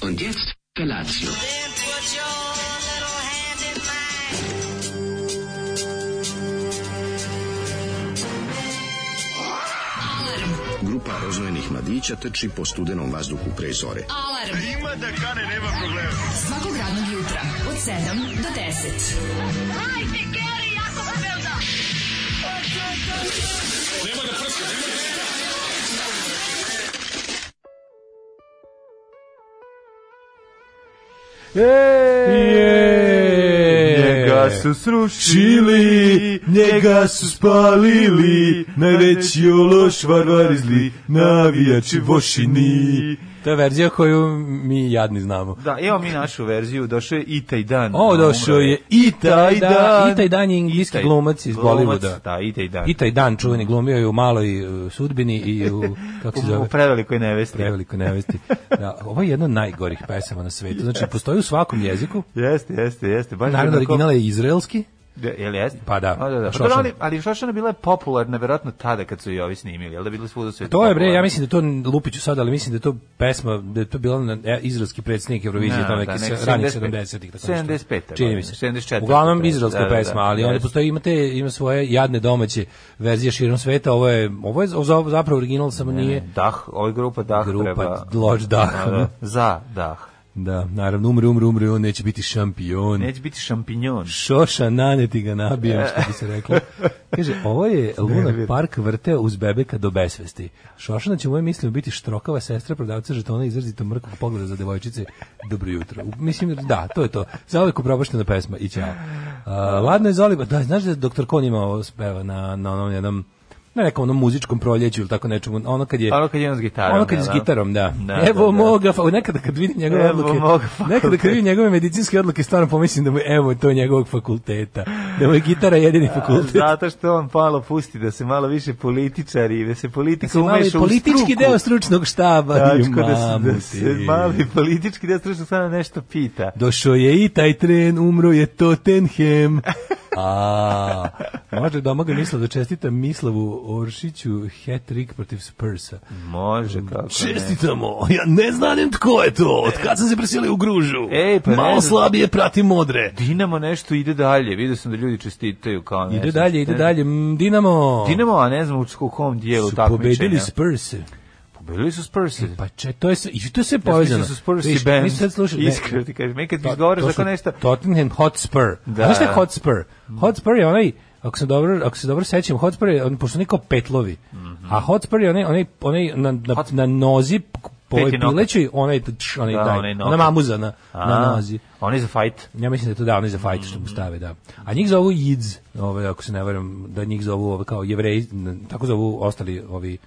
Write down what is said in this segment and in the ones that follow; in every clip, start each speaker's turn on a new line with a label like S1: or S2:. S1: Und jetzt Felatio.
S2: Then put your little hand in mine.
S3: Grupa rozvojenih mladića trči po studenom vazduhu pre zore.
S4: Alarm. Ima da kane, nema problema. Svakog radnog jutra, od 7 do 10.
S5: E,
S6: Njega su srušili, njega su spalili, najveći ološ varvar iz Li, navijači vošini.
S5: To je verzija koju mi jadni znamo.
S6: Da, evo mi našu verziju, došao je i taj dan.
S5: O, došao je
S6: i taj dan.
S5: i taj dan je
S6: I
S5: engleski
S6: taj
S5: glumac iz
S6: glumac,
S5: Bollywooda.
S6: Da, i taj dan.
S5: I taj dan čuveni glumio je u maloj e, sudbini i u, kako se
S6: U, u
S5: zove,
S6: prevelikoj nevesti.
S5: preveliko nevesti. Da, ovo je jedna od najgorih pesama na svetu. Znači, postoji u svakom jeziku.
S6: Jeste, jeste, jeste. Baš
S5: Naravno,
S6: onako-
S5: original je izraelski.
S6: Da, Jel jeste?
S5: Pa da.
S6: Pa, da, da. Pa,
S5: Šošana.
S6: dobro, ali, ali Šošana bila je popularna, verovatno tada kad su i ovi snimili, jel da bilo svuda sve
S5: To je bre, ja mislim da to lupiću sad, ali mislim da je to pesma, da je to bila na e, izraelski predsjednik Eurovizije,
S6: Da,
S5: to
S6: da,
S5: neki
S6: neki
S5: se- ranih
S6: 75.
S5: 70-ih. tako nešto.
S6: 75.
S5: Čini mi se.
S6: 74.
S5: Uglavnom izraelska
S6: Da, da, da,
S5: pesma, ali
S6: jest.
S5: onda postoji, imate, ima svoje jadne domaće verzije širom sveta, ovo je, ovo je za- zapravo original, samo nije
S6: Dah, ovo je grupa Dah
S5: grupa
S6: treba.
S5: Lož
S6: Da, da.
S5: Dah.
S6: Za Dah.
S5: Da, naravno, umre, umre, umre, on neće biti šampion.
S6: Neće biti šampinjon.
S5: Šoša nane ti ga nabijam, što bi se reklo. Kaže, ovo je Luna Park vrteo uz bebeka do besvesti. Šošana će u mojim mislima biti štrokava sestra prodavca žetona izrazito mrkog pogleda za devojčice. Dobro jutro. U- Mislim, da, to je to. Za uvijek upropaštena pesma i ćao. A, ladno je zoliba. Da, znaš da doktor Kon ima ovo speva na, na onom jednom na nekom onom muzičkom proljeću ili tako nečemu, ono kad je...
S6: Ono kad je on s gitarom.
S5: Ono kad je s
S6: da, da.
S5: gitarom, da.
S6: Da,
S5: evo
S6: da, da.
S5: moga, fa- nekada kad vidim njegove
S6: Evo
S5: odluke,
S6: moga
S5: nekada kad
S6: fakulteta.
S5: vidim njegove medicinske odluke, stvarno pomislim da mu je, evo to njegovog fakulteta, da mu je gitara jedini fakultet.
S6: Zato što on palo pusti da se malo više političari, da se politika
S5: Mislim, mali
S6: umeša u
S5: politički
S6: struku.
S5: deo stručnog štaba.
S6: Tačko,
S5: Mamu
S6: da se, da
S5: ti.
S6: se mali politički deo stručnog sada nešto pita.
S5: Došao je i taj tren, umro je Tottenham. A, možda je doma ga Mislav da čestita Mislavu Oršiću hat-trick protiv Spursa.
S6: Može,
S5: Mm,
S6: kako ne.
S5: Čestitamo, ja ne znam tko je to, od kad sam se preselio u Gružu.
S6: Ej, pa ne
S5: Malo
S6: znam.
S5: slabije pratim modre.
S6: Dinamo nešto ide dalje, vidio sam da ljudi čestitaju kao ne
S5: Ide
S6: znam,
S5: dalje, ide
S6: ne-
S5: dalje, mm, Dinamo.
S6: Dinamo, a ne znam u č- u kom dijelu
S5: su
S6: takmičenja.
S5: pobedili Spurs.
S6: Pobedili su Spurs.
S5: Pa če, to je sve, i to je sve
S6: Ja mislim
S5: povezano.
S6: da su Spurs i
S5: Viš,
S6: Benz.
S5: mi sad slušali, ne,
S6: Iskreno ti kažem, mi kad mi
S5: to-
S6: izgovaraš
S5: to
S6: tako
S5: su
S6: nešto,
S5: Tottenham Hotspur.
S6: Da.
S5: Da. Znaš šta je Hotspur? Hotspur je onaj, ako se dobro, ako se dobro sećam, Hotspur je, on, pošto niko petlovi, a Hotspur je onaj, onaj, onaj na, na,
S6: Hotspur.
S5: na nozi, po ovoj
S6: Peti nokat.
S5: pilećoj, onaj, tč, onaj,
S6: Da,
S5: daj,
S6: onaj nokat.
S5: ona mamuza na, na
S6: A,
S5: nozi.
S6: Oni za fight.
S5: Ja mislim da je to da, oni za fajt
S6: Mm.
S5: što mu stave, da. A njih zovu Jids, ove, ako se ne varam, da njih zovu ove, kao jevreji, n- tako zovu ostali ovi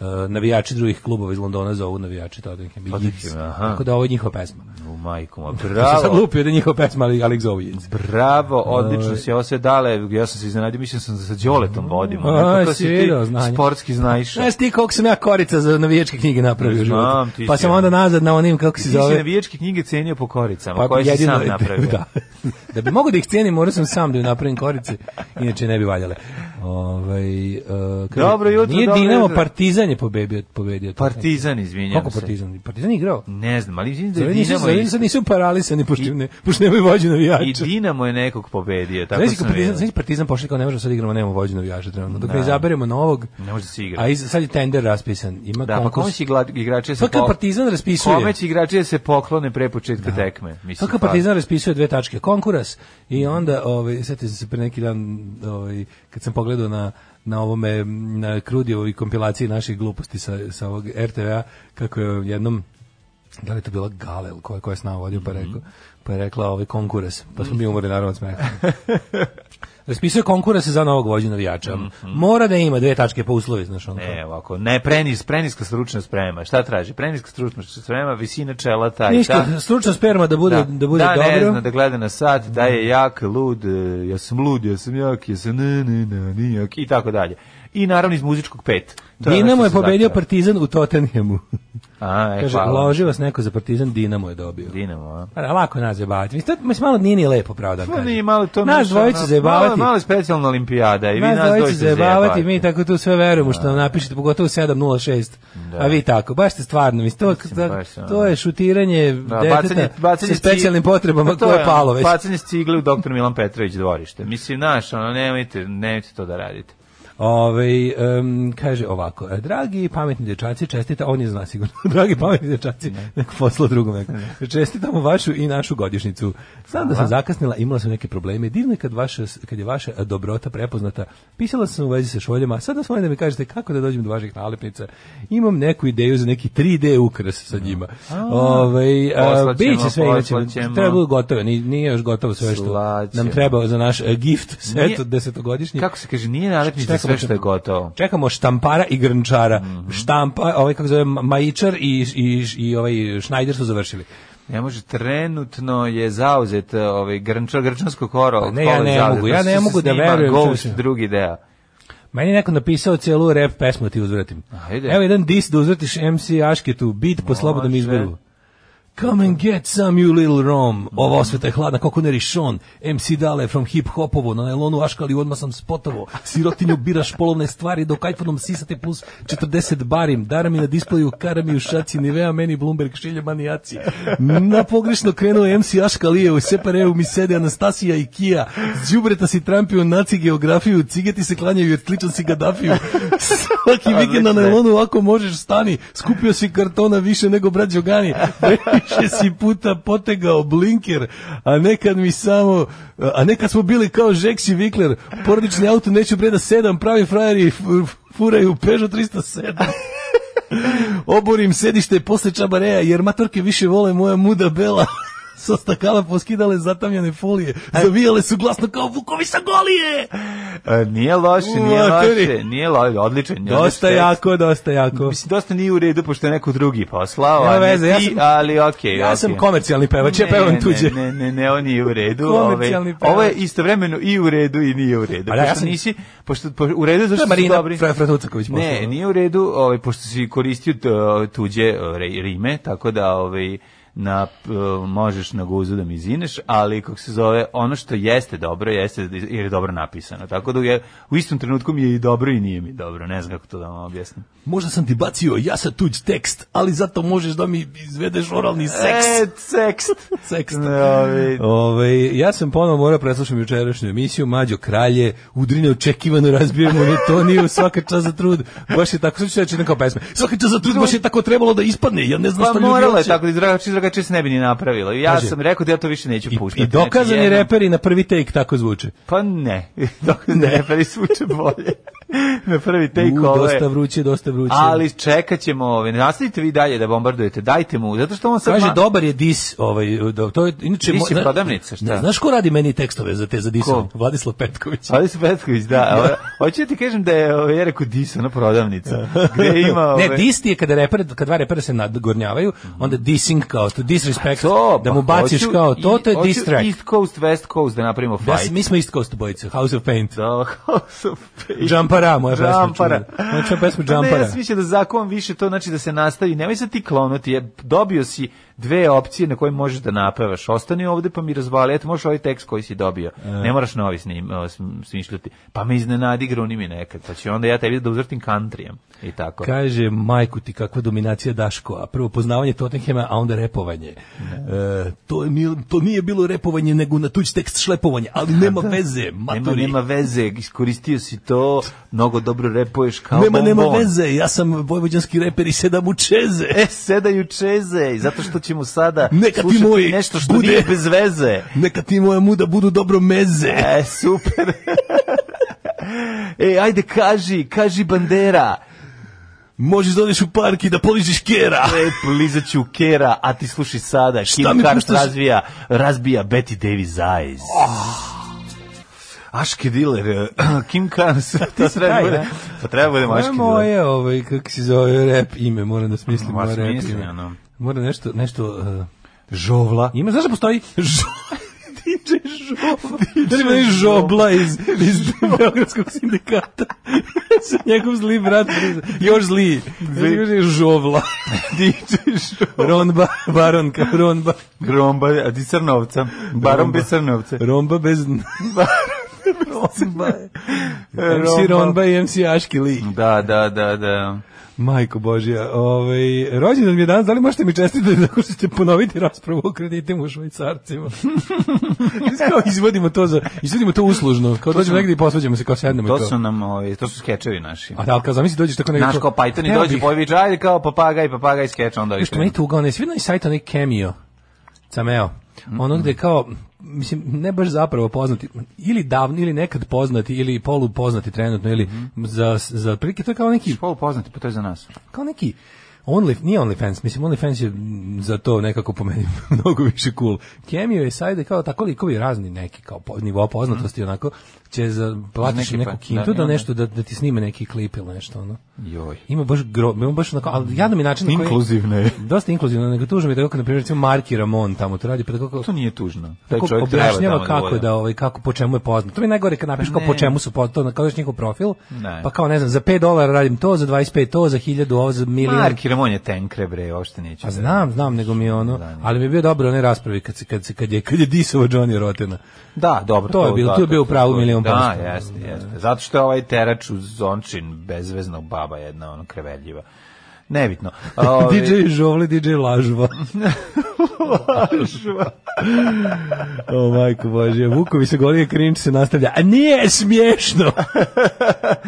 S5: e, navijači drugih klubova iz Londona zovu navijači Tottenham i Jids.
S6: Tottenham, Pa aha.
S5: Tako da ovo je njihova pesma.
S6: U majku, ma,
S5: Ja sam
S6: bravo.
S5: lupio da je njihova pesma, ali, ali ih zovu Jids.
S6: Bravo, odlično si ovo sve dale. Ja sam se iznenadio, mislim sam da sa Đoletom vodimo.
S5: Aj,
S6: Nekako
S5: si video znanje.
S6: sportski znajiš.
S5: Znaš ti koliko sam ja korica za navijačke knjige napravio u
S6: Znam,
S5: životu?
S6: ti si
S5: Pa sam
S6: jedan.
S5: onda nazad na onim, kako se
S6: Ti si
S5: zove,
S6: navijačke knjige cenio po koricama, koje si
S5: Pa jedino-
S6: sam napravio.
S5: Da, da bi mogu da ih cijenim, morao sam sam da ju napravim korice, inače ne bi valjale. Ovaj, e, kaže,
S6: Dobro jutro,
S5: Nije
S6: dobro
S5: Dinamo,
S6: jutro.
S5: Partizan je pobedio. pobedio
S6: Partizan, izvinjam
S5: Kako
S6: se.
S5: Partizan? Partizan je igrao?
S6: Ne znam, ali izvinjam da je
S5: Zove nisu,
S6: Dinamo...
S5: zove
S6: i-
S5: nisu, nisu paralisani, pošto, ne, pošto nemaju vođu
S6: I
S5: navijača.
S6: Dinamo je nekog pobedio, tako
S5: Znaš kad
S6: sam
S5: partizan,
S6: vidio.
S5: znaš partizan pošli kao ne možemo sad igramo, nemamo vođu navijača trenutno. Dok ne izaberemo novog,
S6: Ne može da se igra.
S5: a iz, sad je tender raspisan. Ima
S6: Da, pa kome
S5: konkurs.
S6: će igla- igrači da se
S5: Pa kad
S6: pok-
S5: Partizan raspisuje.
S6: Kome će igrači da se poklone pre početka tekme? Mislim,
S5: Kako
S6: pa-
S5: Partizan raspisuje dve tačke konkuras i onda ovaj setio sam se pre neki dan ovaj kad sam pogledao na na ovome na Krudijevoj kompilaciji naših gluposti sa sa ovog RTV-a kako je jednom da li je to bila Gale ili koja koja je s nama vodio pa je rekao pa je rekla ovaj konkurs pa smo mi umorili naravno od smeha raspisuje konkurs za novog vođu
S6: Mhm,
S5: navijača mora da ima dve tačke po uslovi znaš ono on
S6: Ne, E, ovako, ne, prenis, preniska stručna sprema. Šta traži? Preniska stručna sprema, visina čela, taj,
S5: ništa stručna sperma da bude da, bude
S6: da,
S5: dobro
S6: ne zna, da gleda na sat, da je jak, lud, e, ja sam lud, ja sam jak, ja sam ne, ne, ne, nijak, i tako dalje. I naravno iz muzičkog pet. To ono
S5: Dinamo
S6: što
S5: je
S6: se
S5: pobedio
S6: zahteva.
S5: Partizan u Tottenhamu.
S6: A, e,
S5: Kaže,
S6: hvala.
S5: loži vas neko za partizan, Dinamo je dobio.
S6: Dinamo, a?
S5: Pa da, lako nas zajebavati. Mislim, to, mislim, malo nije ni lepo, pravo da vam
S6: Pa
S5: kažem.
S6: nije malo to
S5: nas
S6: naša,
S5: dvojicu
S6: ono,
S5: zajebavati.
S6: Malo, malo je specijalna olimpijada i vi nas,
S5: nas dvojicu
S6: dođete zajebavati.
S5: zajebavati, mi tako tu sve verujemo što nam napišete, pogotovo 7.06. A vi tako, baš ste stvarno, mislim, to,
S6: baš,
S5: to,
S6: ono.
S5: je šutiranje
S6: Da,
S5: deteta
S6: bacanje, bacanje
S5: sa specijalnim
S6: ci-
S5: potrebama
S6: Pa to
S5: koje
S6: je
S5: je
S6: ono,
S5: palo već.
S6: Bacanje s cigle u doktor Milan Petrović dvorište. Mislim, naš, ono, nemojte, nemojte to da radite.
S5: Ove, Ovaj, em, kaže ovako, e, dragi pametni dječaci, čestita, on je zna sigurno, dragi pametni dječaci, neko posla drugom neko. Čestitamo vašu i našu godišnicu. Znam da sam zakasnila, imala sam neke probleme. Divno je kad, vaša, kad je vaša e, dobrota prepoznata. Pisala sam u vezi sa šoljama, a sad vas molim da mi kažete kako da dođem do vaših nalepnica. Imam neku ideju za neki 3D ukras sa njima. Ovaj, Ove, a,
S6: Poslaćemo,
S5: biće sve, inače,
S6: poslaćemo.
S5: treba bude gotovo, ni- nije još gotovo sve što
S6: Slaćemo.
S5: nam treba za naš e, gift set
S6: Nije-
S5: od desetogodišnji.
S6: Kako se kaže, nije nalepnica
S5: Čekamo
S6: sve što je
S5: čekamo.
S6: gotovo. Mhm.
S5: Čekamo štampara i grnčara. Štampa, ovaj kako zove, ma- majičar i, i, i ovaj šnajder su završili.
S6: Ne može, trenutno je zauzet e, ovaj, grnčo, grčansko koro.
S5: Ne, ja
S6: kolo je
S5: ne
S6: zauzet,
S5: mogu, ja
S6: zato što
S5: ne
S6: se
S5: mogu da
S6: snima
S5: verujem,
S6: Ghost,
S5: čovječe.
S6: drugi deo.
S5: Meni je neko napisao cijelu rap pesmu da ti uzvratim.
S6: Ajde.
S5: Evo jedan dis da uzvratiš MC Ašketu, beat po slobodnom
S6: Može.
S5: izboru. Come and get some you little rom. Ova osveta je hladna kako ne rišon. MC Dale from hip hopovo na nailonu aškali odmah sam spotovo. Sirotinju biraš polovne stvari dok iPhoneom sisate plus 40 barim. Dara mi na displeju, kara mi u šaci, nivea meni Bloomberg šilje manijaci. Na pogrešno krenuo MC Aškalije, u Separeu mi sede Anastasija i Kija. Đubreta si trampio naci geografiju, cigeti se klanjaju jer sličan si Gaddafiju. Svaki vikend na
S6: Odlično.
S5: nailonu ono ako možeš stani, skupio si kartona više nego brat Đogani, više si puta potegao blinker, a nekad mi samo, a nekad smo bili kao Žeksi Vikler, porodični auto neću breda sedam, pravi frajeri f- furaju Peugeot 307. Oborim sedište posle čabareja, jer matorke više vole moja muda bela. Sa stakala poskidale zatamljene folije, zavijale su glasno kao vukovi sa golije.
S6: E, Nije loše, nije
S5: Materi.
S6: loše, nije loše, odličan. je,
S5: Dosta
S6: odličan tekst.
S5: jako, dosta jako.
S6: Mislim, dosta nije u redu, pošto je neko drugi poslao,
S5: Nema
S6: a ne
S5: veze, ja
S6: ti,
S5: sam-
S6: ali okej.
S5: Ja sam
S6: okej.
S5: komercijalni pevač, ja pevam
S6: Ne,
S5: tuđe.
S6: Ne, ne, ne, ne, on nije u redu.
S5: Komercijalni
S6: ovaj,
S5: pevač.
S6: Ovo je istovremeno i u redu i nije u redu.
S5: A da, ja
S6: pošto
S5: sam-
S6: nisi, pošto, po, u redu je
S5: To
S6: zašto
S5: je
S6: su
S5: Marina
S6: dobri.
S5: Fra- Fratucaković.
S6: Ne,
S5: poslala.
S6: nije u redu, ovaj, pošto si koristio t- tuđe e, re- rime, tako da ovaj, na, p- možeš na guzu da mi zineš, ali kako se zove, ono što jeste dobro, jeste jer je dobro napisano. Tako da je, u istom trenutku mi je i dobro i nije mi dobro, ne znam kako to da vam objasnim.
S5: Možda sam ti bacio ja sa tuđ tekst, ali zato možeš da mi izvedeš oralni seks.
S6: E, sekst.
S5: Sekst.
S6: Ne, ovaj,
S5: Ove, ja sam ponovo morao preslušati jučerašnju emisiju Mađo Kralje, udri neočekivano razbio monotoniju, svaka čast za trud. Baš je tako, sad ću reći neka pesma. Svaka čast za trud, baš je tako trebalo da ispadne, ja ne znam
S6: Pa
S5: što ljudi
S6: moralo je
S5: hoće.
S6: tako, drugačije drugačije se ne bi ni napravilo. I Ja
S5: Kaže-
S6: sam rekao da ja to više neću puštati.
S5: I, i dokazani
S6: Znači, jedno-
S5: reperi na prvi take tako zvuče.
S6: Pa ne, dokazani reperi zvuče bolje. Na prvi take
S5: U,
S6: ovo je-
S5: dosta vruće, dosta vruće.
S6: Ali čekat ćemo, ovaj, nastavite vi dalje da bombardujete, dajte mu, zato što on sad...
S5: Kaže
S6: ma-
S5: dobar je dis, ovaj do- to je inače
S6: Dis je
S5: mo- zna-
S6: prodavnica, šta?
S5: Znaš ko radi meni tekstove za te za disove?
S6: Ko?
S5: Vladislav Petković.
S6: Ali se Petković, da. ovo- Hoću ti kažem da je, ovaj, ja rekao, dis, ona prodavnica. Gde ima... ovaj,
S5: Ne, dis ti je kada reper, kad dva repera se nadgornjavaju, onda dissing kao to, disrespect,
S6: To,
S5: da
S6: pa
S5: mu baciš
S6: hoću
S5: kao to,
S6: i-
S5: to je
S6: hoću
S5: diss track.
S6: East Coast, West Coast da napravimo
S5: Ja,
S6: fight.
S5: sam- mi smo East Coast bojice, House of Paint.
S6: Da, House of Pain.
S5: Jumpara, moja pesma.
S6: Jumpara.
S5: čuvena. Moja čuvena pesma
S6: Pa Ne,
S5: Jumpara.
S6: ja sam mislio da zakon više to znači da se nastavi. Nemoj sad ti klonuti, jer dobio si dve opcije na koje možeš da napevaš. Ostani ovde pa mi razvali, eto možeš ovaj tekst koji si dobio.
S5: E.
S6: Ne moraš novi snim, o, sm- smišljati. Pa me iznenadi gruni mi nekad, pa ću onda ja tebi da uzvrtim kantrijem i tako.
S5: Kaže, majku ti kakva dominacija Daško, a prvo poznavanje Tottenhema, a onda repovanje. E, to, je mil- to nije bilo repovanje, nego na tuđ tekst šlepovanje, ali nema veze,
S6: Nema,
S5: maturi.
S6: nema veze, iskoristio si to, mnogo dobro repuješ kao
S5: nema, nema
S6: bombon.
S5: veze, ja sam vojvođanski reper i sedam u čeze.
S6: E, sedaju čeze, zato što ćemo sada
S5: Neka ti
S6: slušati
S5: moj
S6: nešto što
S5: bude-
S6: nije bez veze.
S5: Neka ti moja muda budu dobro meze.
S6: E, super. e, ajde, kaži, kaži bandera.
S5: Možeš da odeš u park i da poližiš kera.
S6: E, polizat ću kera, a ti sluši sada. Kim
S5: mi
S6: Kart
S5: puštaš?
S6: razvija, razbija Betty Davis Eyes. Aške Ah, diler, e, Kim Kars, to treba
S5: kraj,
S6: bude,
S5: ne?
S6: pa treba bude
S5: Ovo je
S6: maški diler.
S5: moje, ovaj, kako se zove, rap ime, moram da smislim
S6: Ma,
S5: moje rap
S6: smisli,
S5: ime.
S6: ono.
S5: Moram nešto, nešto... Uh,
S6: Žovla.
S5: ime, znaš da postoji? Žo- DJ Žovla. Da li ima onaj žobla iz, iz Beogradskog sindikata? Sa njegov zli brat, još zli. Još je žovla. Ronba, baronka, ronba.
S6: Gromba, a ti crnovca. Barom bez crnovca.
S5: Romba bez... Romba. MC Romba i MC Aški Lee.
S6: E, Da, da, da, da.
S5: Majko Božja, ovaj, rođendan mi je danas, da li možete mi čestiti da što ćete ponoviti raspravu o kreditima u švajcarcima? kao izvodimo to, za, izvodimo to uslužno, kao dođemo negdje i posvađamo se, kao sednemo
S6: To
S5: i to.
S6: su nam, ovaj, to su skečevi naši.
S5: A da, ali kao zamisli dođeš tako negdje...
S6: Naš kao Python i dođe pojavi ajde kao papagaj, papagaj skeč, onda ovi
S5: Što meni
S6: krenu.
S5: tuga, onaj, svi onaj sajt, onaj Cameo, Cameo, ono gde kao, mislim, ne baš zapravo poznati, ili davni, ili nekad poznati, ili polupoznati trenutno, ili
S6: Mm-hmm.
S5: za, za prilike, to je kao neki
S6: Polu poznati, pa to je za nas.
S5: kao neki Only, nije OnlyFans, mislim OnlyFans je mm, za to nekako po meni mnogo više cool. Kemio je sajde kao tako likovi razni neki kao po, nivo poznatosti onako će za platiš
S6: Neki
S5: im neku
S6: Mm-hmm. pa-
S5: kintu
S6: da,
S5: da
S6: i
S5: nešto da, da ti snime neki klip ili nešto ono.
S6: Joj.
S5: Ima baš gro, ima baš onako, ali jadan mi način na koji-
S6: Inkluzivno je.
S5: Dosta inkluzivno, nego tužno mi je da kako na primjer recimo Marki Ramon tamo to radi pa da kako
S6: To nije tužno. Taj
S5: tako
S6: čovjek treba tamo
S5: objašnjava
S6: da
S5: kako
S6: bude. Pa
S5: da ovaj kako po čemu je poznat. To mi je najgore kad napišeš kao po
S6: ne.
S5: čemu su poznati, na kao njihov profil.
S6: Ne.
S5: Pa kao ne znam, za 5 dolara radim to, za 25 to, za 1000 ovo, za milion.
S6: Marki Ramon Pa, je tenkre, bre, uopšte neću.
S5: Pa
S6: da-
S5: znam, znam, nego mi je ono,
S6: Da, nije.
S5: ali mi je bio dobro one raspravi kad se kad se kad je kad je disova Johnny Rotena.
S6: Da, dobro.
S5: To je bilo,
S6: da,
S5: tu je bio u pravu
S6: to-
S5: milion
S6: Da,
S5: posto.
S6: jeste, jeste. Zato što je ovaj terač u zončin bezveznog baba jedna, ono, kreveljiva. Nebitno. A, ovaj-
S5: DJ Žovli, DJ Lažva. o majko bože, Vukovi se golije, cringe se nastavlja. A nije smiješno!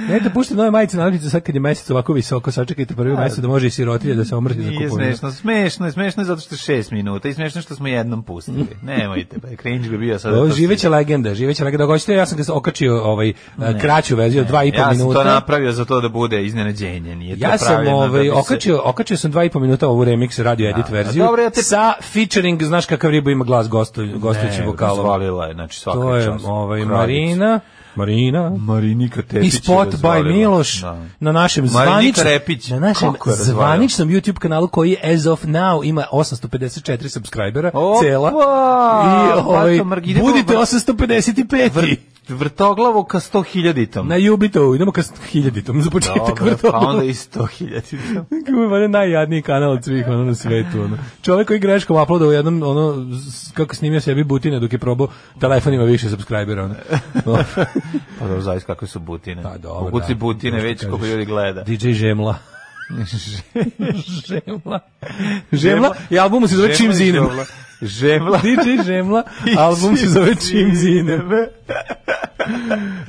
S5: ne da pušte nove majice na ulicu sad kad je mesec ovako visoko, sačekajte prvi mesec da može i sirotilje da se omrti za
S6: Pa, Nije
S5: kupovinu.
S6: smešno, smešno je, smešno je zato što je šest minuta i smešno je što smo jednom pustili. Nemojte, pa je cringe bi bio sada.
S5: O,
S6: to
S5: živeće legenda, živeće legenda. Ako hoćete, ja sam ga okačio ovaj, kraću verziju, dva i
S6: Ja
S5: pol
S6: sam
S5: minuta.
S6: to napravio za to da bude iznenađenje, nije to
S5: Ja sam
S6: pravljeno da
S5: ovaj
S6: bi se-
S5: okačio, okačio sam dva i po minuta ovu remix radio edit
S6: Da,
S5: verziju.
S6: dobro, ja te-
S5: sa featuring, znaš kakav ribu ima glas gostu, gostujući
S6: Ne,
S5: vokalom.
S6: E, Zvalila je, znači svaka
S5: To je
S6: čast.
S5: ovaj
S6: Kraljica.
S5: Marina, Marina
S6: Marinika Tepić
S5: i
S6: je
S5: spot by
S6: razvalila.
S5: Miloš
S6: Da.
S5: na našem
S6: Marinika
S5: zvaničnom
S6: Repić,
S5: na našem
S6: kako je razvalila.
S5: zvaničnom YouTube kanalu koji as of now ima 854 subscribera
S6: Opa!
S5: cela. I
S6: Pa to,
S5: ovaj,
S6: Margi, idemo
S5: budite
S6: vr-
S5: 855.
S6: Vrtoglavo ka 100 hiljaditom.
S5: Na Jubito, idemo ka 1000 tom za početak
S6: Dobro, pa
S5: vrtoglavo.
S6: onda i 100 hiljaditom.
S5: Kako je najjadniji kanal od svih ono na svetu. Ono. Čovjek koji greškom uploada u jednom, ono, s- kako snimio sebi butine dok je probao, telefon ima više subscribera. Ono.
S6: Pa dobro, zavis kakve su butine.
S5: Pa dobro,
S6: Ukuci
S5: da.
S6: butine,
S5: Možda
S6: već
S5: kažeš.
S6: koliko ljudi gleda.
S5: DJ Žemla. Žemla. Žemla. I album se zove Čim
S6: Žemla i
S5: Zinem.
S6: Žemla. Žemla.
S5: DJ Žemla, album se zove Čim Zinem.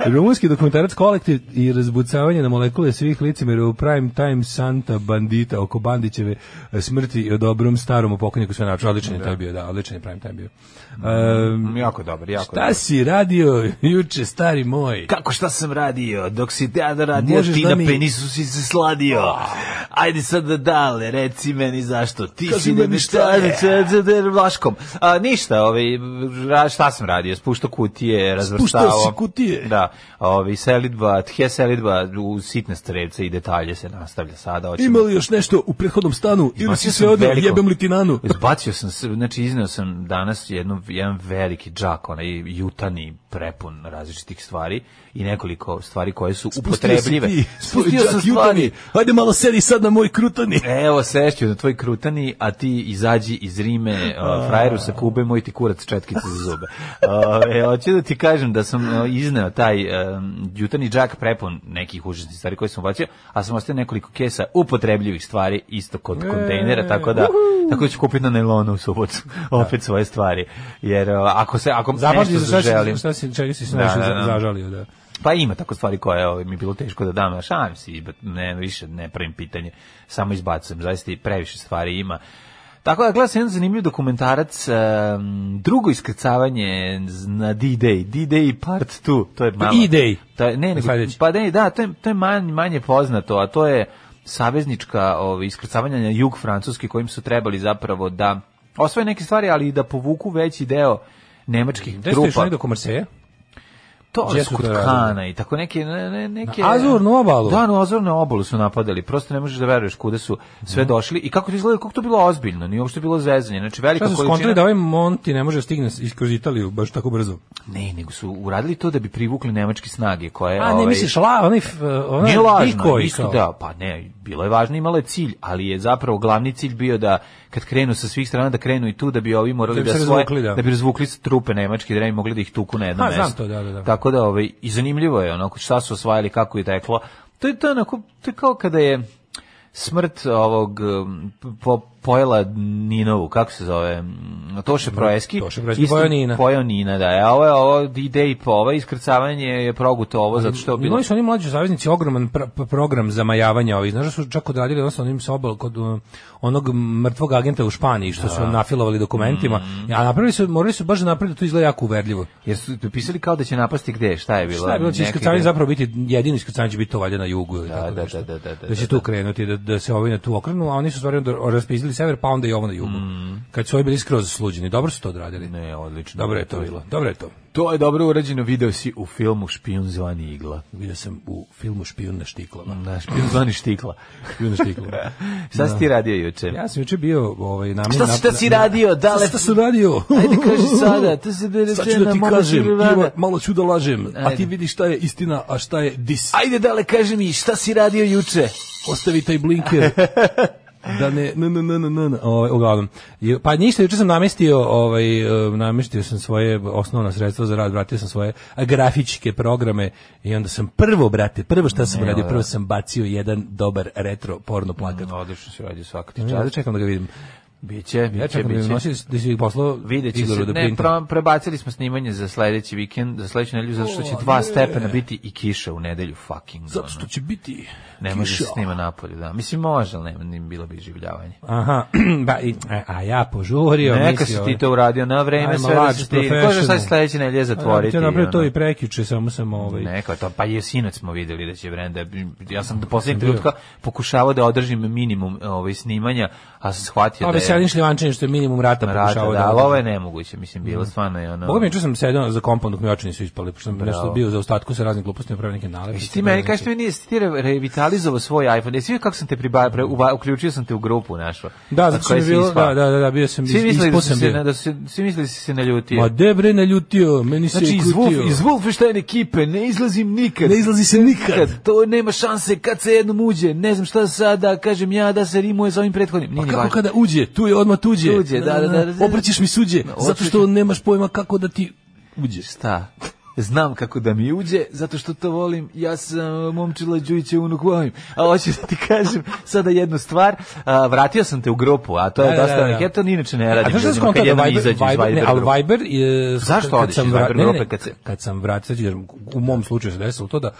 S5: Rumunski dokumentarac kolektiv i razbucavanje na molekule svih licimera u prime time Santa Bandita oko Bandićeve e, smrti i o dobrom starom pokojniku sve naču. Odličan je taj bio, da, odličan je prime time bio. Um,
S6: Jako dobar, jako
S5: Šta si radio juče, stari moj?
S6: Kako šta sam radio? Dok si ja da radio,
S5: Možeš
S6: ti
S5: da
S6: na
S5: mi- Ah.
S6: penisu si se sladio. Ajde sad da dale, reci meni zašto. Ti
S5: Kaži
S6: si
S5: meni
S6: meni
S5: šta
S6: šta
S5: je.
S6: je. Vlaškom. A, ništa, ovaj, ra- šta sam radio? Spušto kutije, razvrštao.
S5: si kutije.
S6: Da, ovaj, selidba, tje selidba u sitne strelce i detalje se nastavlja sada. hoćemo-
S5: Ima li još nešto u prethodnom stanu ili si
S6: Izbacio
S5: sve
S6: sam
S5: odeo,
S6: veliko-
S5: jebem li ti nanu?
S6: Izbacio sam, se, znači izneo sam danas jednu, jedan veliki džak, onaj jutani prepun različitih stvari i nekoliko stvari koje su upotrebljive.
S5: Spustio si ti, spustio sam stvari. Hajde malo sedi sad na moj krutani.
S6: E, Evo, sešću na tvoj krutani, a ti izađi iz Rime, uh, frajeru sa Kube, moj ti kurac četkice za zube. Uh, e, hoću da ti kažem da sam uh, izneo taj um, jutani džak prepun nekih užasnih stvari koje sam ubacio, a sam ostavio nekoliko kesa upotrebljivih stvari isto kod
S5: E.
S6: kontejnera, tako da, tako da ću kupiti na nailonu u subotu opet svoje stvari. Jer uh, ako se, ako
S5: Zapamti
S6: nešto
S5: za šta
S6: zaželim...
S5: si, šta si, čega si se
S6: Da,
S5: najviše
S6: da,
S5: za-
S6: da.
S5: zažalio, da.
S6: Pa ima tako stvari koje ovaj, mi je bilo teško da dam, a šalim se, izbat- ne, više ne pravim pitanje, samo izbacujem, zaista i previše stvari ima. Tako da, gledam sam jedan zanimljiv dokumentarac, em, drugo iskrcavanje z- na D-Day, D-Day part 2, to je malo...
S5: E-Day.
S6: To je, ne, nego-
S5: Sledeći.
S6: pa ne, da, to je, to je manje, manje poznato, a to je saveznička ovaj, iskrcavanja na jug Francuske kojim su trebali zapravo da osvoje neke stvari, ali i da povuku veći deo nemačkih
S5: Gde ste
S6: trupa.
S5: išli do Komarseja?
S6: to
S5: Jazz
S6: su kod
S5: Kutaradu.
S6: Kana i tako neke ne, ne, neke
S5: Na Azurnu obalu?
S6: Da, na Azurnu obalu su napadali. Prosto ne možeš da veruješ kuda su sve došli i kako to izgleda, kako to bilo ozbiljno, nije uopšte bilo zezanje. Znači velika
S5: Šta su skontali da ovaj Monti ne može stigne s- kroz Italiju baš tako brzo?
S6: Ne, nego su uradili to da bi privukli nemačke snage koje
S5: A, ne,
S6: ovaj,
S5: misliš, la, onaj, f- onaj
S6: Nije lažno,
S5: pikoj,
S6: isto
S5: kao.
S6: da, pa ne, bilo je važno, imalo je cilj, ali je zapravo glavni cilj bio da kad krenu sa svih strana da krenu i tu da bi ovi morali
S5: Da
S6: da,
S5: bi se
S6: svoje
S5: razvukli, da.
S6: da. bi razvukli trupe nemačke da ne bi mogli da ih tuku na jedno
S5: A,
S6: mesto.
S5: znam to, da, da, da.
S6: Tako da ovaj i zanimljivo je onako šta su osvajali, kako je teklo. To je to je onako to je kao kada je smrt ovog um, po, pojela Ninovu, kako se zove, mm, Toše Proeski.
S5: Toše Proeski,
S6: Isto-
S5: pojeo Nina.
S6: pojeo Nina, da. A ovo, je- ovo ide i po, ovo iskrcavanje je proguto ovo, zato što je bilo...
S5: Imali su oni mlađi saveznici ogroman pr- pr- program zamajavanja ovih. Znaš da su čak odradili odnosno onim sobal kod uh, onog mrtvog agenta u Španiji što su nafilovali dokumentima. A napravili su, morali su baš napraviti da to izgleda jako uverljivo.
S6: Jer su pisali kao da će napasti gde, šta je bilo?
S5: Šta je bilo, će
S6: Neka
S5: iskrcavanje
S6: ide-
S5: zapravo biti, jedino iskrcavanje će biti to valjda na jugu. Ili tako
S6: da,
S5: nešto.
S6: da, da, da, da,
S5: da će
S6: da,
S5: tu
S6: da.
S5: krenuti, da, da se ovi na tu okrenu, a oni su stvarno da- raspizili sever, pa onda i ovo na jugu. Kad su ovi bili skroz sluđeni, dobro su to odradili.
S6: Mm. Ne, odlično.
S5: Dobro je to bilo, dobro je to.
S6: To je dobro urađeno, video si u filmu Špijun zvani igla.
S5: Vidio sam u filmu Špijun na štiklama.
S6: Da, špijun zvani štikla.
S5: Špijun na štiklama.
S6: Šta si ti radio juče?
S5: Ja sam juče bio ovaj namen
S6: Šta si- šta si radio, da li-
S5: Šta sam radio?
S6: Ajde kaži sada, to se da
S5: Sad ću da ti kažem, Ivo, malo ću da lažem, a ti
S6: Ajde.
S5: vidiš šta je istina, a šta je dis.
S6: Ajde dale, kaži mi, šta si radio juče?
S5: Ostavi taj blinker. da ne, ne, ne, ne, ne, ne, ne. Ovaj, uglavnom. Ju- Pa ništa, juče sam namestio, ovaj, eh, namestio sam svoje osnovna sredstva za rad, vratio sam svoje grafičke programe i onda sam prvo, brate, prvo šta sam radio, prvo sam bacio jedan dobar retro porno plakat.
S6: Odlično si radio svaka ti
S5: Ja da čekam da ga vidim.
S6: Biće,
S5: Ja
S6: biće,
S5: čekam da mi
S6: biće.
S5: nosi da si ih poslao
S6: Vidjet će
S5: Igoru
S6: se,
S5: da
S6: ne,
S5: printa.
S6: pro- prebacili smo snimanje za sledeći vikend, za sledeću nedelju, zato što će dva stepena biti i kiša u nedelju, fucking.
S5: Zato
S6: ono.
S5: što će biti
S6: Ne može se snima napolje, da. Mislim, može, ali ne, ne bilo bi življavanje.
S5: Aha, ba, i, a, a ja požurio,
S6: Neka si
S5: mislio-
S6: ti to uradio na vreme,
S5: I'm
S6: sve
S5: a
S6: da
S5: large
S6: si ti...
S5: professional.
S6: Kože sad sledeće nedelje zatvoriti.
S5: Ja napravio to
S6: ono.
S5: i prekjuče, samo sam ovaj...
S6: Neka, to, pa je sinoć smo videli da će Brenda, ja sam do posljednjeg trenutka pokušavao da održim minimum ovaj, snimanja, a sam shvatio
S5: Ovaj
S6: da
S5: Selin
S6: je
S5: Šljivančanin što je minimum rata
S6: rata,
S5: pokušao
S6: da,
S5: da... Mhm.
S6: ali ovo je nemoguće, mislim, bilo stvarno je ono...
S5: Boga mi je čuo sam sedao za kompon dok mi oči nisu ispali, pošto sam nešto bio za ostatku sa raznim glupostima, pravio neke nalepice.
S6: Jesi ti meni kažeš ti meni jesi ti re- revitalizovao svoj iPhone. Jesi vidio kako sam te priba, pre, uba- uključio sam te u grupu našu.
S5: Da,
S6: od
S5: zato što
S6: koje
S5: mi je
S6: si
S5: bilo,
S6: ispao.
S5: da, da, da, da, bio sam,
S6: Svi mislili da
S5: ispao
S6: si
S5: sam
S6: se,
S5: bio.
S6: na- da su, se- svi mislili da si se naljutio.
S5: Ma debre naljutio, meni se
S6: Znači,
S5: je
S6: iz, Wolf,
S5: kutio.
S6: iz Wolfenstein ekipe ne izlazim nikad.
S5: Ne izlazi se nikad.
S6: Nikad. To nema šanse kad se jednom uđe. Ne znam šta sada, kažem ja da se rimuje sa ovim prethodnim. Nije
S5: Pa
S6: ni
S5: kako
S6: važno.
S5: kada uđe, tu je odmah tuđe.
S6: Tuđe, da, da, da, da, da.
S5: Obrćeš mi suđe, zato što nemaš pojma kako da ti uđeš.
S6: Šta? Znam kako da mi uđe, zato što to volim. Ja sam uh, momčila Đujića unuk volim. A hoću da ti kažem sada jednu stvar. A, vratio sam te u grupu, a to je
S5: Da, da,
S6: dosta
S5: da, da.
S6: neki- Ja to ni inače ne
S5: A
S6: radim.
S5: znaš da
S6: ljudima,
S5: skontam
S6: kad
S5: da
S6: jednom
S5: Viber,
S6: izađu iz
S5: Viber, ne,
S6: Viber
S5: ali
S6: grupe.
S5: Viber je...
S6: Zašto
S5: kad
S6: odeš
S5: sam
S6: iz
S5: vra-
S6: Viber
S5: ne, ne,
S6: grupe
S5: ne,
S6: kad se-
S5: Kad sam vratio, sad ću jer u mom slučaju se desilo to da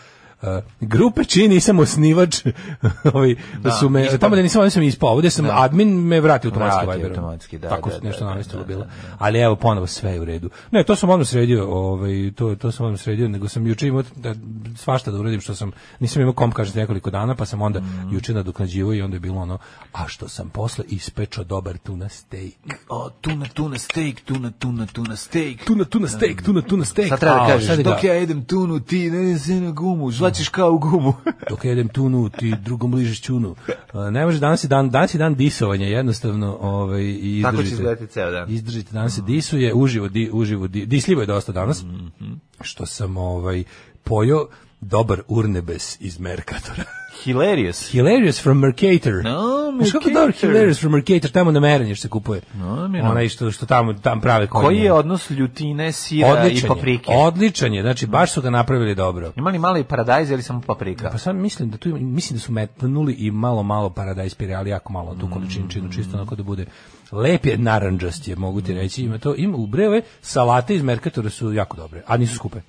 S5: Uh, grupe čiji nisam osnivač ovaj, da, su me,
S6: ispao.
S5: tamo da nisam, ovdje sam ispao, ovdje sam admin me vrati automatski
S6: Vrati
S5: Viberom.
S6: automatski, da,
S5: Tako
S6: da,
S5: se nešto
S6: da, da,
S5: namestilo
S6: da,
S5: bilo.
S6: da,
S5: Ali evo, ponovo sve je u redu. Ne, to sam odmah sredio, ovaj, to, to sam odmah sredio, nego sam juče imao da, svašta da uradim što sam, nisam imao kom, kažete, nekoliko dana, pa sam onda
S6: Mhm.
S5: juče nadoknađivao i onda je bilo ono, a što sam posle ispečao dobar tuna steak.
S6: O, tuna, tuna, steak, tuna, tuna, tuna, steak.
S5: Tuna, tuna, steak, tuna, tuna, steak.
S6: E, Sad treba da
S5: A,
S6: kažeš,
S5: sad ga-
S6: dok ja jedem tunu, ti ne se na gumu, žvaćeš kao u gumu.
S5: dok jedem tunu, ti drugom ližeš čunu. A, Ne može, danas je dan, danas je dan disovanja, jednostavno ovaj, i izdržite.
S6: Tako će izgledati ceo dan.
S5: Izdržite, danas se disuje, uživo, di, uživo, di, disljivo je dosta danas,
S6: Mhm.
S5: što sam ovaj, pojao dobar urnebes iz Merkatora.
S6: Hilarious.
S5: Hilarious from Mercator.
S6: No,
S5: Znaš kako je
S6: Mercator.
S5: dobar Hilarious from Mercator, tamo na merenje što se kupuje.
S6: No, mi no.
S5: Onaj što, što tamo, tam prave konje.
S6: Koji je odnos ljutine, sira i
S5: odličan je,
S6: paprike?
S5: odličan je, znači baš su ga napravili dobro.
S6: Ima li mali paradajz ili samo paprika?
S5: Pa sad mislim da tu ima- mislim da su metnuli i malo malo paradajz pire, ali jako malo tu
S6: Mm.
S5: količinčinu, čisto onako da bude lep je narandžast je, mogu ti reći, ima to, ima u breve, salate iz Mercatora su jako dobre, a nisu skupe.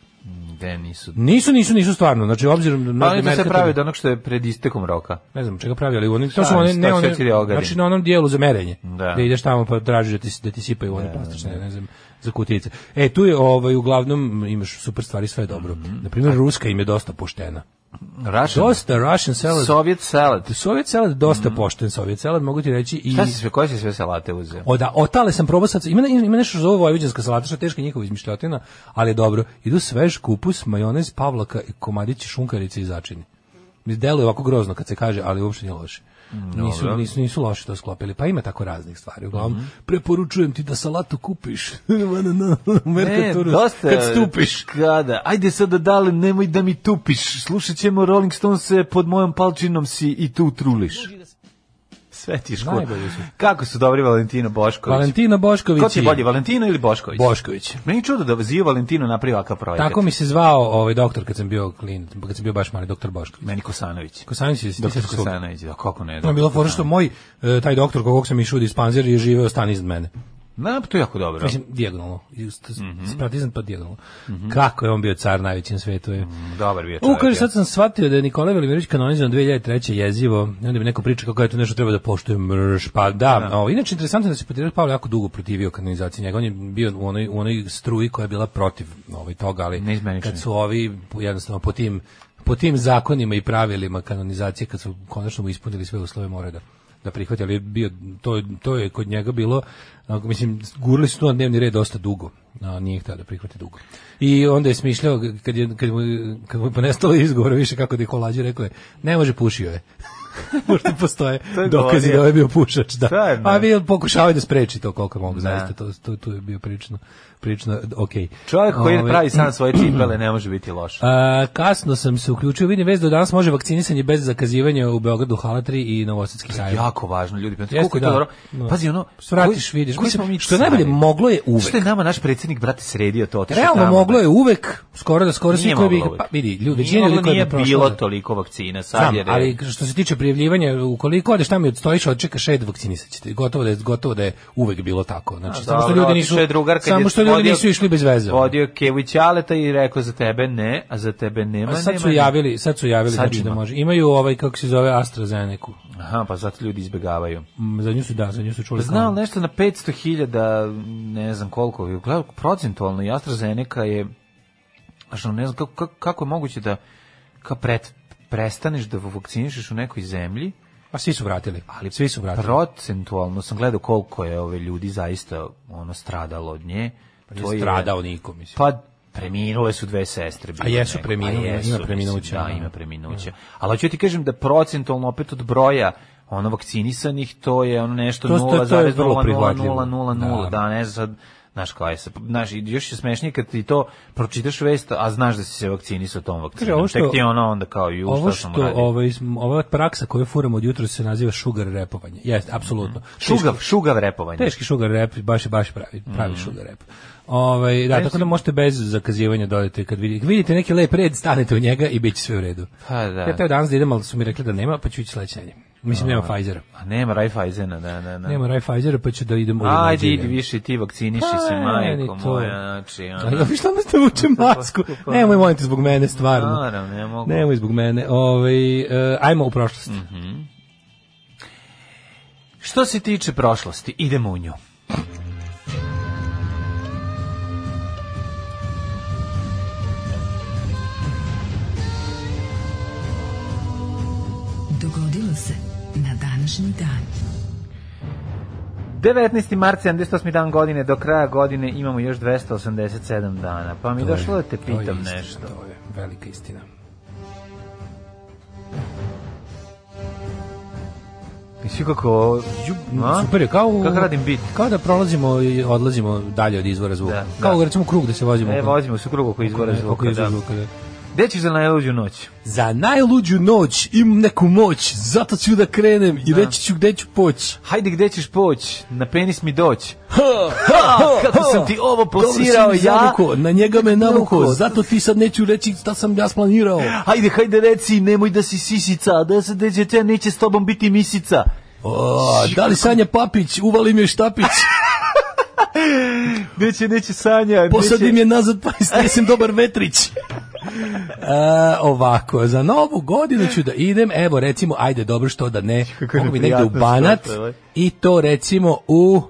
S6: Gde nisu?
S5: Nisu, nisu, nisu stvarno, znači obzirom na
S6: Pa oni to se
S5: Mercator-
S6: pravi od onog što je pred istekom roka.
S5: ne znam čega pravi, ali oni, to
S6: Šta,
S5: su one,
S6: šta
S5: ne
S6: će
S5: one,
S6: ti da ogadim?
S5: znači na onom dijelu za merenje,
S6: Da.
S5: gde ideš tamo pa tražiš da ti, da ti sipaju one plastične, ne znam, za kutijice.
S6: Mhm.
S5: E, tu je, ovaj, uglavnom, imaš super stvari, sve je dobro. Naprimjer, Ruska im je dosta poštena.
S6: Russian.
S5: Dosta Russian salad.
S6: Soviet salad.
S5: Sovjet salad dosta pošten Sovjet salad, mogu ti reći i
S6: Mhm. Šta si sve, koje si sve salate uzeo?
S5: O da, otale sam probao sad, ima, ima nešto što se zove vojvođanska salata, što je teška njihova izmišljotina, ali je dobro. Idu svež kupus, majonez, pavlaka, i komadići šunkarice i začini. Mi deluje ovako grozno kad se kaže, ali uopšte nije loše. Nisu,
S6: Mm, dobro. Mhm.
S5: nisu, nisu loše to sklopili, pa ima tako raznih stvari. Uglavnom, preporučujem ti da salatu kupiš. Na, na, na, u Mercatoru, Kad stupiš.
S6: Kada? Ajde sad da dale, nemoj da mi tupiš. Slušat ćemo Rolling Stones pod mojom palčinom si i tu truliš. Sve ti ško-
S5: Najbolji su.
S6: Kako su dobri Valentino Bošković?
S5: Valentina Bošković.
S6: Ko ti je bolji, Valentino ili Bošković?
S5: Bošković.
S6: Meni čudo da Zio Valentino napravi ovakav projekat.
S5: Tako mi se zvao ovaj doktor kad sam bio klin, kad sam bio baš mali doktor Bošković.
S6: Meni Kosanović.
S5: Kosanić je
S6: Doktor Kosanović, da kako ne.
S5: To je bilo fora što moj e, taj doktor kog sam išao u dispanzer je živeo stan iznad mene.
S6: Na, to je jako dobro.
S5: Mislim dijagonalno, just sprat iznad pa dijagonalno. Kako je on bio car najveći na svetu je.
S6: Dobar bio
S5: U,
S6: Mhm. čovjek.
S5: kaže, sad sam shvatio da je Nikolaj Velimirović kanonizovan 2003. jezivo, i onda mi neko priča kako je tu nešto treba da poštuje mrš, pa da. Ovo, inače, interesantno je da se Patriarh Pavle jako dugo protivio kanonizaciji njega, on je bio u onoj, u onoj struji koja je bila protiv ovaj, toga, ali
S6: Neizmenični.
S5: kad su ovi jednostavno po tim, po tim zakonima i pravilima kanonizacije, kad su konačno mu ispunili sve uslove mora da da prihvati, ali je bio, to, je- to je kod njega bilo, onako, mislim, gurli su tu na dnevni red dosta dugo, a nije htio da prihvati dugo. I onda je smišljao, kad, je, kad, mu, kad mu je ponestalo izgovora više kako da je kolađi, rekao je, ne može, pušio je. Pošto postoje
S6: To je
S5: dokazi
S6: govorio.
S5: da je ovaj bio pušač, da.
S6: Stvarno?
S5: A vi pokušavaju da spreči to koliko mogu, zaista, to, to, to je bio prilično, prilično okej.
S6: Čovjek koji
S5: Ovaj,
S6: pravi sam svoje čipele ne može biti loš.
S5: a, kasno sam se uključio, vidim vez da danas može vakcinisanje bez zakazivanja u Beogradu, Hala 3 i Novosadski sajam.
S6: jako važno ljudi pa
S5: Jeste,
S6: koliko je to
S5: da.
S6: dobro
S5: Da.
S6: pazi ono
S5: Svratiš,
S6: koji-
S5: vidiš.
S6: koji smo
S5: Mislim,
S6: mi
S5: što je najbolje,
S6: stari.
S5: moglo je uvek.
S6: što je nama naš predsjednik brate sredio to otišao
S5: Realno
S6: tamo,
S5: moglo
S6: brate?
S5: je uvek, skoro da skoro svi
S6: Nije
S5: koji bi,
S6: moglo
S5: pa
S6: uvek.
S5: vidi, ljudi,
S6: nije,
S5: većina ljudi
S6: moglo,
S5: koji
S6: nije
S5: je prošla-
S6: bilo toliko vakcina sad
S5: Znam,
S6: jer je-
S5: ali što se tiče prijavljivanja, ukoliko odeš tamo i odstojiš, odčekaš šed vakcinisat ćete. Gotovo da je, gotovo da je uvek bilo tako. Znači,
S6: A,
S5: samo što
S6: dobro,
S5: ljudi nisu,
S6: otišao je drugar kad
S5: samo
S6: je
S5: što ljudi
S6: vodio-
S5: nisu išli bez veze. ono.
S6: vodio Kević Aleta i rekao za tebe ne a za tebe nema
S5: A sad
S6: nema,
S5: su
S6: nema.
S5: javili, sad su javili,
S6: Sad
S5: znači da
S6: ima.
S5: može. Imaju ovaj, kako se zove, AstraZeneca.
S6: aha pa zato ljudi izbegavaju
S5: Mm, Za nju su, da, za nju su čuli.
S6: Znao nešto na 500.000, ne znam koliko, gledao procentualno i AstraZeneca je što ne znam kako, kako, kako je moguće da ka pret, prestaneš da vakcinišeš u nekoj zemlji,
S5: Pa svi su vratili.
S6: ali
S5: svi su vratili.
S6: Procentualno sam gledao koliko je ove ljudi zaista ono stradalo od nje. Pa
S5: Nije stradao niko, mislim.
S6: Pa preminule su dve sestre. bilo
S5: A jesu
S6: neko.
S5: preminule,
S6: A
S5: ima preminuća,
S6: mislim, Da,
S5: da.
S6: ima preminuća. Ali hoću ti kažem da procentualno opet od broja ono vakcinisanih, to je ono nešto
S5: To- to- to je vrlo prihvatljivo.
S6: 0,000,
S5: Da.
S6: da, ne znam sad, znaš kao je, sa- znaš, i još je smešnije kad ti to pročitaš vest, a znaš da si se vakcinisao tom
S5: Kaže,
S6: vakcinom,
S5: ovo
S6: tek
S5: što-
S6: ti je ono onda kao, ju,
S5: Ovo
S6: šta sam
S5: što
S6: uradio?
S5: ovaj sm- ova praksa koju furamo od jutra se naziva sugar repovanje. Jeste, apsolutno.
S6: Šugav, šugav repovanje.
S5: Teški sugar rep, baš je baš pravi, pravi sugar rep. Ovaj, da, tako da možete bez zakazivanja dodati kad vidite, vidite neki lep red, stanete u njega i bit će sve u redu.
S6: Pa da.
S5: Ja teo danas da idem, ali su mi rekli da nema, pa ću ići sledeće nedelje. Mislim, nema Pfizera.
S6: A Pa nema Raiffeisena, da, da, da.
S5: Nema Raj Pfizera, pa ću da idem u
S6: Ajde,
S5: Nigeriju.
S6: idi više ti vakciniši
S5: Pa,
S6: se,
S5: ne, ni
S6: majko
S5: to.
S6: moja, znači,
S5: A
S6: ono,
S5: ja što onda ste vuče masku? Nemoj, molim te, zbog mene, stvarno.
S6: naravno, ne mogu.
S5: Nemoj zbog mene. Ovaj, e, ajmo u prošlost.
S6: Mm. Što se tiče prošlosti, idemo u nju.
S4: Dogodilo se na današnji dan.
S6: 19. mart, 78. dan godine, do kraja godine imamo još 287 dana. Pa mi došlo da te
S5: To je
S6: pitam
S5: istina,
S6: nešto.
S5: To je velika istina.
S6: Mislim kako... Ju, a?
S5: Super je, kao... u-
S6: Kako radim bit?
S5: Kao da prolazimo i odlazimo dalje od izvora zvuka.
S6: Da,
S5: kao
S6: da.
S5: recimo krug da se vozimo.
S6: E,
S5: oko-
S6: vozimo se u krug oko izvora
S5: oko- oko
S6: zvuka.
S5: izvora
S6: Da.
S5: zvuka, da.
S6: Gde ćeš za najluđu noć?
S5: Za najluđu noć imam neku moć, zato ću da krenem i reći ću gde ću poći.
S6: Hajde, gde ćeš poći? Na penis mi doći.
S5: Kako
S6: sam ti ovo plasirao
S5: Dobro si mi
S6: ja?
S5: zavuko, na njega me navuko,
S6: Navuko.
S5: zato ti sad neću reći šta sam ja splanirao.
S6: Hajde, hajde reci, nemoj da si sisica, da se deđe te neće s tobom biti misica.
S5: O, da li Sanja Papić, uvalim je štapić,
S6: Neće, neće Sanja.
S5: posadim
S6: neće-
S5: je nazad pa istresem dobar vetrić. E, ovako, za novu godinu ću da idem, evo recimo, ajde dobro što da ne,
S6: Kako je
S5: mogu bi negde u
S6: neprijatno
S5: Banat
S6: što je to, ovaj.
S5: i to recimo u...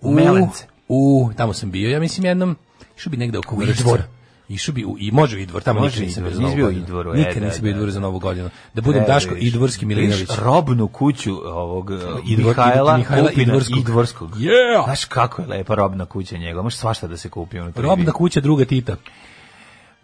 S6: U Melence.
S5: U, tamo sam bio, ja mislim jednom, što bi negde oko Vršca.
S6: Idvor.
S5: Išao bi u, i može u Idvor, tamo
S6: Može
S5: nikad nisam
S6: u Idvor,
S5: bio za Novu
S6: nisi bio u
S5: godinu.
S6: Idvoru, e,
S5: Nikad
S6: da,
S5: nisam bio u
S6: da,
S5: Idvoru za
S6: da.
S5: Novu godinu. Da budem
S6: Treba
S5: Daško
S6: viš.
S5: Idvorski Milinović.
S6: Viš E, robnu kuću ovog eh,
S5: Idvor-
S6: Mihajla,
S5: Mihajla
S6: Pupina
S5: Idvorskog.
S6: e, Idvorskog.
S5: Yeah!
S6: Znaš kako je lepa robna kuća njega, može svašta da se kupi. Ono
S5: Robna kuća druga Tita,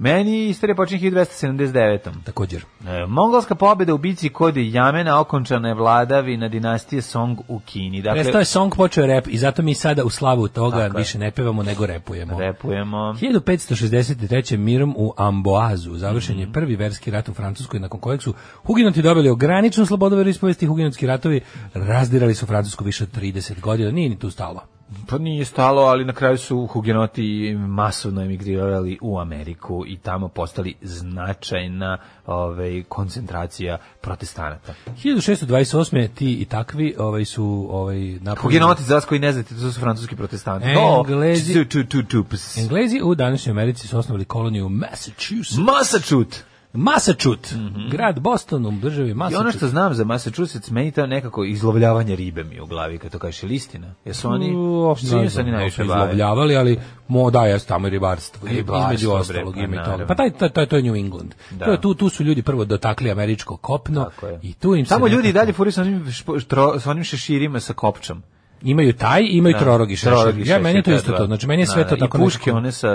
S6: Meni istorija počinje 1279.
S5: također.
S6: E, Mongolska pobjeda u bici kod Jamena okončana je vladavina dinastije Song u Kini. Dakle,
S5: Prestao je song, počeo je rap i zato mi sada u slavu toga
S6: Tako je.
S5: više ne pevamo nego repujemo.
S6: repujemo.
S5: 1563. mirom u Amboazu završen
S6: Mhm.
S5: je prvi verski rat u Francuskoj nakon kojeg su huginoti dobili ograničenu slobodu veroispovesti i huginotski ratovi razdirali su Francusku više od 30 godina, nije ni tu stalo.
S6: Pa nije stalo, ali na kraju su hugenoti masovno emigrirali u Ameriku i tamo postali značajna ovaj, koncentracija protestanata.
S5: 1628. ti i takvi ovaj su ovaj napali-
S6: Hugenoti, za vas koji ne znate, to su francuski protestanti. To,
S5: Englezi-
S6: ču- ču- ču- ču- ps.
S5: Englezi u današnjoj Americi su osnovali koloniju u
S6: Mhm.
S5: Massachusetts.
S6: Massachusetts.
S5: Massachusetts, grad Boston u državi
S6: Mhm. I ono
S5: Massachusetts.
S6: što znam za Massachusetts, meni to nekako izlovljavanje ribe mi je u glavi, kad to kažeš, je listina? Jesu oni,
S5: Uopšte
S6: čime
S5: ne
S6: se oni
S5: znam,
S6: najviše
S5: da li su
S6: bave? E, pa
S5: izlovljavali, ali mo da jesu tamo i ribarstvo, i-
S6: Ribarstvo,
S5: između
S6: bre,
S5: ostalog
S6: pa
S5: ima i
S6: naravno.
S5: toga. Pa taj taj taj to je New England.
S6: Da.
S5: To je tu tu su ljudi prvo dotakli američko kopno
S6: Tako je.
S5: i tu im se
S6: Tamo ljudi i
S5: nekako-
S6: dalje furaju sa onim, špo- štro- sa onim šeširima sa kopčom.
S5: imaju taj, imaju trorogi šešir.
S6: Trorogi
S5: Ja meni je to
S6: šešir,
S5: isto
S6: da,
S5: to. Znači meni je
S6: da,
S5: sve
S6: da,
S5: to tako
S6: I puške
S5: nekako-
S6: one sa...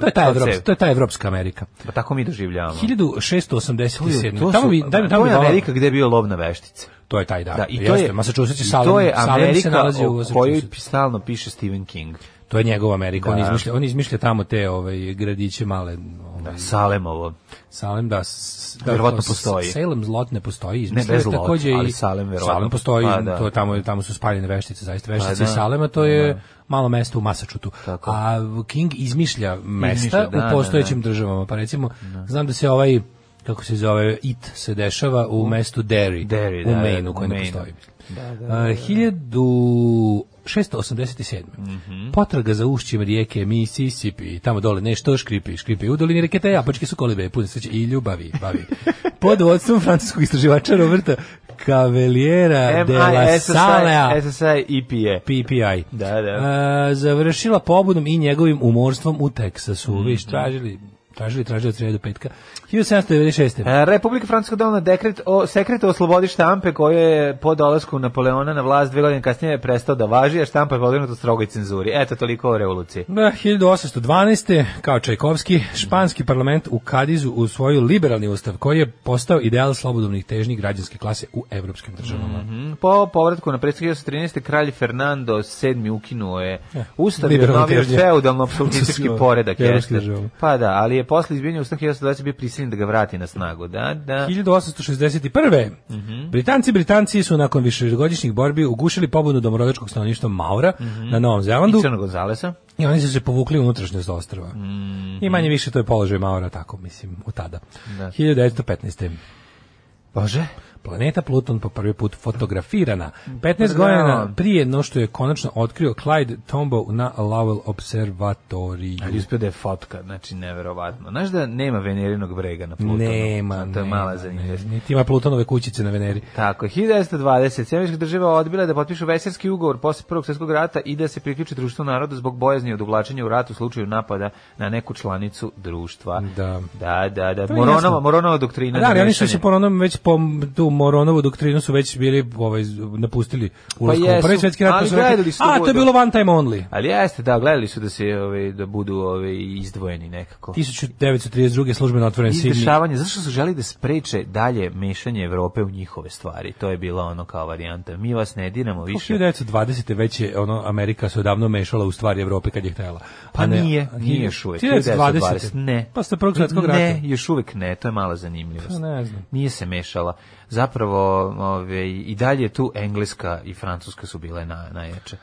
S5: To je ta
S6: sa
S5: evropska,
S6: cev.
S5: to je ta evropska Amerika.
S6: Pa tako mi doživljavamo.
S5: 1687. tamo bi, daj mi tamo
S6: to
S5: bi
S6: je
S5: dala-
S6: Amerika gde je bio lov na veštice.
S5: To je taj da.
S6: Da, i to
S5: Jeste,
S6: je
S5: Massachusetts je
S6: i
S5: Salem,
S6: to je
S5: Salem se
S6: Amerika
S5: nalazi u
S6: o kojoj
S5: Massachusettsu.
S6: pi- stalno piše Stephen King.
S5: To je njegova Amerika. On
S6: Da.
S5: izmišlja, on izmišlja tamo te ovaj gradiće male, ovaj,
S6: Salemovo.
S5: Salem da, s- da
S6: Verovatno
S5: s-
S6: postoji.
S5: Salem zlot ne postoji,
S6: Ne,
S5: izmislio
S6: bez
S5: je
S6: lot,
S5: takođe i
S6: ali Salem verovatno.
S5: Salem postoji,
S6: Pa, da.
S5: to je tamo tamo su spaljene veštice, zaista veštice
S6: Pa, da.
S5: iz Salema, to je malo mesto u Masačutu.
S6: Tako.
S5: A King izmišlja mesta
S6: Izmišlja, da, da,
S5: u postojećim državama, pa recimo znam da se ovaj kako se zove It se dešava u mestu Derry,
S6: Derry,
S5: u
S6: da, da,
S5: Maine,
S6: u
S5: u kojem ne
S6: Maine.
S5: postoji. A, 1687.
S6: Mhm.
S5: Potraga za ušćem rijeke Mississippi, tamo dole nešto škripi, škripi u dolini reke te japačke su kolibe, pune sreće i ljubavi, bavi. Pod vodstvom francuskog istraživača Roberta Cavaliera de la Salea.
S6: MISSI IPA.
S5: PPI.
S6: Da, da.
S5: A, završila pobudom i njegovim umorstvom u Teksasu.
S6: Mhm.
S5: Mm tražili, tražili, tražili od sreda do petka. 1796.
S6: E, Republika Francuska donela dekret o sekretu o slobodi štampe koji je po dolasku Napoleona na vlast dve godine kasnije prestao da važi, a štampa je podvrgnuta strogoj cenzuri. Eto, toliko o revoluciji.
S5: Da, 1812. kao Čajkovski, španski parlament u Kadizu usvojio liberalni ustav koji je postao ideal slobodovnih težnji građanske klase u evropskim državama.
S6: Mm, Po povratku na predstavlju 1913. kralj Fernando VII ukinuo je
S5: E,
S6: ustav i
S5: liberalno
S6: obnovio
S5: težnje.
S6: feudalno apsolutistički
S5: Sve,
S6: poredak.
S5: evropske
S6: jeste.
S5: države.
S6: Pa da, ali je posle izbijanja ustav 1920 bio prisiljen da ga vrati na snagu. Da, da.
S5: 1861. Britanci i Britanci su nakon višegodišnjih borbi ugušili pobunu domorodačkog stanovništva Maura na Novom Zelandu
S6: I Crnog Gonzalesa.
S5: i oni su se povukli u unutrašnjost ostrava. I manje više to je položaj Maura tako, mislim, u tada.
S6: Mhm. Da.
S5: 1915.
S6: Bože. Mm,
S5: Planeta Pluton po prvi put fotografirana. 15
S6: Bravo.
S5: godina prije no što je konačno otkrio Clyde Tombaugh na Lowell observatoriju.
S6: Ali uspio da je fotka, znači neverovatno. Znaš da nema venerinog brega na Plutonu?
S5: Nema,
S6: To je
S5: nema,
S6: mala
S5: nema.
S6: zanimljivost.
S5: Niti ima Plutonove kućice na Veneri.
S6: Tako, je, 1920. Sjemenička država odbila je da potpišu veselski ugovor posle Prvog svjetskog rata i da se priključi društvu naroda zbog bojazni od uvlačenja u rat u slučaju napada na neku članicu društva.
S5: Da.
S6: Da, da, da.
S5: je
S6: Moronova,
S5: jasno.
S6: Moronova doktrina.
S5: A da, ali oni su
S6: mešanje.
S5: se po onom već po tu Moronovu doktrinu su već bili ovaj napustili ulaskom u
S6: Pa jesu,
S5: prvi svetski rat,
S6: ali
S5: pa su rekli,
S6: gledali su
S5: a
S6: da
S5: to je
S6: budu."
S5: bilo one time only.
S6: Ali jeste, da, gledali su da se ove, da budu ove, izdvojeni nekako.
S5: 1932. službeno otvoren Sidney.
S6: Izdešavanje, zašto su želi da spreče dalje mešanje Evrope u njihove stvari? To je bila ono kao varijanta. Mi vas ne diramo više.
S5: 1920. već je ono Amerika se odavno mešala u stvari Evrope kad je htjela.
S6: Pa
S5: A ne-
S6: nije,
S5: a
S6: nije još uvek.
S5: 1920.
S6: Ne.
S5: Pa ste prvog svjetskog rata.
S6: Ne, još uvek ne, to je mala zanimljivost.
S5: Pa ne znam.
S6: Nije se mešala. Zapravo, ove, i dalje tu Engleska i Francuska su bile na, najjače.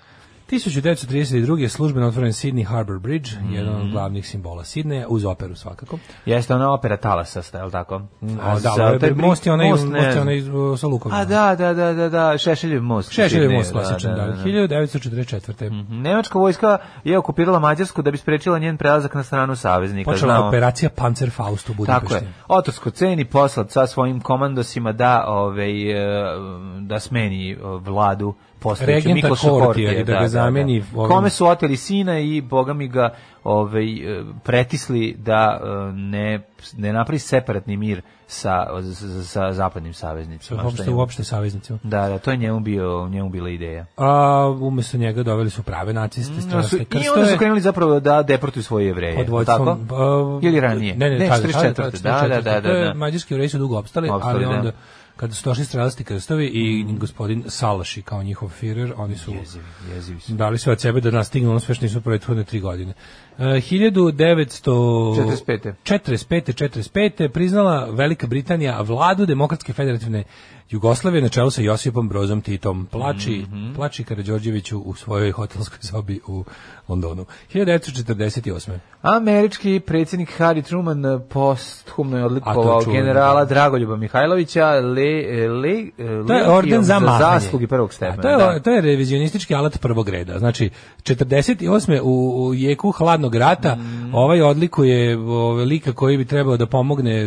S5: 1932. je službeno otvoren Sydney Harbour Bridge,
S6: Mhm.
S5: jedan od glavnih simbola Sidneja, uz operu svakako.
S6: Jeste ona opera Talasasta, je li tako?
S5: A, da,
S6: za-
S5: ovaj
S6: taj pri-
S5: most je onaj,
S6: most, ne
S5: most je
S6: znam.
S5: onaj iz- sa lukom.
S6: A da, da, da, da, da, Šešeljev most.
S5: Šešelj je
S6: Ne,
S5: most klasičan, da. 1944.
S6: Mhm. Nemačka vojska je okupirala Mađarsku da bi sprečila njen prelazak na stranu saveznika.
S5: Počela
S6: znamo.
S5: operacija Panzerfaust u Budimpešti.
S6: Tako je. Otorsko ceni poslat sa svojim komandosima da ovaj e, da smeni e, vladu postojeću
S5: Regenta
S6: Mikloša
S5: Kortija i da ga zameni ovim-
S6: Kome su oteli sina i boga mi ga ovaj, e, pretisli da e, ne, ne napravi separatni mir sa, sa, sa zapadnim saveznicima. što je
S5: uopšte,
S6: njemu-
S5: uopšte saveznicima.
S6: Da, da, to je njemu, bio, njemu bila ideja.
S5: A umesto njega doveli su prave naciste,
S6: Onda Mm, su-
S5: strašne
S6: I onda su
S5: krstove.
S6: krenuli zapravo da deportuju svoje jevreje.
S5: pod
S6: je li
S5: vođstvom
S6: tako?
S5: a,
S6: Ili ranije.
S5: Ne, ne, tada,
S6: 44.
S5: tada,
S6: Da, da, da, da,
S5: To je
S6: da.
S5: Mađarski jevreji su dugo opstali,
S6: Opstali,
S5: ali
S6: da. Mm.
S5: onda kada su došli strelasti krstovi i gospodin Salaši kao njihov firer, oni su
S6: Jezivi, jezivi su.
S5: dali sve od sebe da nastignu ono sve što nisu prethodne tri godine. E, 1945. 45.
S6: 45..
S5: 45. priznala Velika Britanija vladu Demokratske federativne Jugoslavije na čelu sa Josipom Brozom Titom. Plači,
S6: Mhm.
S5: plači Karađorđeviću u svojoj hotelskoj sobi u Londonu. 1948.
S6: Američki predsjednik Harry Truman eh, posthumno je
S5: A to
S6: odlikovao
S5: je čuveno,
S6: generala
S5: da.
S6: Dragoljuba Mihajlovića le, eh, le,
S5: To je orden za mahanje.
S6: zaslugi prvog stepena.
S5: A To je,
S6: da.
S5: to je revizionistički alat prvog reda. Znači, 48. u, u jeku hladnog rata
S6: Mm.
S5: ovaj odlikuje ovaj, lika koji bi trebao da pomogne,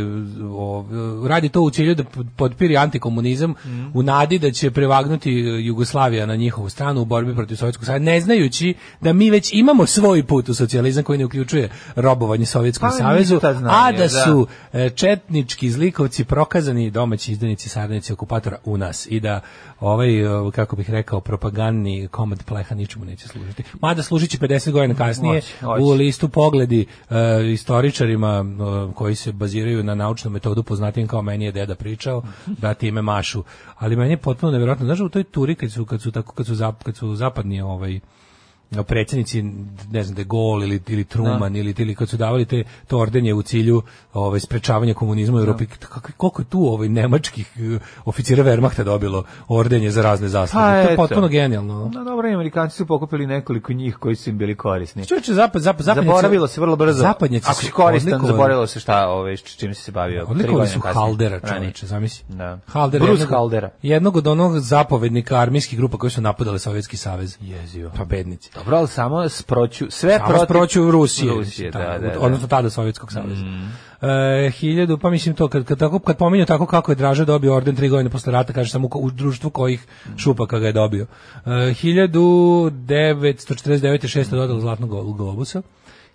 S5: ovaj, radi to u cilju da pod- podpiri antikomunizam
S6: Mm.
S5: u nadi da će prevagnuti Jugoslavija na njihovu stranu u borbi protiv Sovjetskog saveza, ne znajući da mi već imamo svoj put u socijalizam koji ne uključuje robovanje Sovjetskom
S6: Pa,
S5: savezu,
S6: ništa znanje,
S5: a da
S6: da.
S5: su e, četnički zlikovci prokazani domaći izdanici saradnici okupatora u nas i da ovaj e, kako bih rekao propagandni komad pleha ničemu neće služiti. Mada služit će 50 godina kasnije
S6: Hoće, hoće.
S5: u listu pogledi e, istoričarima e, koji se baziraju na naučnu metodu poznatim kao meni je deda pričao da time mašu. Ali meni je potpuno nevjerojatno znaš u toj turi kad su kad su tako kad su zap- kad su zapadni ovaj predsjednici, ne znam, De Gaulle ili, ili Truman ili, ili kad su davali te to ordenje u cilju ovaj, sprečavanja komunizma u Europi, kakvi- koliko je tu ovaj, nemačkih eh, oficira Wehrmachta dobilo ordenje za razne zasluge.
S6: Pa,
S5: to je
S6: eto.
S5: potpuno genijalno.
S6: No dobro, i Amerikanci su pokupili nekoliko njih koji su im bili korisni.
S5: Čovječe, zapad, zapad, zapadnjaci-
S6: Zaboravilo se vrlo brzo.
S5: Zapadnjaci
S6: Ako
S5: su
S6: si koristan,
S5: odlikovali-
S6: zaboravilo se šta, ove, čim si se bavio. tri
S5: Odlikovali
S6: godine
S5: su
S6: kasnije,
S5: Haldera,
S6: ranije.
S5: čoveče, zamisli.
S6: Da.
S5: Haldera,
S6: Bruce
S5: jednog-
S6: Haldera.
S5: Jednog od onog zapovednika armijskih grupa koji su napadali Sovjetski savez.
S6: Jezivo.
S5: Pa bednici.
S6: Dobro, ali samo sproću, sve
S5: Samo
S6: protiv...
S5: proću Rusije,
S6: Rusije, da,
S5: mislim,
S6: da,
S5: tamo,
S6: da. Mm.
S5: odnosno tada Sovjetskog saveza. E, hiljadu, pa mislim to, kad, kad, tako, kad pominju tako kako je Draža dobio orden tri godine posle rata, kaže samo u, ko- u društvu kojih šupaka ga je dobio. E, 1949. šesto dodalo Zlatnog glo- globusa.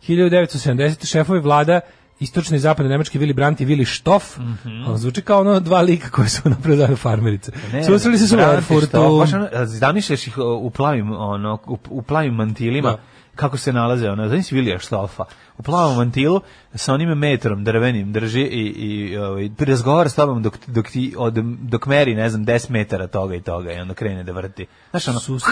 S5: 1970. šefovi vlada istočne i zapadne nemačke Willy Brandt i Willy Stoff. A Zvuči kao ono dva lika koji su napravili farmerice.
S6: Mhm. Ne,
S5: Susreli se su u
S6: brate, što,
S5: Erfurtu.
S6: baš ono, a zamišljaš ih o, u plavim, ono, u, u plavim mantilima,
S5: Da.
S6: kako se nalaze, ono, znaš Vilija Štofa, u plavom mantilu, sa onim metrom drvenim drži i, i ovaj, razgovara s tobom dok, dok, ti, od, dok meri, ne znam, 10 metara toga i toga i onda krene da vrti. Znaš, ono,
S5: Sus-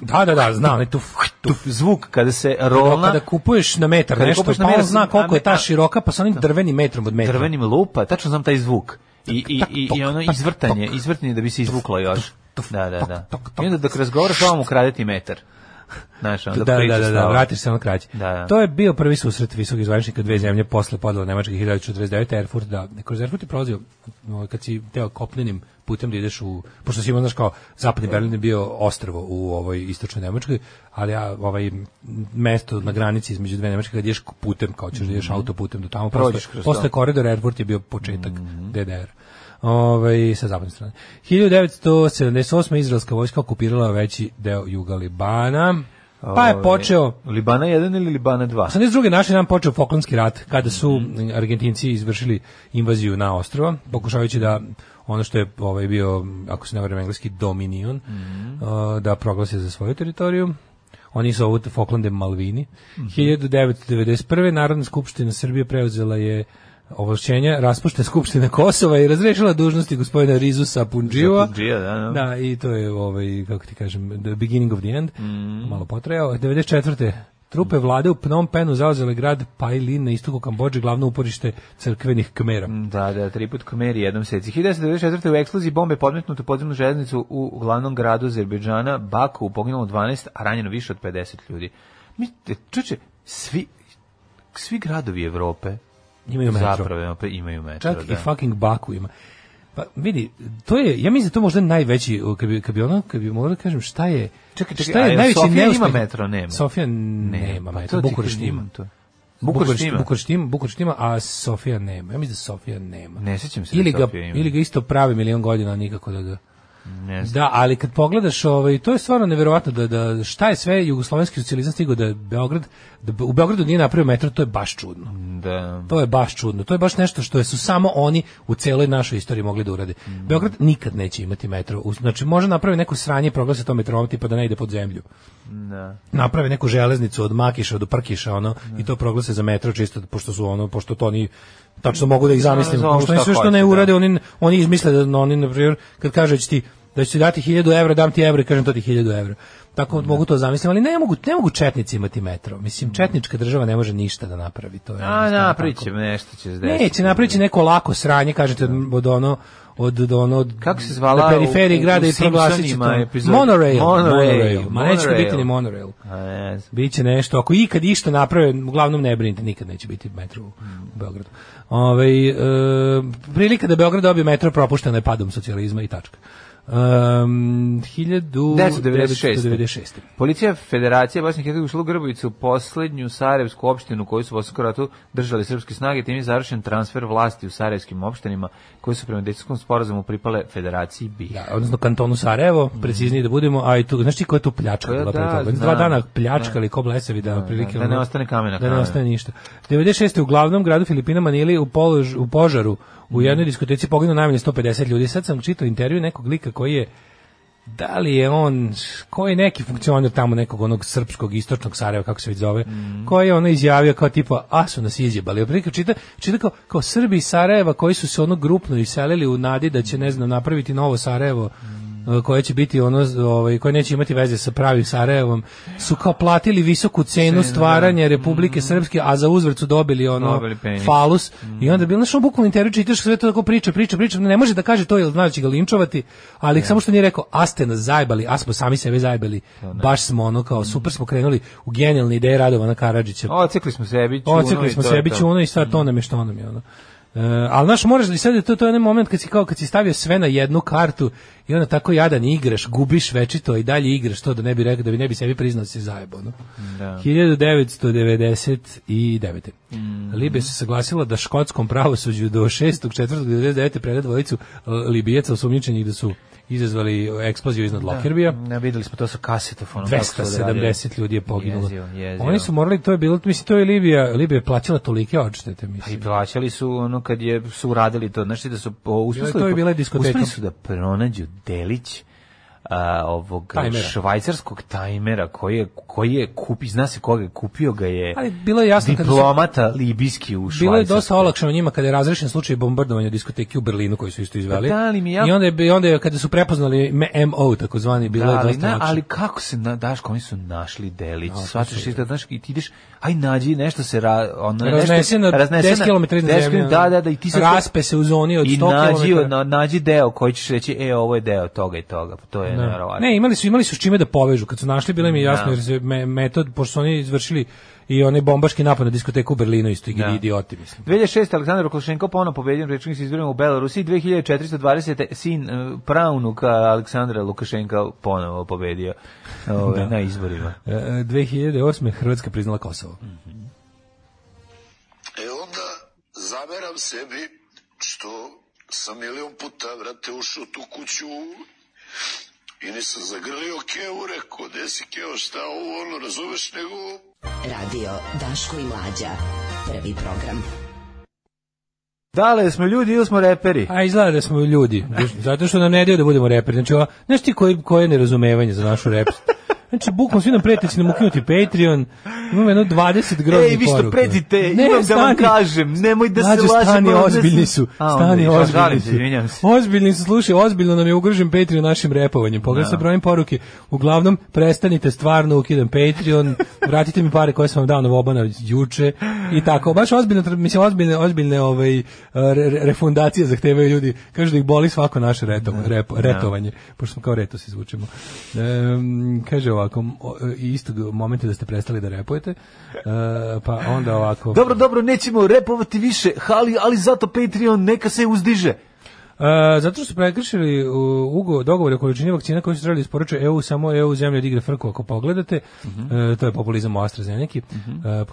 S5: Da, da, da, znam, ne tu, tu
S6: tuf, zvuk kada se
S5: Ono,
S6: rolna
S5: kada kupuješ na metar
S6: Kada
S5: nešto,
S6: kupuješ na
S5: pa on
S6: metar,
S5: zna koliko je
S6: a-
S5: ta široka, pa sa onim drvenim metrom od metra.
S6: drvenim lupa, tačno znam taj zvuk. I, i, i, i ono
S5: tak,
S6: izvrtanje,
S5: tok.
S6: izvrtanje da bi se izvuklo još.
S5: tuf,
S6: Da, da,
S5: tok,
S6: da.
S5: tok, tok.
S6: I onda dok razgovaraš, ovo mu kradeti metar. Znaš, onda
S5: Da, da,
S6: pričaš
S5: da, da,
S6: stalo.
S5: vratiš se ono kraće.
S6: Da, da.
S5: To je bio prvi susret visokih zvaničnika dve zemlje posle podela Nemačke 1949. Erfurt, da, kroz Erfurt je prolazio no, kad si teo kopnenim putem da ideš u, pošto si imao, znaš, kao zapadni Berlin je bio ostrvo u ovoj istočnoj Nemačkoj, ali ja, ovaj mesto na granici između dve Nemačke kad ideš putem, kao ćeš da ideš autoputem do tamo,
S6: Mhm. Prođeš
S5: prosto,
S6: kroz to. Mhm.
S5: posle koridora Erfurt je bio početak DDR. Ovaj sa zapadne strane. 1978. izraelska vojska okupirala veći deo juga Libana. Pa je
S6: Ovaj,
S5: počeo
S6: Libana 1 ili Libana 2?
S5: 82. naš je nam počeo Falklandski rat kada su Argentinci izvršili invaziju na ostrvo, pokušavajući da ono što je ovaj bio, ako se ne varam engleski, dominion, uh, da proglase za svoju teritoriju. Oni su ovu Falklande Malvini. 1991. Narodna skupština Srbije preuzela je ovlašćenja raspuštena skupština Kosova i razrešila dužnosti gospodina Rizu Sapundživa.
S6: Sapundžija, da, da.
S5: Da, i to je ovaj kako ti kažem the beginning of the end.
S6: Mhm.
S5: Malo potrajao. 94. Trupe vlade u Phnom Penhu zauzele grad Pailin na istoku Kambodže, glavno uporište crkvenih kmera.
S6: Da, da, tri put komeri, jednom seci. 1994. u eksploziji bombe podmetnuto podzemnu železnicu u glavnom gradu Azerbejdžana, Baku, poginulo 12, a ranjeno više od 50 ljudi. Mi, e, čuče, svi, svi gradovi Evrope
S5: Imaju metro.
S6: Zapravo imaju metro.
S5: Čak
S6: da.
S5: i fucking Baku ima. Pa vidi, to je, ja mislim da je to možda najveći, o, kad bi, kad bi ono, kad bi morao da kažem šta je,
S6: Čekaj, čekaj,
S5: šta
S6: a
S5: je
S6: jel
S5: najveći
S6: Sofija ima
S5: neuspeh-
S6: metro? Nema.
S5: Sofija nema
S6: pa
S5: metro,
S6: to ti
S5: Bukurešt
S6: kažem,
S5: ima.
S6: to. Bukurešt ima.
S5: Bukurešt ima, Bukurešt ima, a Sofija nema. Ja mislim da Sofija nema.
S6: Ne sjećam se da
S5: ili ga,
S6: Sofija ima.
S5: ili ga isto pravi milion godina, a nikako da ga...
S6: Ne znam.
S5: Da, ali kad pogledaš, ovaj, to je stvarno neverovatno da, da šta je sve jugoslovenski socijalizam stigao da je Beograd, da u Beogradu nije napravio metro, to je baš čudno.
S6: Mm. Da.
S5: To je baš čudno. To je baš nešto što su samo oni u celoj našoj istoriji mogli da urade.
S6: Mm.
S5: Beograd nikad neće imati metro. U- Znači, može napravi neko sranje i proglasi to metrom, tipa da ne ide pod zemlju.
S6: Da.
S5: Naprave neku železnicu od Makiša do Prkiša, ono, i to proglase za metro, čisto pošto su ono, pošto to oni tačno mogu da ih zamislim.
S6: Ono, zovu
S5: Pošto oni
S6: šta
S5: sve što
S6: hoće,
S5: ne
S6: da.
S5: urade, oni, oni izmisle da oni, na primjer, kad kaže će ti da ću ti dati 1000 evra, dam ti evra i kažem to ti 1000 evra. Tako mogu to zamislim, ali ne mogu, ne mogu četnici imati metro. Mislim, četnička država ne može ništa da napravi. To je
S6: A,
S5: jednostavno
S6: napravit
S5: tako.
S6: će nešto će se desiti.
S5: Neće napraviti neko lako sranje, kažete, od, od ono od od ono od
S6: Kako se zvala
S5: na periferiji
S6: u-
S5: grada
S6: u
S5: i proglasit će to
S6: Simpsonima epizoda?
S5: monorail
S6: Monorail,
S5: ma neće to
S6: monorail.
S5: biti ni monorail
S6: A, ne znam.
S5: Biće nešto, ako ikad išta naprave, uglavnom ne brinite, nikad neće biti metro u u Beogradu. Ove, prilika da Beograd dobije metro propuštena je padom socijalizma i tačka. Um, 1996.
S6: 1996. Policija Federacije Bosne i Hercegovine ušla u Grbovicu, poslednju sarajevsku opštinu koju su u Bosanskom ratu držali srpske snage, tim je završen transfer vlasti u sarajevskim opštinama koje su prema decijskom sporazumu pripale Federaciji BiH.
S5: Da, odnosno kantonu Sarajevo, preciznije da budemo, a i tu, znaš ti koja je tu pljačka
S6: Koja,
S5: bila pre
S6: Pa da,
S5: toga? Oni su Dva
S6: znam.
S5: dana pljačkali ko blesevi da, otprilike
S6: da, da ne
S5: ono-
S6: ostane kamena,
S5: Da ne
S6: kamena.
S5: ostane ništa. 96. u glavnom gradu Filipina Manili u, polož, u požaru
S6: Mm.
S5: u jednoj diskoteci poginulo najmanje 150 ljudi. Sad sam čitao intervju nekog lika koji je da li je on, koji je neki funkcioner tamo nekog onog srpskog istočnog Sarajeva, kako se već zove, koji je ono izjavio kao tipa, a su nas izjebali. Oprike čita, čita kao, kao Srbi iz Sarajeva koji su se ono grupno iselili u nadi da će, ne znam, napraviti novo Sarajevo, e, koje će biti ono, z- ovaj, koje neće imati veze sa pravim Sarajevom, su kao platili visoku cenu stvaranja Republike Srpske, a za uzvrt su dobili ono
S6: Dobili penis.
S5: falus i onda bilo našo bukvalno intervju čitaš sve to tako priča, priča, priča, ne može da kaže to jel znači će ga linčovati, ali samo što nije rekao a ste nas zajbali, a smo sami sebe zajbali. Baš smo ono kao super smo krenuli u genijalne ideje Radovana Karadžića.
S6: Ocekli smo sebi čuno
S5: Ocekli
S6: Znači, ono i
S5: smo
S6: to je
S5: sebi
S6: to. Mm.
S5: čuno ono i sad to nam je što nam je ono. E, ali znaš, moraš, i sad je to, to je onaj moment kad si, kao, kad si stavio sve na jednu kartu i onda tako jadan igraš, gubiš večito i dalje igraš to da ne bi rekao, da bi ne bi sebi priznao da si ono. zajebo. No?
S6: Da.
S5: 1999.
S6: Mm.
S5: Libija se saglasila da škotskom pravosuđu do 6.4.1999. preda dvojicu e, Libijeca osumnjičenih da su izazvali eksploziju iznad Lockerbija.
S6: Ne, videli smo to sa kasetofonom. kako su odradili.
S5: 270 ljudi je poginulo.
S6: Jezivo, jezivo.
S5: Oni su morali, to je bilo, mislim, to je Libija, Libija je plaćala tolike odštete,
S6: I
S5: mislim.
S6: plaćali su ono kad je su uradili to, znači da su po, uspeli,
S5: to je bila diskoteka.
S6: uspeli su da pronađu delić a, ovog
S5: Tajmera.
S6: švajcarskog tajmera koji je, koji je kupi, zna se koga je kupio ga je
S5: Ali bilo je jasno kada su-
S6: diplomata libijski u Švajcarskoj.
S5: Bilo je dosta olakšano njima kada je razrešen slučaj bombardovanja diskoteke u Berlinu koji su isto izveli.
S6: Pa da, ali mi ja-
S5: I onda je, bi- onda je kada su prepoznali me- MO takozvani bilo
S6: Da,
S5: je
S6: ali,
S5: dosta
S6: na,
S5: lakše.
S6: ali kako se na, daš, oni su našli delić, no, shvataš
S5: su-
S6: izgled, znaš, i ti ideš, aj nađi nešto se ra, ono,
S5: Raznese
S6: nešto,
S5: na 10 km iznad
S6: 10
S5: zemlje, ono,
S6: Da, da, da, i ti sad to-
S5: raspe se u zoni od
S6: i
S5: 100
S6: nađi,
S5: kilometara.
S6: na, nađi deo koji ćeš reći, e, ovo je deo toga i toga, pa to je
S5: Da.
S6: nevjerovatno.
S5: Ne, imali su imali su s čime da povežu. Kad su našli bilo im je jasno
S6: Da.
S5: jer se me- metod pošto su oni izvršili i onaj bombaški napad na diskoteku u Berlinu isto i
S6: Da.
S5: idioti mislim.
S6: 2006. Aleksandar Oklošenko ponovno pobedio na predsjedničkim izborima u Belorusiji, 2420. sin e, pravnuka Aleksandra Lukašenka ponovo pobedio ove, na izborima.
S5: E, 2008. Hrvatska priznala Kosovo.
S1: E onda zameram sebi što sam milion puta, vrate, ušao u tu kuću i nisam zagrlio Kevu, rekao, gde si Keo, šta ovo, ono, razumeš, nego
S4: Radio Daško i Mlađa. Prvi program.
S6: Da li smo ljudi ili smo reperi?
S5: A Pa, izgleda da smo ljudi, zato što nam ne daju da budemo reperi. Znači, ova- znaš ti koji, koje je nerazumevanje za našu rep? Znači, bukvalno svi nam prete će nam ukinuti Patreon, imamo jedno 20 groznih
S6: Ej, E, vi što
S5: poruka.
S6: pretite, imam da vam kažem, nemoj da se
S5: Mlađo,
S6: lažemo,
S5: stani,
S6: da se-
S5: ozbiljni su,
S6: A, onda
S5: stani,
S6: i- a,
S5: ozbiljni
S6: žalim se,
S5: su.
S6: izvinjam se.
S5: Ozbiljni su, slušaj, ozbiljno nam je ugrožen Patreon našim repovanjem. Pogledaj sa brojem poruke, uglavnom, prestanite stvarno, ukidam Patreon, vratite mi pare koje sam vam dao na Vobanović juče i tako. Baš ozbiljno, tra- mislim, ozbiljne, ozbiljne ovaj, re- re- refundacije zahtevaju ljudi. Kažu da ih boli svako naše reto, rep- retovanje, pošto smo kao reto se izvučemo. Em, kaže ovako, m- o- istog momenta da ste prestali da repujete, e, pa onda ovako...
S6: Dobro, dobro, nećemo repovati više, ali, ali zato Patreon neka se uzdiže.
S5: E, zato što su prekršili u, ugo, dogovor o količini vakcina koji su trebali da isporuče EU, samo EU zemlje odigra frku ako pogledate.
S6: Mhm.
S5: E, to je populizam u AstraZeneki. E,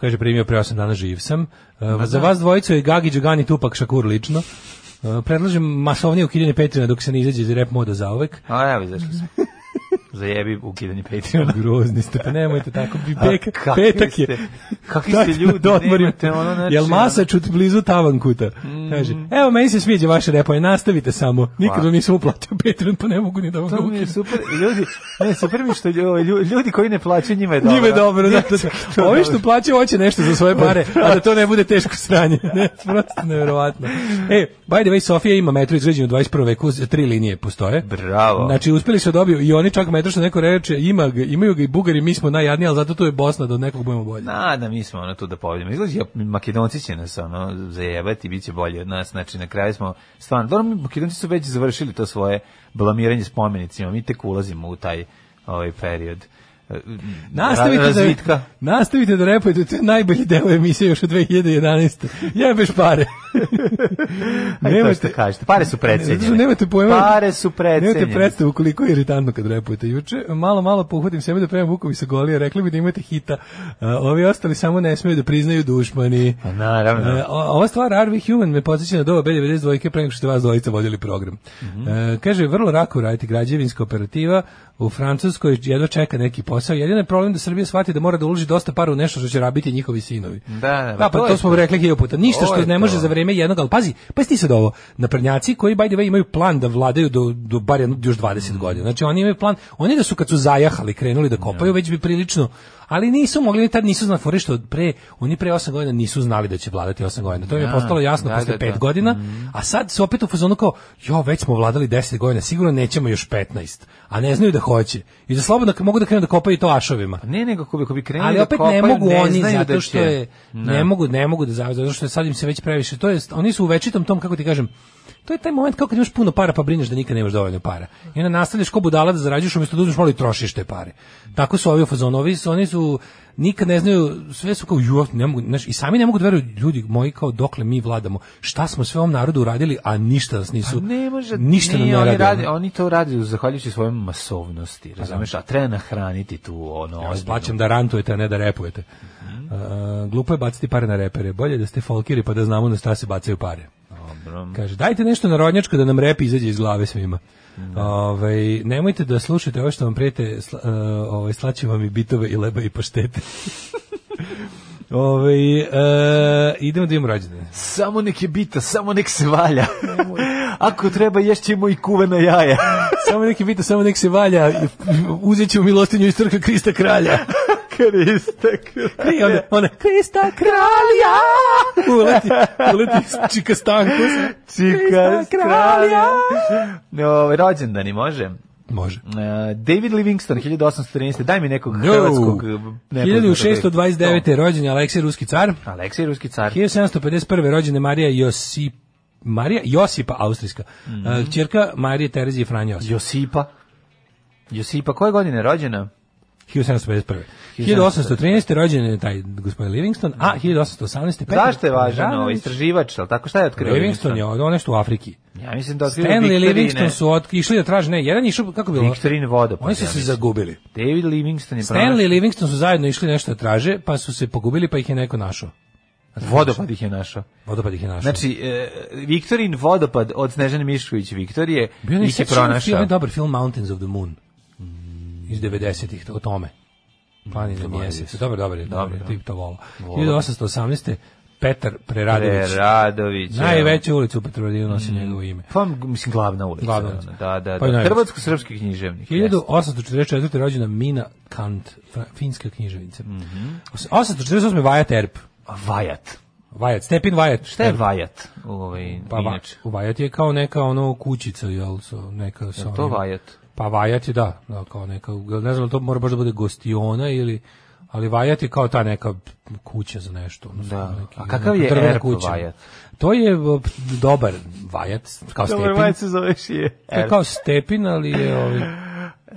S5: kaže, primio pre 8 dana živ sam. E, za vas dvojicu je Gagi Đugani Tupak Šakur lično. Uh, predlažem masovnije ukidanje Patreona dok se ne izađe iz rep moda zauvek.
S6: A evo, izašli smo. Zajebi ukidanje Patreona.
S5: Grozni ste, pa nemojte tako. Bi
S6: A
S5: pek,
S6: kakvi
S5: petak je.
S6: ste- kakvi
S5: Tak
S6: ste
S5: da
S6: ljudi,
S5: dodmorim.
S6: nemate ono, znači,
S5: Jel
S6: ono- Mm.
S5: Masačut blizu Tavankuta? Kaže, evo, meni se sviđa vaše repoje, nastavite samo. Nikad vam nisam uplatio Patreon, pa ne mogu ni da vam ga
S6: ono, To mi je
S5: ukinem.
S6: super, ljudi, ne, super mi što lju- lju- ljudi koji ne plaćaju njima je dobro.
S5: Njima je dobro, da, da, da. Ovi što
S6: dobro.
S5: plaćaju hoće nešto za svoje pare, a da to ne bude teško sranje. Ne, prosto nevjerovatno. E, by the way, Sofija ima metro izgrađen u 21. veku, s- tri linije postoje.
S6: Bravo.
S5: Znači, uspeli su da dobiju i oni čak metro što neko reče, ima, ga- imaju ga i Bugari, mi smo najjadniji, ali zato tu je Bosna da od nekog budemo bolji.
S6: Na, da mi smo ono tu da povedemo. Izgleda, ja- Makedonci će nas ono zajebati, bit će bolje od nas. Znači, na kraju smo stvarno, dobro, mi Makedonci su već završili to svoje blamiranje spomenicima, mi tek ulazimo u taj ovaj period. eh, ra-
S5: Nastavite
S6: razvitka.
S5: da, nastavite da repujete, to je najbolji deo emisije još od 2011. Jebeš pare.
S6: Aj, to što kažete. Pare su precenjene.
S5: Nemate pojma.
S6: Pare su precenjene.
S5: Nemate predstavu koliko je iritantno kad repujete. Juče malo malo pohodim sebe da prema Vukovi sa golije, rekli mi da imate hita. A, ovi ostali samo ne smeju da priznaju dušmani.
S6: Pa Naravno.
S5: E, o- ova stvar Are We Human me podsjeća na doba B92 pre nego što ste vas dvojica vodili program.
S6: Mhm.
S5: E, kaže, vrlo rako raditi građevinska operativa u Francuskoj jedva čeka neki posao. Jedino je problem da Srbija shvati da mora da uloži dosta para u nešto što će rabiti njihovi sinovi.
S6: Da,
S5: pa
S6: da,
S5: to,
S6: je
S5: smo
S6: to.
S5: rekli hiljadu puta. Ništa
S6: To
S5: što
S6: je
S5: ne može
S6: to.
S5: za vreme jednog, ali pazi, pazi ti sad ovo. Naprednjaci koji, by the way, imaju plan da vladaju do, do bar jedno, još
S6: Mm.
S5: 20 godina. Znači, oni imaju plan, oni da su kad su zajahali, krenuli da kopaju, već bi prilično ali nisu mogli, tad nisu znali fore što od pre, oni pre 8 godina nisu znali da će vladati 8 godina. To im je
S6: Da,
S5: postalo jasno
S6: da,
S5: posle
S6: da, Mm.
S5: 5
S6: da.
S5: godina, a sad su opet u fazonu kao, jo, već smo vladali 10 godina, sigurno nećemo još 15, a ne znaju da hoće. I da slobodno mogu da krenu da kopaju i to ašovima
S6: Ne, nego ako bi, ako bi krenuli
S5: ali
S6: da
S5: opet
S6: kopaju,
S5: ne mogu
S6: ne
S5: oni
S6: znaju
S5: zato
S6: da
S5: što
S6: će.
S5: je ne mogu ne mogu da zavide zato što je sad im se već previše to jest oni su u večitom tom kako ti kažem to je taj moment kako kad imaš puno para pa brineš da nikad nemaš dovoljno para i onda nastavljaš ko budala da zarađuješ umjesto da uzmeš malo i trošiš te pare tako su ovi u fazonu ovi su, oni su nikad ne znaju sve su kao ju ne mogu znaš, i sami ne mogu da veruju ljudi moji kao dokle mi vladamo šta smo sve ovom narodu uradili a ništa nas nisu
S6: Pa Ne može,
S5: ništa nam
S6: nije,
S5: ne
S6: oni,
S5: radi,
S6: radi,
S5: ono. Pa
S6: oni to radi zahvaljujući svojoj masovnosti, razumeš, a treba nahraniti tu ono
S5: Ja vas
S6: ozbiljno.
S5: plaćam da rantujete, a ne da repujete. A, glupo je baciti pare na repere. Bolje da ste folkiri pa da znamo na šta se bacaju pare.
S6: Dobro.
S5: Kaže, dajte nešto narodnjačko da nam rep izađe iz glave svima. Ovaj, nemojte da slušate ovo što vam prijete, sla, e, ovaj, slaću vam i bitove i leba i paštete. ovaj, e, idemo da imamo rođene.
S6: Samo nek je bita, samo nek se valja. Ako treba, ješćemo i kuvena jaja.
S5: Samo neki bita, samo nek se valja, uzet ću milostinju iz trka Krista kralja.
S6: Krista,
S5: I onda, onda, Krista kralja! Uleti, uleti čika stanku.
S6: Čika,
S5: Krista kralja.
S6: No, rođendan i može.
S5: Može.
S6: Uh, David Livingston, 1813. Daj mi nekog
S5: No.
S6: hrvatskog... uh, nepoznatog.
S5: 1629. rođen je Aleksej Ruski car.
S6: To. Aleksej Ruski car.
S5: 1751. rođena je Marija Josip Marija Josipa Austrijska. Mm Ćerka Marije Terezije Franje Josip.
S6: Josipa. Josipa, koje godine je rođena?
S5: 1751. 1813. rođen je taj gospodin Livingston, a 1818. Petar
S6: Zašto je važan ovo
S5: Preradović.
S6: istraživač, al tako šta je otkrio
S5: Livingston je on nešto u Afriki.
S6: Ja mislim da otkrio
S5: Stanley
S6: Viktorine.
S5: Livingston su od, išli da traže, ne, jedan je išao, kako je bilo?
S6: Viktorin vodopad,
S5: Oni su
S6: ja
S5: se
S6: mislim.
S5: zagubili.
S6: David Livingston je
S5: Stanley i Livingston su zajedno išli nešto da traže, pa su se pogubili, pa ih je neko našao.
S6: pronašao- Vodopad ih je našao.
S5: Vodopad ih je našao.
S6: Znači, e, Viktorin vodopad od Snežane Mišković Viktorije
S5: Bio je
S6: ih je pronašao.
S5: Bio ovaj dobar film Mountains of the Moon iz 90-ih, o tome. Planine mjesec. Dobar, dobar je, dobar, je, tip to volao. 1818. Petar
S6: E,
S5: Preradović. Mm.
S6: Preradović. evo.
S5: Najveća ulica u Petrovaradinu nosi njegovo ime.
S6: e, Pa, mislim, glavna ulica.
S5: Glavna
S6: ono,
S5: ulica.
S6: Da, da,
S5: Pa i
S6: da.
S5: najveća.
S6: Hrvatsko-srpski književnik. jeste.
S5: 1844. rođena Mina Kant, fra- finska književnica. 848. Vajat Erp.
S6: A Vajat.
S5: Vajat, Stepin Vajat.
S6: Šta je Vajat? Ovaj,
S5: Pa va,
S6: inače.
S5: Vajat je kao neka ono kućica, jel, so, neka sa
S6: To
S5: onim-
S6: Vajat.
S5: Pa Vajat je da, da, kao neka, ne znam, to mora baš da bude gostiona ili, ali Vajat je kao ta neka kuća za nešto. Ono,
S6: Da.
S5: neki-
S6: A kakav
S5: neka
S6: je
S5: drvena
S6: erb Vajat?
S5: To je o, p- dobar Vajat, kao Stepin.
S6: se zoveš je.
S5: To je
S6: Erp.
S5: kao Stepin, ali je ovi,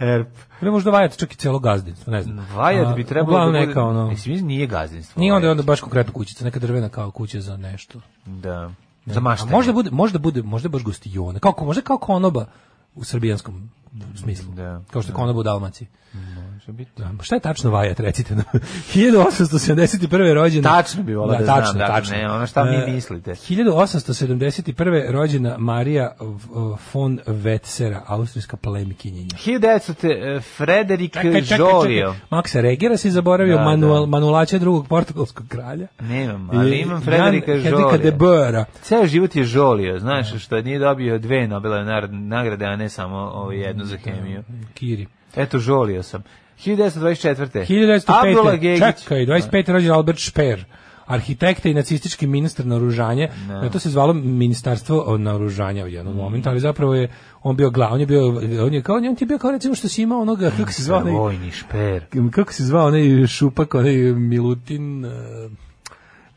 S6: Erp.
S5: ili možda Vajat čak i celo gazdinstvo, ne znam.
S6: Vajat
S5: A,
S6: bi trebalo
S5: uglavnom
S6: da
S5: neka, ono,
S6: Mislim, nije gazdinstvo.
S5: nije onda,
S6: Vajat.
S5: onda baš konkretno kućica, neka drvena kao kuća za nešto.
S6: Da. Za
S5: A
S6: maštanje.
S5: možda bude, možda bude, možda je baš gostiona. Kao, možda kao konoba u srbijanskom smislu.
S6: Da.
S5: Kao što je konoba u Dalmaciji.
S6: Može biti.
S5: Da, šta je tačno vajat, recite nam. 1871. rođena...
S6: Tačno bi volao da znam,
S5: tačno,
S6: dakle,
S5: tačno.
S6: ne, ono šta vi
S5: E,
S6: mislite.
S5: 1871. rođena Marija v- von Wetzera, austrijska plemkinjenja.
S6: 1900 te, e, Frederik Žorio.
S5: Maksa Regera si zaboravio,
S6: Da, da.
S5: manual, manulače drugog portugalskog kralja.
S6: Nemam, ali
S5: I
S6: imam Frederika
S5: Jan Henrika de
S6: Žolija.
S5: Boera.
S6: Ceo život je žolio, znaš, što nije dobio dve Nobelove nar- nagrade, a ne samo ovo jednu za hemiju.
S5: Kiri.
S6: Eto, žolio sam. 1924.
S5: 1905.
S6: Abdullah Gegić.
S5: Čekaj, 25. rođen Albert Speer, arhitekta i nacistički ministar naoružanja. No. To se zvalo ministarstvo naoružanja u jednom momentu, ali zapravo je on bio glav, on je bio on je kao on ti je bio kao recimo što si imao onoga kako se zvao onaj-
S6: Vojni šper.
S5: kako se zvao onaj šupak, onaj Milutin, e,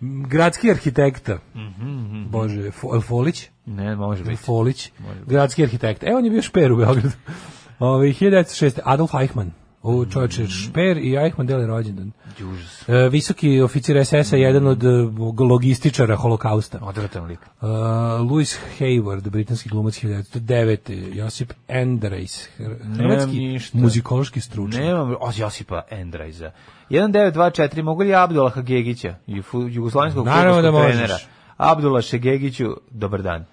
S5: m, gradski arhitekta.
S6: Mhm,
S5: Bože, Fo- El Folić?
S6: Ne, može biti.
S5: Folić, gradski arhitekt. Evo on je bio šper u Beogradu. Ovaj, Ove, 1906. Adolf Eichmann. U čovječe,
S6: Mhm.
S5: Šper i Eichmann deli rođendan.
S6: Užas.
S5: E, visoki oficir SS-a, jedan od e, logističara holokausta.
S6: Odvratan lik.
S5: Uh, Louis Hayward, britanski glumac 1909. Josip Andrejs, hr- hrvatski
S6: ništa.
S5: muzikološki stručnjak.
S6: Nemam, od Josipa Endrajza. 1924, mogu li Abdulaha Gegića, jufu- jugoslovenskog
S5: Naravno
S6: futbolskog
S5: da možeš.
S6: trenera? Abdulaše Gegiću, dobar dan.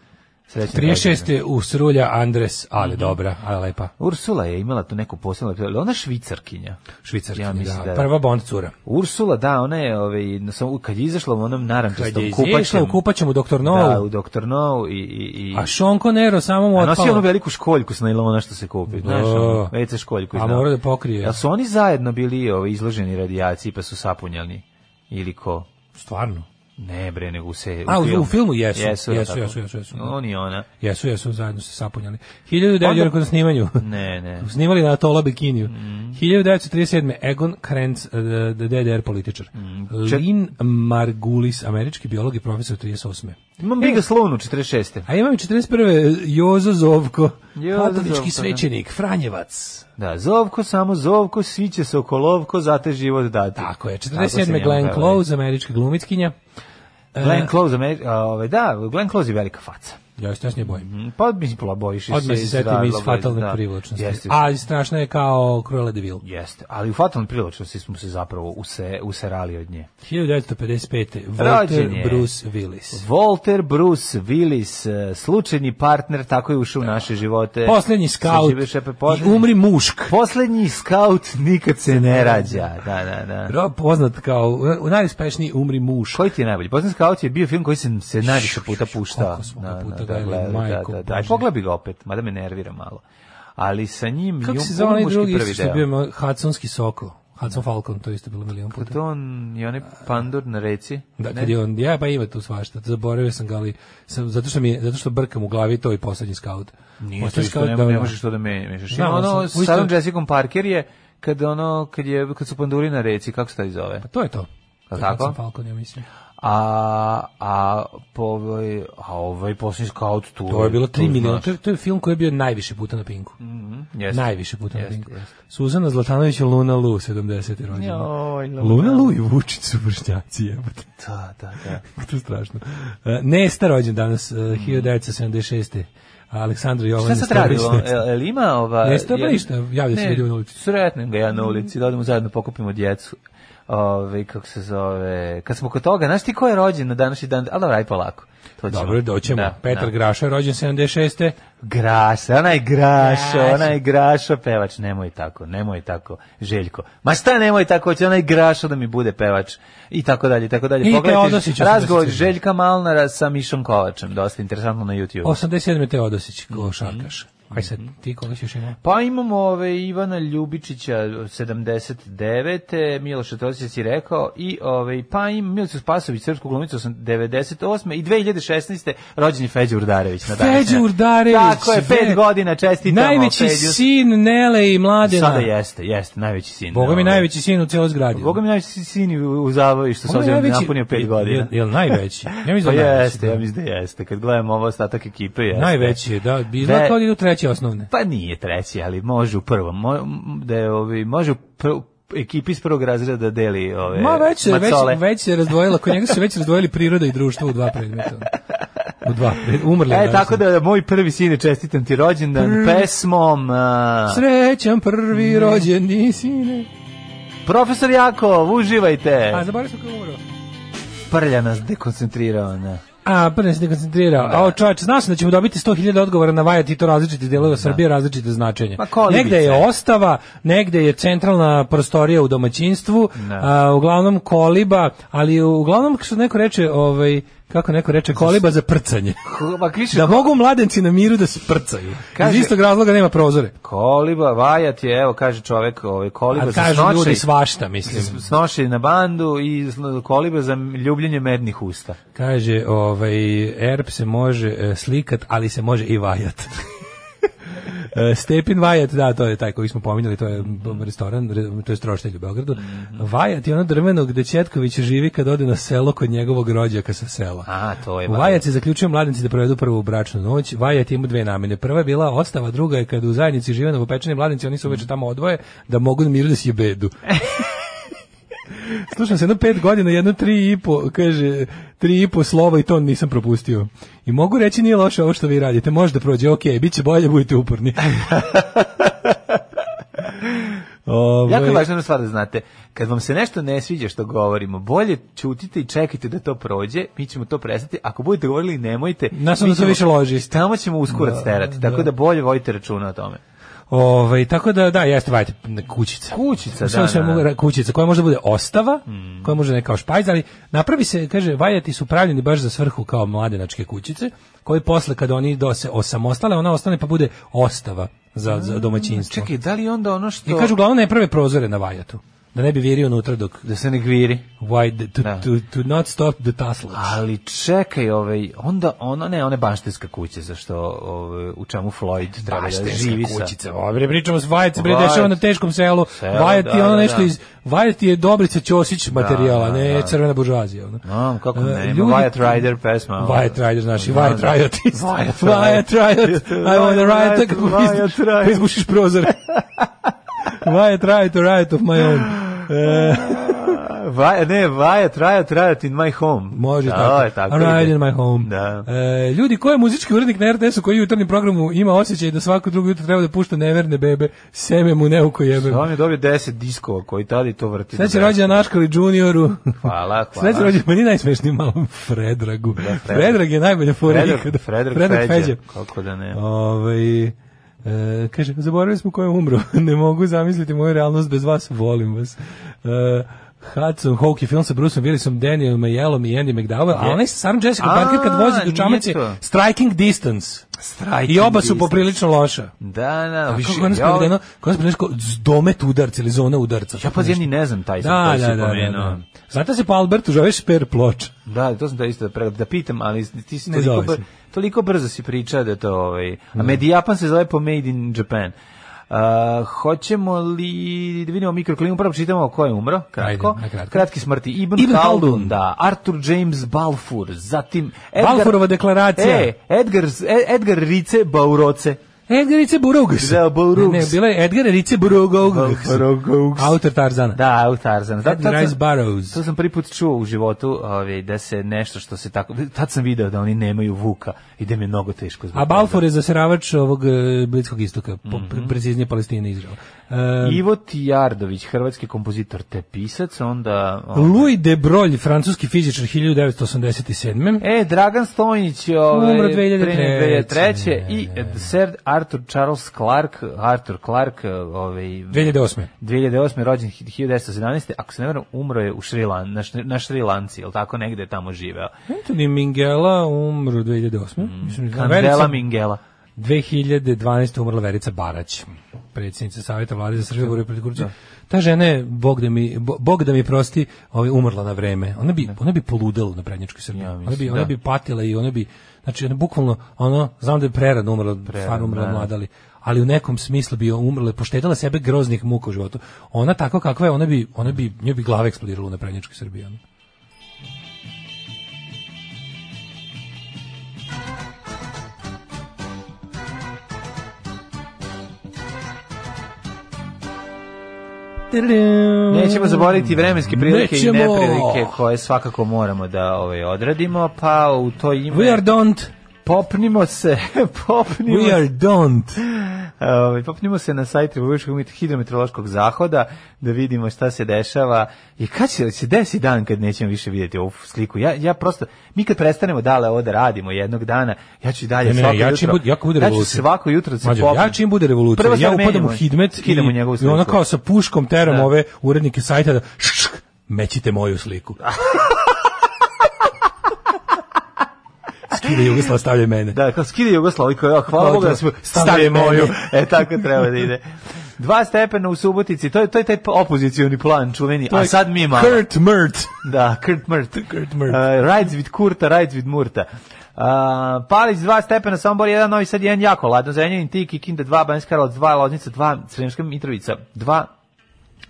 S6: Srećan
S5: 36. je u Srulja Andres,
S6: Mhm.
S5: ali dobra, ali lepa.
S6: Ursula je imala tu neku posebnu lepotu, ali ona je švicarkinja.
S5: Švicarski,
S6: Ja mislim
S5: da.
S6: da.
S5: Prva Bond cura.
S6: Ursula, da, ona je, ovaj, na sam, kad je izašla u onom
S5: Kad je
S6: narančastom
S5: izašla
S6: kupaćem,
S5: u kupaćem u Dr. No,
S6: da, u Dr. No i, i, i
S5: a Sean Conero samo mu
S6: A nosi onu
S5: otpala.
S6: veliku školjku sa najlona što se kupi, znaš,
S5: Da.
S6: ono, WC školjku.
S5: A
S6: iz-
S5: mora da pokrije.
S6: Jel su oni zajedno bili ovaj, izloženi radijaciji pa su sapunjani? Ili ko?
S5: Stvarno.
S6: Ne bre, nego u se...
S5: A, u- u filmu jesu.
S6: Jesu,
S5: Jesu,
S6: tako.
S5: jesu, jesu, jesu.
S6: On i ona.
S5: Jesu, jesu, zajedno se sapunjali. 1900 je na snimanju.
S6: Ne, ne.
S5: Snimali na Atola Bikiniju.
S6: Mm.
S5: 1937. Egon Krenz, eh, DDR političar.
S6: Mm.
S5: Lin Margulis, američki biolog i profesor 38.
S6: Imam Biga Slunu, 46.
S5: A imam i 41. Jozo Zovko,
S6: Jozo Zovko,
S5: katolički
S6: da.
S5: svećenik, Franjevac.
S6: Da, zovko, samo zovko, svi će se oko lovko, zato je život dati.
S5: Tako je.
S6: se
S5: 47.
S6: njemu
S5: Glenn
S6: pevali.
S5: Close, američka glumitkinja. E.
S6: Glenn Close, Ameri- a, ovaj, da, Glenn Close je velika faca.
S5: Ja joj se ne bojim.
S6: Mm, Pa mislim, pola bojiš. se
S5: Odmah se
S6: iz
S5: setim iz
S6: razloga,
S5: fatalne
S6: da.
S5: privlačnosti.
S6: Jeste,
S5: A strašna je kao Cruella de Vil.
S6: Jeste, ali u fatalnoj privlačnosti smo se zapravo use, userali od nje.
S5: 1955.
S6: Rođen
S5: Walter
S6: je.
S5: Bruce Willis.
S6: Walter Bruce Willis, e, slučajni partner, tako je ušao u naše živote.
S5: Poslednji skaut
S6: Saživio šepe,
S5: i um-
S6: poslednji-
S5: umri mušk.
S6: Poslednji skaut nikad se ne rađa. Da, da, da.
S5: Ro- Poznat kao u- najuspešniji umri muš.
S6: Koji ti je najbolji? Poslednji skaut je bio film koji sam se najviše puta puštao.
S5: Koliko smo ga
S6: Da, da,
S5: puta
S6: da,
S5: gledali,
S6: gledali, da,
S5: majko
S6: da, da. Aj,
S5: Božja.
S6: pogledaj ga opet, mada me nervira malo. Ali sa njim... i
S5: Kako
S6: on-
S5: se zove onaj
S6: muški
S5: drugi
S6: prvi
S5: isto što je
S6: deo. Pa
S5: bio imao? Hudsonski soko? Hudson Falcon, to je isto bilo milion puta.
S6: Platon i onaj pandur na reci.
S5: Da,
S6: Ne?
S5: kad je on, ja pa ima tu svašta, zaboravio sam ga, ali sam, zato, što mi, je- zato što brkam u glavi to i poslednji skaut.
S6: Nije to
S5: Poslednji
S6: isto,
S5: skaut,
S6: ne,
S5: da, ono-
S6: ne
S5: da.
S6: možeš to da me mešaš.
S5: Znam,
S6: Ima
S5: ali
S6: ono,
S5: sam-
S6: sa Sarom
S5: isto-
S6: Jessicom Parker je, kad ono, kad je, kad su panduri na reci, kako se taj zove?
S5: To je to.
S6: Jel
S5: To je
S6: tako?
S5: Hudson Falcon, ja mislim.
S6: A, a, po ovoj, a ovaj posljednji scout tu.
S5: To je bilo 3
S6: tu
S5: miliona,
S6: znaš. Mm, Hm,
S5: to je, to je film koji je bio najviše puta na Pinku.
S6: Jeste.
S5: Najviše puta na
S6: Jeste,
S5: Pinku.
S6: jeste.
S5: Suzana Zlatanović i Luna Lu, 70. rođena.
S6: Joj, Luna.
S5: Luna Lu i Vučić su vršnjaci, jebote.
S6: Da, da, da.
S5: Pa to je strašno. E, Nesta rođen danas, e, 1976. Aleksandra Jovana.
S6: Mm. Šta sad E,
S5: Storović
S6: radilo?
S5: Nesta.
S6: El, el ima ova...
S5: Ne, stoji
S6: jel-
S5: ništa, javlja se
S6: Ne,
S5: ljudi na ulici.
S6: Sretnem ga ja na ulici, da odemo zajedno pokupimo djecu. Ove, kako se zove... Kad smo kod toga, znaš ti ko je rođen na današnji dan? A dobro, aj polako. To ćemo.
S5: Dobro, doćemo.
S6: Da,
S5: Petar
S6: da.
S5: Graša je rođen 76.
S6: Graša, onaj Graša, onaj Graša, pevač, nemoj tako, nemoj tako, Željko. Ma šta nemoj tako, hoće onaj Graša da mi bude pevač i tako dalje, i tako
S5: I
S6: dalje.
S5: Teodosić,
S6: razgovor
S5: 87.
S6: Željka Malnara sa Mišom Kovačem, dosta interesantno na YouTube.
S5: 87. Teodosić,
S6: Mhm.
S5: košarkaš. Aj sad, ti koga ćeš ima?
S6: Pa imamo ove Ivana Ljubičića 79. Miloša Tosić si rekao i ove pa im Milicu Spasović srpsku glumicu 98. i 2016. rođeni Feđa Urdarević na današnji
S5: Feđa
S6: dan.
S5: Urdarević.
S6: Tako je,
S5: sve.
S6: pet godina čestitamo
S5: Najveći
S6: Feđu.
S5: sin Nele i Mladena.
S6: Sada jeste, jeste, najveći sin.
S5: Boga mi
S6: Ovaj,
S5: najveći sin u cijeloj zgradi.
S6: Boga mi najveći sin u u zavoju što se ovdje napunio pet godina.
S5: Jel, jel najveći? Ja
S6: Pa
S5: mislim da najveći,
S6: jeste,
S5: da.
S6: ja mislim da jeste. Kad gledamo ovo ostatak ekipe, jeste.
S5: Najveći je, da. Bila
S6: Ve-
S5: kao da idu treće osnovne.
S6: Pa nije treći, ali može u prvom. Mo, m, da je, ovi, može u pr- ekipi iz prvog razreda da deli ove
S5: Ma već, se- već,
S6: E, macole.
S5: već se razdvojila, kod njega su se već razdvojili priroda i društvo u dva predmeta. U dva. Umrli.
S6: E,
S5: danas.
S6: tako da moj prvi sine čestitam ti rođendan
S5: Mm.
S6: pesmom a,
S5: Srećan prvi rođeni sine.
S6: E. Profesor Jakov, uživajte.
S5: A zaboravio sam kako je umro.
S6: Prlja nas dekoncentrirao. Ne.
S5: A, prvo se dekoncentrirao. A, o čovječ, znao sam da ćemo dobiti 100.000 odgovora na vajati i to različite delove Srbije, različite značenje.
S6: Ma, kolibice.
S5: negde je ostava, negde je centralna prostorija u domaćinstvu,
S6: Da.
S5: a, uglavnom koliba, ali uglavnom, što neko reče, ovaj, kako neko reče, koliba za prcanje.
S6: Ko- Ma kliše,
S5: Da mogu mladenci na miru da sprcaju. Iz
S6: Kaže-
S5: istog razloga nema prozore.
S6: koliba, vajat je, evo kaže čovek, ovaj, koliba
S5: A
S6: za
S5: kažu ljudi
S6: snošaj,
S5: svašta, mislim.
S6: snošaj na bandu i sl- koliba za ljubljenje mednih usta.
S5: Kaže, ovaj, erb se može e, slikat, ali se može i vajat. E, Stepin Vajat, da, to je taj koji smo pominjali, to je b- restoran, re- to je stroštelj u Beogradu.
S6: Mhm.
S5: Vajat je ono drveno gde Četković živi kad ode na selo kod njegovog rođaka sa sela.
S6: A, to je
S5: U
S6: vajat.
S5: Vajat se E, zaključio mladenci da provedu prvu bračnu noć. Vajat ima dve namene. Prva je bila ostava, druga je kad u zajednici žive novopečeni mladenci, oni se uveče tamo odvoje da mogu na miru da si bedu. Slušam se jedno pet godina, jedno tri i po, kaže, tri i po slova i to nisam propustio. I mogu reći nije loše ovo što vi radite, možda prođe, ok, bit će bolje, budite uporni. Ovaj,
S6: Jako je važna jedna stvar da znate, kad vam se nešto ne sviđa što govorimo, bolje ćutite i čekajte da to prođe, mi ćemo to prestati, ako budete govorili nemojte,
S5: Nas
S6: mi
S5: onda to
S6: ćemo-
S5: više loži.
S6: Tamo ćemo uskurac terati, tako da bolje vojte računa o tome.
S5: ovaj, tako da, da, jeste, vajte, kućica.
S6: Kućica,
S5: Sve u
S6: da, Mm.
S5: svemu,
S6: da.
S5: ra- kućica koja može da bude ostava, koja može da je kao špajz, ali napravi se, kaže, valjati su pravljeni baš za svrhu kao mladenačke kućice, koji posle kad oni do se osamostale, ona ostane pa bude ostava za, za domaćinstvo.
S6: Mm, Čekaj, da li onda ono što...
S5: I kažu uglavnom ne prve prozore na vajatu, da ne bi virio unutra dok
S6: Da se ne gviri.
S5: why to,
S6: Da.
S5: to, to not stop the tassels.
S6: Ali čekaj, ovaj, onda ono, ne, one baštinska kuća, za što, ovaj, u čemu Floyd treba da
S5: Baštinska
S6: živi sa.
S5: kućica. Ovo bre pričamo s Vajec, bre
S6: Vajec.
S5: dešava na teškom selu.
S6: Selo,
S5: Vajec je
S6: da,
S5: ono
S6: da,
S5: nešto
S6: da.
S5: iz Vajec je Dobrica Ćosić materijala,
S6: da,
S5: ne
S6: da.
S5: crvena buržoazija, ono.
S6: No, kako ne,
S5: ljudi-
S6: ima Wyatt Rider pesma. ono.
S5: Wyatt Rider, znaš, i
S6: Da,
S5: Wyatt
S6: da.
S5: Riot.
S6: Wyatt
S5: Wyatt Riot.
S6: Riot.
S5: I want a riot,
S6: Wyatt
S5: tako
S6: Riot,
S5: izgušiš-
S6: Riot.
S5: pa izgušiš prozor. Wyatt Riot, a riot of my own. E,
S6: Vaj, ne, Wyatt Riot, Riot in my home.
S5: Može
S6: da,
S5: tako.
S6: je tako.
S5: A ride
S6: ide.
S5: in my home.
S6: Da.
S5: E, ljudi, ko je muzički urednik na RTS-u koji u jutarnjem programu ima osjećaj da svako drugo jutro treba da pušta neverne bebe, seme mu neuko jebe.
S6: Da, on je dobio 10 diskova koji tada i to vrti.
S5: Sveće
S6: do
S5: Znači, rođena Naškali junioru.
S6: Hvala, hvala.
S5: Sveće rođena, meni najsmešniji malom Fredragu. Fredrag.
S6: Fredrag.
S5: je najbolja fora
S6: Fredrag,
S5: ikada.
S6: Fredrag
S5: Fredrag
S6: Feđa.
S5: Feđa.
S6: Kako da ne.
S5: Ovaj, e, kaže, zaboravili smo ko je umro. ne mogu zamisliti moju realnost bez vas. Volim vas. E, Hudson, Hawke, film sa Bruceom Willisom, Danielom Majelom i Andy McDowell, a onaj sa Sarah Jessica
S6: A,
S5: Parker kad vozi do čamac je
S6: nije to.
S5: Striking Distance.
S6: Striking
S5: I oba su
S6: distance.
S5: poprilično loša.
S6: Da, da,
S5: A
S6: više.
S5: kako je ono
S6: ja-
S5: sprovedeno? Kako je sprovedeno? kao Zdomet udarca ili zona udarca.
S6: Ja
S5: tako
S6: pa ja
S5: nešto.
S6: ni ne znam taj sam
S5: Da,
S6: koji
S5: da,
S6: si
S5: da, da,
S6: pomenuo.
S5: da. Znate da se po Albertu zove šper ploč.
S6: Da, to sam da isto da, pre- da pitam, ali ti si
S5: Ne
S6: toliko,
S5: zove se.
S6: br- toliko brzo si pričao da je to ovaj. A Medijapan se zove po Made in Japan. Uh, hoćemo li da vidimo mikroklimu, prvo čitamo ko je umro, kratko.
S5: Ajde, nakratko.
S6: Kratki smrti. Ibn,
S5: Ibn Khaldun.
S6: Khaldun, da, Arthur James Balfour, zatim...
S5: Balfourova deklaracija.
S6: E, Edgar, E- Edgar Rice Bauroce.
S5: Edgar Rice Burugs.
S6: Da, Burugs.
S5: Ne, ne, bila je Edgar Rice Burugs.
S6: Burugs.
S5: Autor Tarzana.
S6: Da, Autarzan. Zato
S5: Edgar Rice Burroughs.
S6: To sam prvi put čuo u životu ovaj, da se nešto što se tako... Tad sam video da oni nemaju vuka i da mi je mnogo teško zbog
S5: A Balfour je zasiravač ovog e, Bliskog istoka, po,
S6: Mhm.
S5: preciznije Palestine i Izraela. E,
S6: toga. Ivo Tijardović, hrvatski kompozitor te pisac, onda... ovaj,
S5: Louis de Broglie, francuski fizičar 1987.
S6: E, Dragan Stojnić, ovaj,
S5: Umro
S6: pre-
S5: 2003.
S6: 2003. I Sir Arthur Charles Clark, Arthur Clark, ovaj,
S5: 2008.
S6: 2008. rođen 1917. Ako se ne varam, umro je u Šrilan, na, Šri- na Šrilanci, jel tako negde je tamo živeo.
S5: Anthony Mingela umro 2008.
S6: Mhm.
S5: Mislim, znam,
S6: Kandela
S5: Verica-
S6: Mingela.
S5: 2012. umrla Verica Barać, predsjednica Savjeta vlade za Srbiju u borbi protiv korupcije. Ta žena je, Bog da mi, Bo- Bog da mi prosti, ovaj, umrla na vreme. Ona bi, ona bi poludela na prednjačkoj Srbiji.
S6: Ja mislim,
S5: ona, bi, ona
S6: da.
S5: bi patila i ona bi, znači, ona bukvalno, ono, znam da je prerano umrla, stvarno umrla
S6: da.
S5: mlada, ali, ali u nekom smislu bi umrla, poštedala sebe groznih muka u životu. Ona tako kakva je, ona bi, ona bi, njoj bi glava eksplodirala u naprednjačkoj Srbiji. Ono.
S6: Nećemo zaboraviti vremenske prilike
S5: Nećemo.
S6: i neprilike koje svakako moramo da ovaj odradimo, pa u toj ime
S5: We are don't
S6: popnimo se, popnimo
S5: We
S6: se.
S5: are don't.
S6: Ovaj, popnimo se na sajt Republičkog mit- hidrometeorološkog zahoda da vidimo šta se dešava i kad će se desi dan kad nećemo više vidjeti ovu sliku. Ja, ja prosto, mi kad prestanemo dale ovo da radimo jednog dana, ja ću i dalje
S5: Ne, ne,
S6: E, svako
S5: ja čim
S6: jutro.
S5: bud- jako bude
S6: ja ću
S5: revolucija.
S6: svako jutro da se
S5: Mađo,
S6: popnem.
S5: ja čim bude revolucija,
S6: Prva stvar
S5: ja upadam u
S6: menjamo je.
S5: hidmet i,
S6: Skidamo njegovu
S5: i ono
S6: sliku.
S5: kao sa puškom teram
S6: Da.
S5: ove urednike sajta da šk, šk, mećite moju sliku. Skida Jugoslav, stavljaj mene.
S6: Da, kao skide Jugoslav i kao, ja, hvala
S5: Kao
S6: Bogu
S5: to,
S6: da smo
S5: stavi
S6: stavili moju.
S5: meni.
S6: E, tako treba da ide. Dva stepena u Subotici, to je, to je taj opozicioni plan čuveni,
S5: To je
S6: a sad mi malo.
S5: Kurt Mert.
S6: Da, Kurt Murt.
S5: Kurt Murt.
S6: Uh, rides with Kurta, rides with Murta. Uh, Palić 2 stepena, Sombor 1, Novi Sad 1, jako ladno, Zrenjanin, Tik, Kikinda 2, Banjska Karlovac 2, Loznica 2, Sremska Mitrovica 2.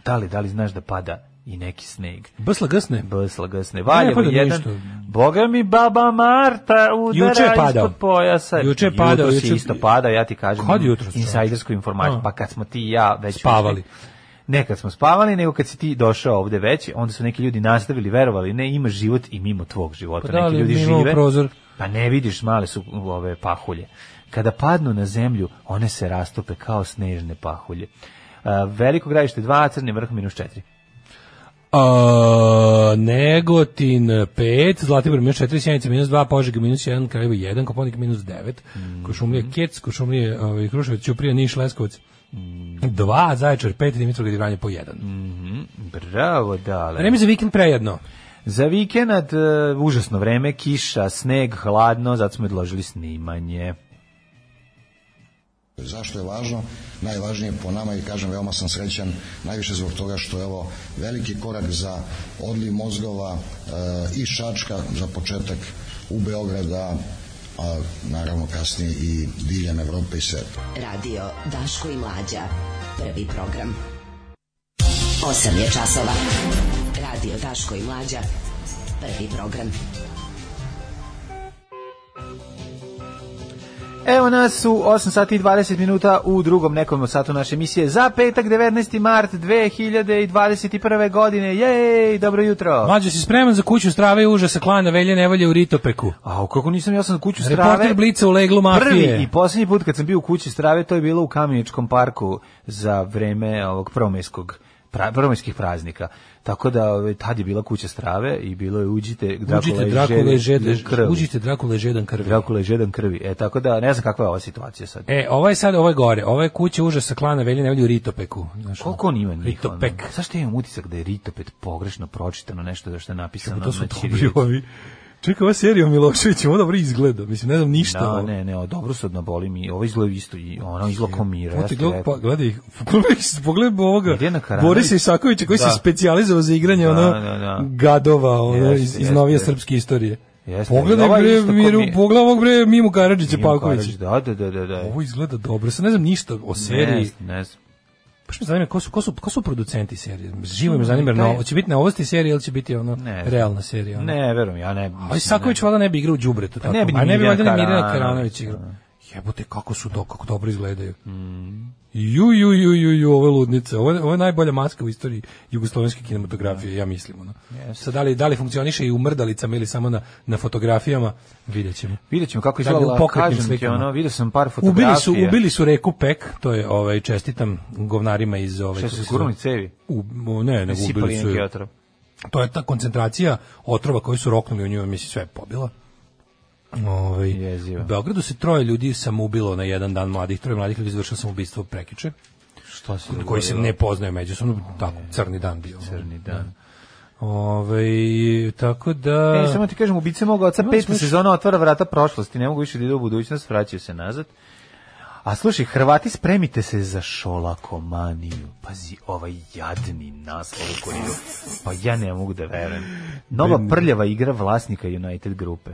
S6: Da li, da li znaš da pada i neki sneg?
S5: Bsla gasne.
S6: Bsla gasne.
S5: Ne
S6: Valjevo
S5: pada
S6: 1.
S5: ništa.
S6: Boga mi baba Marta udara
S5: Juče je padao.
S6: ispod pojasa.
S5: Juče je padao,
S6: Jutros je
S5: juče-
S6: isto pada, ja ti kažem.
S5: Kad je jutros,
S6: Insajdersku informaciju.
S5: A.
S6: Pa kad smo ti i ja već
S5: Spavali.
S6: ušli- ne kad smo spavali, nego kad si ti došao ovde već, onda su neki ljudi nastavili, verovali, ne, ima život i mimo tvog života.
S5: Pa da, ali
S6: neki ljudi
S5: mimo
S6: žive,
S5: prozor.
S6: pa ne vidiš, male su ove pahulje. Kada padnu na zemlju, one se rastope kao snežne pahulje. A, veliko gradište 2, crni vrh minus 4.
S5: A, Negotin 5, Zlatibor minus 4, Sjenica minus 2, Požega minus 1, Kraljevo 1, Koponik minus 9, Košumlija Kec, Košumlija ovaj, Kruševac, Ćuprija, Niš, Leskovac 2, Zaječar 5, Dimitrovgrad i Vranje po 1.
S6: Bravo, dale.
S5: Vreme za vikend prejedno.
S6: Za vikend e, užasno vreme, kiša, sneg, hladno, zato smo odložili snimanje.
S7: Zašto je važno? Najvažnije po nama i kažem veoma sam srećan, najviše zbog toga što je ovo veliki korak za odliv mozgova e, i Šačka za početak u Beograda, a naravno kasnije i diljem Evrope i sveta.
S4: Radio Daško i Mlađa. Prvi program. 8 je časova. Radio Daško i Mlađa. Prvi program.
S6: Evo nas u 8 sati i 20 minuta u drugom nekom satu naše emisije za petak 19. mart 2021. godine. Jej, dobro jutro.
S5: Mlađo si spreman za kuću strave i užasa klana velje nevolje u Ritopeku.
S6: A kako nisam ja sam kuću strave.
S5: Reporter Blica u leglu
S6: Prvi i
S5: mafije.
S6: posljednji put kad sam bio u kući strave, to je bilo u Kameničkom parku za vreme ovog promeskog pra, promeskih praznika. Tako da ovaj, tad je bila kuća strave i bilo je uđite Drakula
S5: Uđite
S6: i
S5: Drakula i
S6: Žedan
S5: žedan,
S6: krvi.
S5: uđite Drakula i žedan krvi.
S6: Drakula i žedan krvi. E, tako da ne znam kakva je ova situacija sad.
S5: E, ovo je sad, ovo je gore. Ovo je kuća užasa klana velje nevolje u Ritopeku. Znaš,
S6: Koliko on ima njih?
S5: Ritopek.
S6: ono? Zašto ja imam utisak da je Ritopet pogrešno pročitano nešto da što je napisano?
S5: Pa to su
S6: na
S5: dobri
S6: ćirilici?
S5: ovi. Čekaj, ova serija o Miloševiću, ovo dobro izgleda. Mislim, ne znam ništa. ono.
S6: Da,
S5: ovo.
S6: ne, ne, o, dobro su odnaboli mi. Ovo izgleda isto i ono izgleda komira.
S5: Ovo ti gledaj, pa, gledaj ih. Pogledaj, pogledaj ovoga
S6: Mirjana Karanović.
S5: Borisa Isakovića koji
S6: Da.
S5: se specijalizovao za igranje
S6: Da,
S5: ono
S6: da, da.
S5: gadova ono,
S6: Jeste,
S5: iz, iz
S6: jeste.
S5: novije srpske istorije.
S6: Jeste.
S5: Pogledaj
S6: Ovo je
S5: bre
S6: isto ko
S5: Miru,
S6: mi-
S5: pogledaj ovog bre Mimu Karadžića Pavkovića.
S6: Da, da, da, da. da.
S5: Ovo izgleda dobro, sad ne znam ništa o seriji.
S6: Ne, ne znam.
S5: Baš me zanima ko su, ko su, ko su producenti serije. Živo me zanima, no, će biti novosti serije ili će biti ono
S6: Ne znam.
S5: realna serija. Ono.
S6: Ne, verujem, ja ne. Pa
S5: Ali Isaković valjda ne bi igrao u đubretu tako.
S6: ne bi ni
S5: A ne bi
S6: Mirjana
S5: valjda ni Mirjana
S6: Karanović,
S5: Karanović igrao. Jebote kako su to kako dobro izgledaju.
S6: Mm.
S5: Ju ju ju ju ju ove ludnice. Ovo je, ovo je najbolja maska u istoriji jugoslovenske kinematografije, ja mislim ono. Sad da li da li funkcioniše i u mrdalicama ili samo na na fotografijama, videćemo.
S6: Vidjet ćemo kako
S5: Da, u
S6: izgleda,
S5: pokretnim
S6: kažem ti,
S5: slikama.
S6: ono, vidio sam par fotografija.
S5: Ubili su ubili su reku Pek, to je ovaj čestitam govnarima iz ovaj, ove
S6: Šta su gurnuli cevi?
S5: u, u- ne, ne, ubili
S6: Sipali
S5: su
S6: neki
S5: je.
S6: otrov.
S5: to je ta koncentracija otrova koju su roknuli u nju, mislim, sve je pobila. Ovaj,
S6: Jezivo.
S5: u Beogradu se troje ljudi samoubilo na jedan dan mladih, troje mladih ljudi izvršilo samoubistvo prekiče,
S6: Šta se
S5: koji se
S6: dogodilo?
S5: ne poznaju međusobno, tako, crni dan bio.
S6: Crni dan.
S5: Ovaj, tako da...
S6: E, samo ti kažem, ubice moga oca,
S5: Ima
S6: peta
S5: smiješno.
S6: sezona otvara vrata prošlosti, ne mogu više da ide u budućnost, vraćaju se nazad. A slušaj, Hrvati, spremite se za šolakomaniju. Pazi, ovaj jadni naslov u kuriru. Pa ja ne mogu da verujem. Nova prljava igra vlasnika United grupe.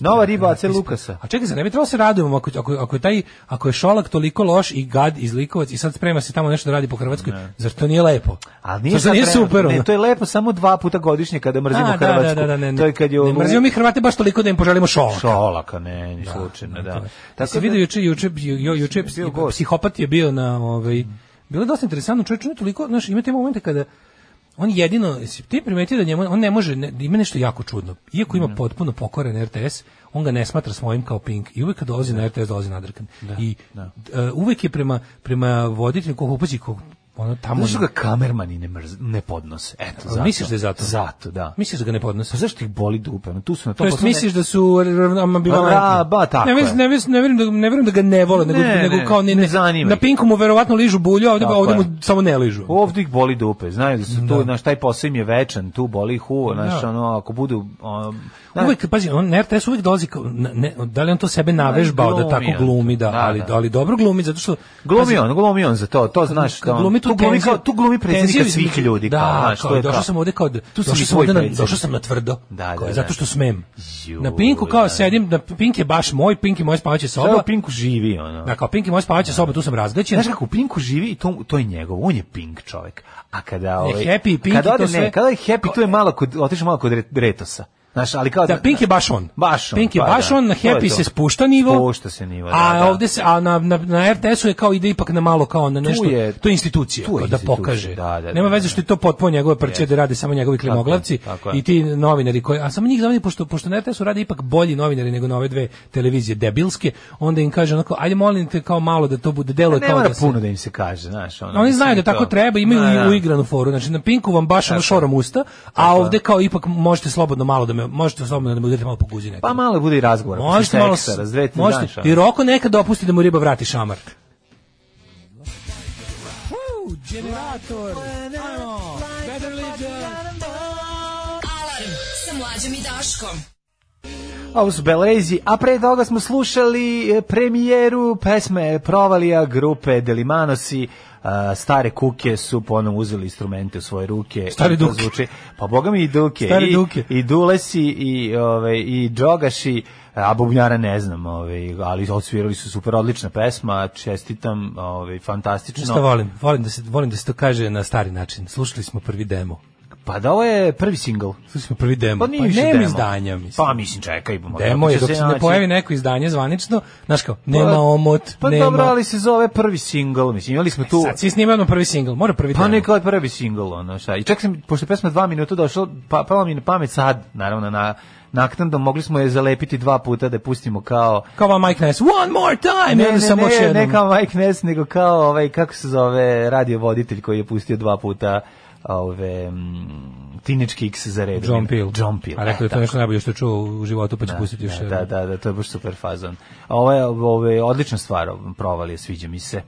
S6: Nova riba AC Lukasa.
S5: A čekaj, zar ne bi trebalo se radujemo ako, ako, ako, je taj, ako je Šolak toliko loš i gad iz Likovac i sad sprema se tamo nešto da radi po Hrvatskoj, zar to nije lepo?
S6: Ali
S5: Zar
S6: nije,
S5: to
S6: sad
S5: nije
S6: trenutno-
S5: super? ono?
S6: ne, to je lepo samo dva puta godišnje kada mrzimo
S5: A, da, Da,
S6: Hrvatsku.
S5: da, da, ne, ne.
S6: to je kad je
S5: ne
S6: ovo-
S5: mrzimo mi Hrvate baš toliko da im poželimo šolak.
S6: Šolaka, ne, ni slučajno, da.
S5: Da
S6: Tako
S5: se
S6: da-
S5: vidi juče juče ju- juče
S6: Bio gost.
S5: psihopat je bio na ovaj bilo je dosta interesantno čovjek ne toliko, znaš, imate momente kada on jedino, jesi ti primetio da njemu, on ne može, ne, ima nešto jako čudno. Iako ima potpuno pokoren RTS, on ga ne smatra svojim kao Pink. I uvek kad dolazi na RTS, dolazi nadrkan. I e, uvek je prema, prema voditelju, koliko upazi, koliko, ono tamo...
S6: Zašto ga kamermani ne, mrz, ne podnose? Eto, zato.
S5: Misliš da je zato?
S6: Zato, da.
S5: Misliš da ga ne podnose?
S6: Pa zašto ih boli dupe? Ono, tu su na
S5: To
S6: tom
S5: jest
S6: poslu-
S5: Pa misliš da su r- r- ambivalentni?
S6: Ra, ba, tako
S5: ne,
S6: je.
S5: mislim, ne, mislim, ne vjerujem da, ne vjerujem da ga ne vole, nego,
S6: Ne,
S5: nego
S6: ne,
S5: kao ne,
S6: ne zanima
S5: Na
S6: ih.
S5: Pinku mu verovatno ližu bulju, a ovdje,
S6: Tako
S5: ovdje
S6: je.
S5: mu samo ne ližu.
S6: Ovdje ih boli dupe, znaju da su tu,
S5: Da.
S6: znaš, taj posao im je večan, tu boli hu, znaš,
S5: Da.
S6: ono, ako budu... ono, znaš,
S5: Uvek, pazi, on na RTS uvek dolazi kao, na- ne, da li on to sebe navežbao da
S6: glumi
S5: tako
S6: on to.
S5: glumi, da,
S6: Da,
S5: ali,
S6: da.
S5: ali dobro glumi, zato što...
S6: Glumi
S5: pazi,
S6: on, glumi on za to, to znaš
S5: kad
S6: što on,
S5: glumi tu
S6: tu, glumi
S5: tenziju-
S6: kao, tu glumi
S5: tenziju
S6: predsjednika
S5: između-
S6: svih ljudi,
S5: Da,
S6: kao, znaš,
S5: kao,
S6: to je
S5: došao
S6: kao-
S5: sam ovde kao,
S6: tu sam i
S5: došao sam,
S6: svoj
S5: ovde na,
S6: predsjednik.
S5: došao sam na tvrdo,
S6: Da, da,
S5: kao,
S6: da.
S5: zato što smem.
S6: Ju,
S5: na Pinku kao
S6: da.
S5: sedim, na Pink je baš moj, Pink je moja spavaća
S6: Šta je
S5: soba,
S6: u Pinku živi, ono.
S5: da, kao Pink je moja spavaća soba, tu sam razgaćen.
S6: Znaš kako u Pinku živi i to, to je njegov, on je Pink čovek. A kada... Ovaj,
S5: Happy i Pink i
S6: kada
S5: to
S6: ode,
S5: sve-
S6: ne, kada je Happy, tu je malo kod, otišao malo kod Re- Retosa. Znaš, ali kao
S5: Da, Pink je baš on.
S6: Baš on,
S5: Pink je
S6: pa
S5: baš
S6: da.
S5: on, na
S6: To je
S5: Happy
S6: to.
S5: se spušta nivo.
S6: Spušta se nivo, da,
S5: a
S6: da.
S5: ovde se, a na, na, na RTS-u je kao ide ipak na malo kao na nešto.
S6: je-
S5: to je institucija,
S6: tu je
S5: kao da
S6: institucija,
S5: pokaže.
S6: da, da,
S5: Nema
S6: da,
S5: veze
S6: da.
S5: što je to potpuno njegove prče da rade samo njegovi klimoglavci
S6: Tako je, tako je.
S5: i ti novinari koji, a samo njih zavodi, pošto, pošto na RTS-u rade ipak bolji novinari nego na ove dve televizije debilske, onda im kaže onako, ajde molim te kao malo da to bude delo
S6: Pa Ne
S5: kao
S6: mora
S5: da se...
S6: puno da im se kaže, znaš. Ono,
S5: Oni
S6: mislim
S5: znaju da
S6: i to.
S5: tako treba, imaju
S6: Da, da.
S5: i uigranu foru. Znači na Pinku vam baš ono šorom usta, a ovde kao ipak možete slobodno malo da me možete slobodno da me udarite malo po guzi nekada.
S6: Pa malo bude i razgovor.
S5: Možete malo
S6: se
S5: s-
S6: razdveti
S5: možete-
S6: znaš, ono.
S5: I Roko nekad dopusti da mu riba vrati šamar. Generator.
S4: Alarm sa mlađom i Daškom.
S6: A Ovo su Belezi, a pre toga smo slušali e, premijeru pesme Provalija grupe Delimanosi, a, stare kuke su ponovno uzeli instrumente u svoje ruke.
S5: Stare
S6: I to
S5: duke.
S6: Zvuči, pa boga mi i duke.
S5: Stare
S6: I,
S5: duke.
S6: I dulesi, i, ove, i džogaši, a bubnjara ne znam, ove, ali odsvirali su super odlična pesma, čestitam, ove, fantastično.
S5: Šta volim? Volim da se volim da se to kaže na stari način. Slušali smo prvi demo.
S6: Pa da ovo je prvi singl.
S5: Slušali smo prvi demo.
S6: Pa
S5: Pa,
S6: nije više
S5: nema
S6: demo.
S5: izdanja, mislim.
S6: Pa mislim, čekaj. ma,
S5: Demo
S6: kako
S5: je
S6: će
S5: dok se ne
S6: naći?
S5: pojavi neko izdanje zvanično, znaš kao,
S6: Pa-
S5: nema omot,
S6: Pa
S5: nema. E,
S6: dobro, ali se zove prvi singl, mislim, imali smo tu...
S5: Sad si snimao odmah prvi singl, mora prvi
S6: Pa
S5: demo.
S6: neka je prvi singl, ono šta. I čak sam, pošto je pesma dva minuta došla, pa, pala mi na pamet sad, naravno, na, naknadno, mogli smo je zalepiti dva puta da je pustimo kao...
S5: Kao vam Mike Ness, one more time, ne, samo još
S6: ne,
S5: jednom.
S6: ne kao Mike Ness, nego kao, ovaj, kako se zove, radio voditelj koji je pustio dva puta ove, mm, Teenage Kicks za redom.
S5: John Peel.
S6: John Peel.
S5: A rekao je
S6: e,
S5: to je nešto najbolje što je čuo u životu, pa će pustiti još.
S6: da,
S5: jednom.
S6: da, da, da, to je baš super fazon. A Ovo je, ovo je odlična stvar, provalije, sviđa mi se.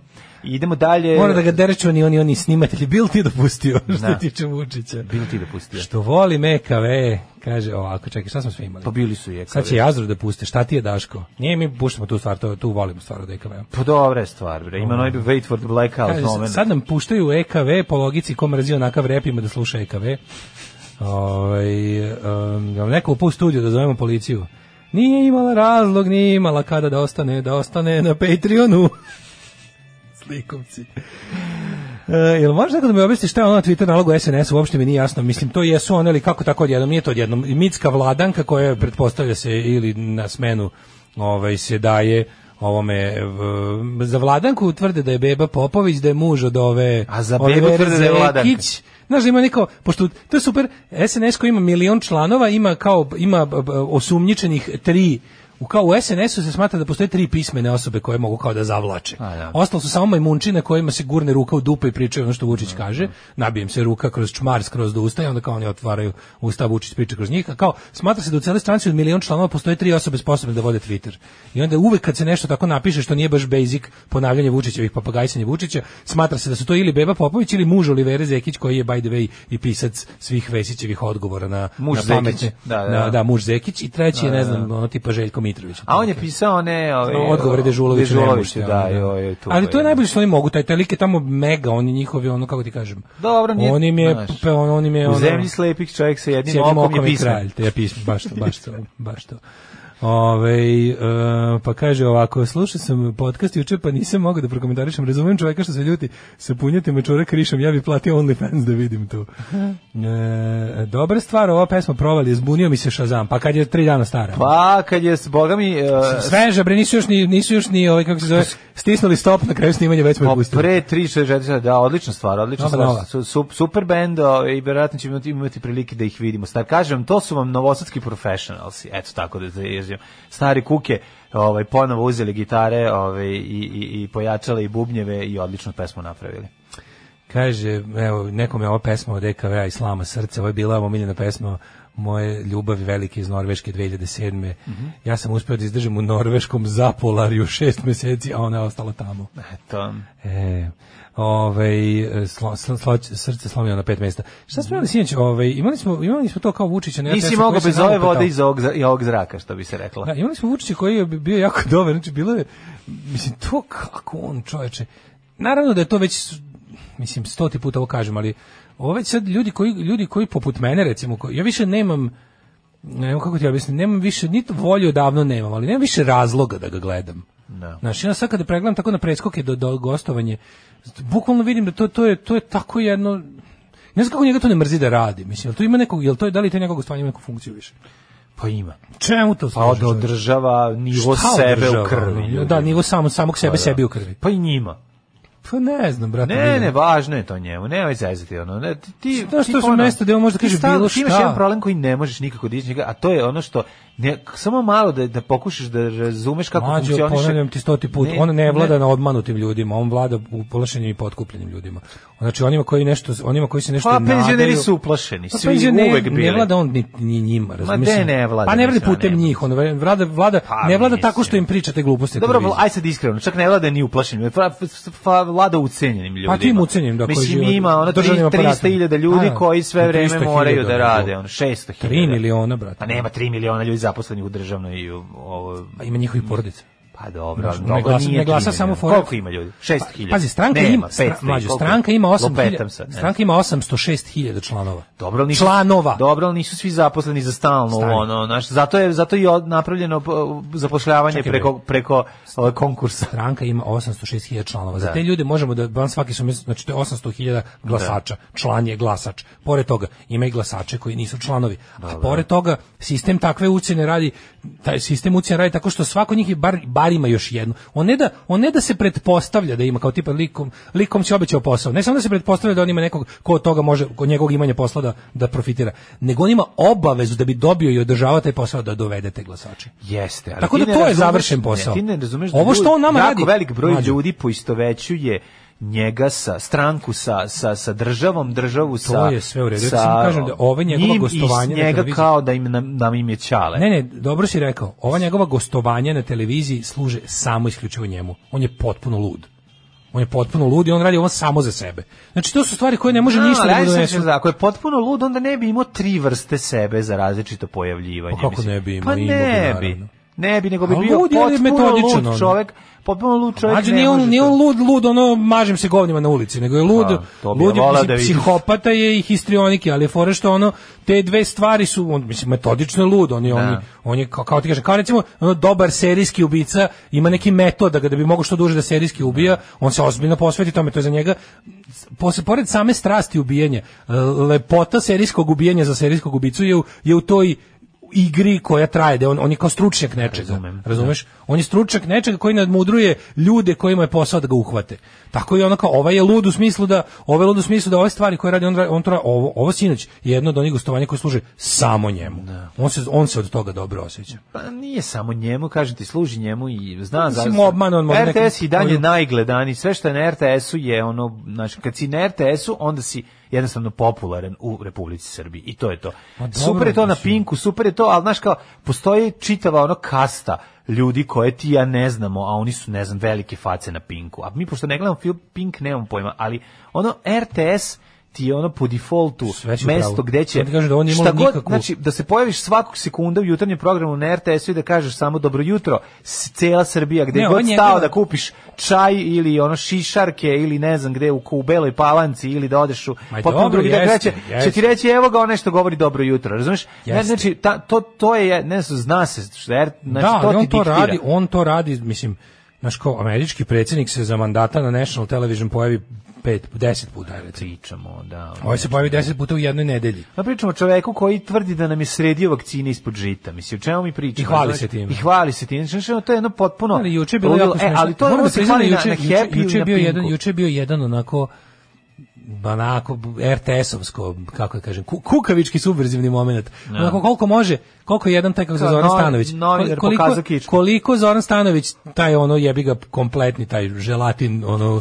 S6: Idemo dalje.
S5: Mora da ga dereču ni oni, oni snimatelji. Bil ti dopustio, što se
S6: Da.
S5: tiče Vučića.
S6: Bilo ti dopustio.
S5: Što voli mekave, kaže ovako, čekaj, šta smo sve imali?
S6: Pa bili su je.
S5: Sad će Jazru da puste, šta ti je Daško? Nije mi puštamo tu stvar, to, tu volimo stvar od EKV.
S6: Pa dobra je stvar, bre. Ima onaj Wait for the Blackout
S5: Kaže,
S6: moment.
S5: sad nam puštaju EKV, po logici ko mrzi onakav rep ima da sluša EKV. Ovaj, em, jel neko upu u studiju da zovemo policiju. Nije imala razlog, nije imala kada da ostane, da ostane na Patreonu. Slikovci. E, jel može neko da mi objasni šta je ono na Twitter nalogu SNS, uopšte mi nije jasno. Mislim, to jesu one ili kako tako odjednom, nije to odjednom. Mitska vladanka koja je, pretpostavlja se ili na smenu ovaj, se daje ovome v- za vladanku tvrde da je beba Popović, da je muž od ove
S6: A za
S5: ove
S6: bebu
S5: Vere
S6: tvrde da je vladanka.
S5: Zekić. Znaš da ima neko, pošto to je super, SNS koji ima milion članova, ima kao, ima b- b- osumnjičenih tri U kao u SNS-u se smatra da postoje tri pismene osobe koje mogu kao da zavlače.
S6: A, da.
S5: Ostalo su samo majmunčine kojima se gurne ruka u dupe i pričaju ono što Vučić kaže. Nabijem se ruka kroz čmar, skroz do usta i onda kao oni otvaraju usta, Vučić priča kroz njih. A kao, smatra se da u cijeloj stranci od milion članova postoje tri osobe sposobne da vode Twitter. I onda uvek kad se nešto tako napiše što nije baš basic ponavljanje Vučićevih papagajsanje Vučića, smatra se da su to ili Beba Popović ili muž Olivere Zekić koji je by the way i pisac svih Vesićevih odgovora na,
S6: Muž
S5: na pametne.
S6: Zekić, da, da,
S5: na,
S6: da.
S5: muž Zekić i treći je, ne znam, ono tipa Željko Mitrović. Ono,
S6: A on je pisao ne... Ove,
S5: odgovore Dežuloviću
S6: Ono, Dežuloviću,
S5: nemušti,
S6: da,
S5: ono,
S6: joj, joj, tu.
S5: Ali to je najbolje što oni mogu, taj, taj lik je tamo mega, on je njihovi, ono, kako ti kažem.
S6: Dobro, nije-
S5: On im je,
S6: znaš,
S5: pe, on, on im je,
S6: U
S5: ono,
S6: zemlji slepih čovjek sa jednim,
S5: s jednim
S6: okom je
S5: i
S6: pismen.
S5: kralj, te ja pismo, baš to, baš to, baš to. Ove, e, pa kaže ovako, slušao sam podcast juče, pa nisam mogao da prokomentarišem. Razumijem čoveka što se ljuti sa punjetima čora krišom, ja bi platio OnlyFans da vidim to. E, dobra stvar, ova pesma provali, zbunio mi se Shazam, pa kad je tri dana stara.
S6: Pa kad je s boga mi e,
S5: Sveža, bre, nisu još ni, nisu još ni, ovaj, kako se zove, stisnuli stop na kraju snimanja, već smo je
S6: pa
S5: pustili.
S6: pre 3 4 sata, da, odlična stvar, odlična
S5: Nova, nova.
S6: stvar. Su, su- super bend ovaj, i verovatno ćemo imati, imati prilike da ih vidimo. Star kažem, to su vam novosadski professionalsi. Eto tako da zaježim. Stari kuke, ovaj ponovo uzeli gitare, ovaj i i i pojačali i bubnjeve i odličnu pesmu napravili.
S5: Kaže, evo, nekom je ova pesma od E EKV-a Islama srce, ovo je bila omiljena pesma moje ljubavi velike iz Norveške 2007.
S6: Mhm.
S5: Ja sam uspio da izdržim u norveškom zapolarju šest meseci, a ona je ostala tamo.
S6: Eto.
S5: E, ovaj, e, slo, slo- slo- srce slomljeno na pet mesta. Šta smo imali sinoć? Ovaj, imali, smo, imali smo to kao Vučića. na
S6: Nisi
S5: RTS-u
S6: mogao
S5: koji
S6: bez
S5: se
S6: ove
S5: nalupetao.
S6: vode iz ovog, zra- i ovog zraka, što bi se reklo.
S5: Da, Pa, imali smo Vučića koji je bio jako dobar, znači bilo je, mislim, to kako on čoveče, naravno da je to već, mislim, stoti puta ovo kažem, ali ovo već sad ljudi koji, ljudi koji poput mene, recimo, koji, ja više nemam, ne znam kako ti objasnim, nemam više, niti volju odavno nemam, ali nemam više razloga da ga gledam.
S6: Da.
S5: Znaš, ja sad kada pregledam tako na preskoke do, do gostovanje, bukvalno vidim da to, to, je, to je tako jedno, ne znam kako njega to ne mrzi da radi, mislim, jel to ima nekog, jel to je, da li to nekog gostovanje ima neku funkciju više?
S6: Pa ima.
S5: Čemu to
S6: Pa
S5: služi,
S6: da
S5: čoveče?
S6: održava nivo
S5: Šta
S6: sebe
S5: održava,
S6: u krvi.
S5: ono?
S6: ljudi.
S5: Da, nivo samo, samog sebe
S6: Pa da.
S5: sebi u krvi.
S6: Pa i njima.
S5: Pa ne znam, brate.
S6: Ne, ne, važno je to njemu, nemoj zezati ono. Ne, ti, ti,
S5: Znaš,
S6: ti
S5: to su
S6: ono-
S5: mesta gde on može da
S6: ti
S5: kaže
S6: stalno-
S5: bilo
S6: ti imaš
S5: šta.
S6: jedan problem koji ne možeš nikako dići, a to je ono što, ne, samo malo da, da pokušaš da razumeš kako
S5: Mlađe,
S6: funkcioniše.
S5: ponavljam ti stoti put, on ne vlada
S6: ne.
S5: na odmanutim ljudima, on vlada u polašenim i potkupljenim ljudima. Znači onima koji nešto, onima koji se nešto
S6: Pa penzioneri
S5: nadaju-
S6: su uplašeni,
S5: Pa,
S6: svi
S5: penzioneri,
S6: uvek bili.
S5: Ne vlada on ni, ni njima, razumiješ?
S6: gde
S5: Mislim,
S6: ne vlada,
S5: Pa ne vlada
S6: mislim,
S5: putem
S6: ne.
S5: njih, on vlada, vlada,
S6: Pa,
S5: ne vlada
S6: mislim.
S5: tako što im pričate gluposti. na
S6: Dobro,
S5: televiziji.
S6: aj sad iskreno, čak ne vlada ni uplašenim, pa, pa vlada ucenjenim ljudima.
S5: Pa tim ucenjenim, da, koji
S6: Mislim,
S5: žive od-
S6: ima ono
S5: državnim aparatom.
S6: 300.000 ljudi
S5: A,
S6: koji sve vreme
S5: 300.000
S6: moraju da
S5: ono.
S6: rade, ono, 600.000.
S5: Tri miliona, brate.
S6: Pa nema 3 miliona ljudi zaposlenih u državnoj i u ovo...
S5: A ima njihovi porodica.
S6: Pa dobro,
S5: Znaš,
S6: dobro,
S5: ne glasa-
S6: nije
S5: ne glasa
S6: tri
S5: samo
S6: miliona.
S5: fora-
S6: Koliko ima ljudi? 6.000.
S5: Pazi, stranka
S6: Nema,
S5: ima, stra,
S6: 500,
S5: mlađe,
S6: koliko?
S5: stranka ima 8.000,
S6: Lupetam sad, ne.
S5: stranka ima 806.000 članova.
S6: Dobro, ali nisu,
S5: članova.
S6: Dobro, ali nisu svi zaposleni za stalno,
S5: Stalno.
S6: ono, znaš, zato je zato je i od- napravljeno p- zapošljavanje
S5: Čekaj,
S6: preko preko ovaj, konkursa.
S5: stranka ima 806.000 članova. Za te ljude možemo da van svaki su mjesec, znači to je 800.000 glasača. Član je glasač. Pored toga ima i glasače koji nisu članovi. A pored toga sistem takve ucjene radi taj sistem ucjene radi tako što svako od njih je bar, bar ima još jednu. On ne da on ne da se pretpostavlja da ima kao tipa likom likom će obećao posao. Ne samo da se pretpostavlja da on ima nekog ko od toga može kod njegovog imanja posla da, da profitira, nego on ima obavezu da bi dobio i održavao taj posao da dovedete glasače.
S6: Jeste, ali
S5: Tako
S6: ti
S5: da
S6: ne
S5: to je
S6: razumeš-
S5: završen
S6: ne,
S5: posao.
S6: ti ne razumeš
S5: Ovo što
S6: ljudi-
S5: on nama
S6: jako
S5: radi-
S6: velik broj
S5: Mlađe.
S6: ljudi poistovećuje njega sa stranku sa sa sa državom državu sa
S5: je sve u redu. Ja ti
S6: sa
S5: samo kažem da ovo njegovo
S6: njim i s
S5: gostovanje na
S6: njega
S5: televiziji-
S6: kao da im nam, nam im je ćale
S5: Ne, ne, dobro si rekao. Ova njegova gostovanja na televiziji služe samo isključivo njemu. On je potpuno lud. On je potpuno lud i on radi ovo samo za sebe. Znači, to su stvari koje ne može
S6: A,
S5: ništa
S6: ali
S5: da mu
S6: ajde sad
S5: donesu.
S6: ću da- Ako je potpuno lud, onda ne bi imao tri vrste sebe za različito pojavljivanje.
S5: Pa kako
S6: mislim.
S5: ne bi imao?
S6: Pa
S5: Imao bi,
S6: ne bi.
S5: naravno.
S6: Ne bi, nego bi
S5: A
S6: bio
S5: lud je, ali
S6: potpuno
S5: metodičan
S6: lud
S5: on.
S6: čovjek. Potpuno lud čovjek
S5: Mlađe,
S6: ne
S5: nije on,
S6: može
S5: nije
S6: to.
S5: on lud, lud, ono, mažem se govnima na ulici, nego je lud,
S6: Da, to bi ja
S5: lud je,
S6: voleo
S5: mislim,
S6: da vidim.
S5: psihopata je i histrionike, ali je fora što ono, te dve stvari su, on, mislim, metodično je lud, on je, on je, on je, kao, kao ti kažem, kao recimo, ono, dobar serijski ubica, ima neki metod da ga da bi mogo što duže da serijski ubija, on se ozbiljno posveti tome, to je za njega, posle, pored same strasti ubijanja, e, lepota serijskog ubijanja za serijskog ubicu je u, je u toj igri koja traje, da on, on je kao stručnjak nečega.
S6: Razumem.
S5: Razumeš? On je stručnjak nečega koji nadmudruje ljude kojima je posao da ga uhvate. Tako i ono kao, ovaj je lud u smislu da, ovaj je lud u smislu da ove stvari koje radi, on, ra- on to ra- ovo, ovo sinoć je jedno od onih gostovanja koje služe samo njemu. On, se, on se od toga dobro osjeća.
S6: Pa nije samo njemu, kažem ti, služi njemu i zna
S5: Mislim,
S6: zaista.
S5: obman on možda neki-
S6: RTS i dalje
S5: koju-
S6: najgledani, sve što je na RTS-u je ono, znači, kad si na RTS-u, onda si jednostavno popularan u Republici Srbiji i to je to.
S5: Ma dobro,
S6: super je to na
S5: mislim.
S6: Pinku, super je to, ali znaš kao, postoji čitava ono kasta ljudi koje ti i ja ne znamo, a oni su, ne znam, velike face na Pinku. A mi, pošto ne gledamo film Pink, nemam pojma, ali ono RTS ti je ono po defaultu
S5: Sve si u
S6: mesto
S5: pravu.
S6: gde će
S5: Sad ti kažem da ovo nije imalo
S6: šta god,
S5: nikakvu-
S6: znači da se pojaviš svakog sekunda u jutarnjem programu na RTS-u i da kažeš samo dobro jutro s- cela Srbija gde
S5: Ne, ovo
S6: god
S5: je
S6: stao
S5: njegova-
S6: da kupiš čaj ili ono šišarke ili ne znam gde u, u Beloj Palanci ili da odeš u
S5: Ma
S6: potpuno
S5: dobro,
S6: drugi dan
S5: jeste,
S6: kreće,
S5: jeste.
S6: će ti reći evo ga onaj što govori dobro jutro razumeš ne,
S5: Jeste.
S6: znači ta, to to je ne znam zna se šta je, znači
S5: da,
S6: to
S5: ali
S6: ti
S5: on to
S6: diktira.
S5: radi, on to radi, mislim, znaš kao, američki predsjednik se za mandata na National Television pojavi pet, deset puta, recimo.
S6: pričamo da ono.
S5: Ovo se pojavi deset puta u jednoj nedelji.
S6: Pa pričamo o čoveku koji tvrdi da nam je sredio vakcine ispod žita. Mislim, o čemu mi pričamo?
S5: I hvali
S6: Znači,
S5: se time.
S6: I hvali se time. Znači, ono, to je jedno potpuno...
S5: Ali juče je bilo
S6: ludilo.
S5: jako smešno.
S6: E, ali to je
S5: Moram
S6: ono
S5: da
S6: se
S5: priznam da
S6: hvali na, na
S5: juče-
S6: Happy
S5: juče
S6: ili
S5: je
S6: na
S5: bio jedan,
S6: Pinku.
S5: juče je bio jedan onako onako RTS-ovsko, kako da kažem, ku- kukavički subverzivni moment. Onako koliko može, koliko je jedan taj kako se
S6: Kao
S5: Zoran
S6: novi-
S5: Stanović.
S6: novinar pokazao kičmu.
S5: koliko Zoran Stanović, taj ono jebi ga kompletni, taj želatin, ono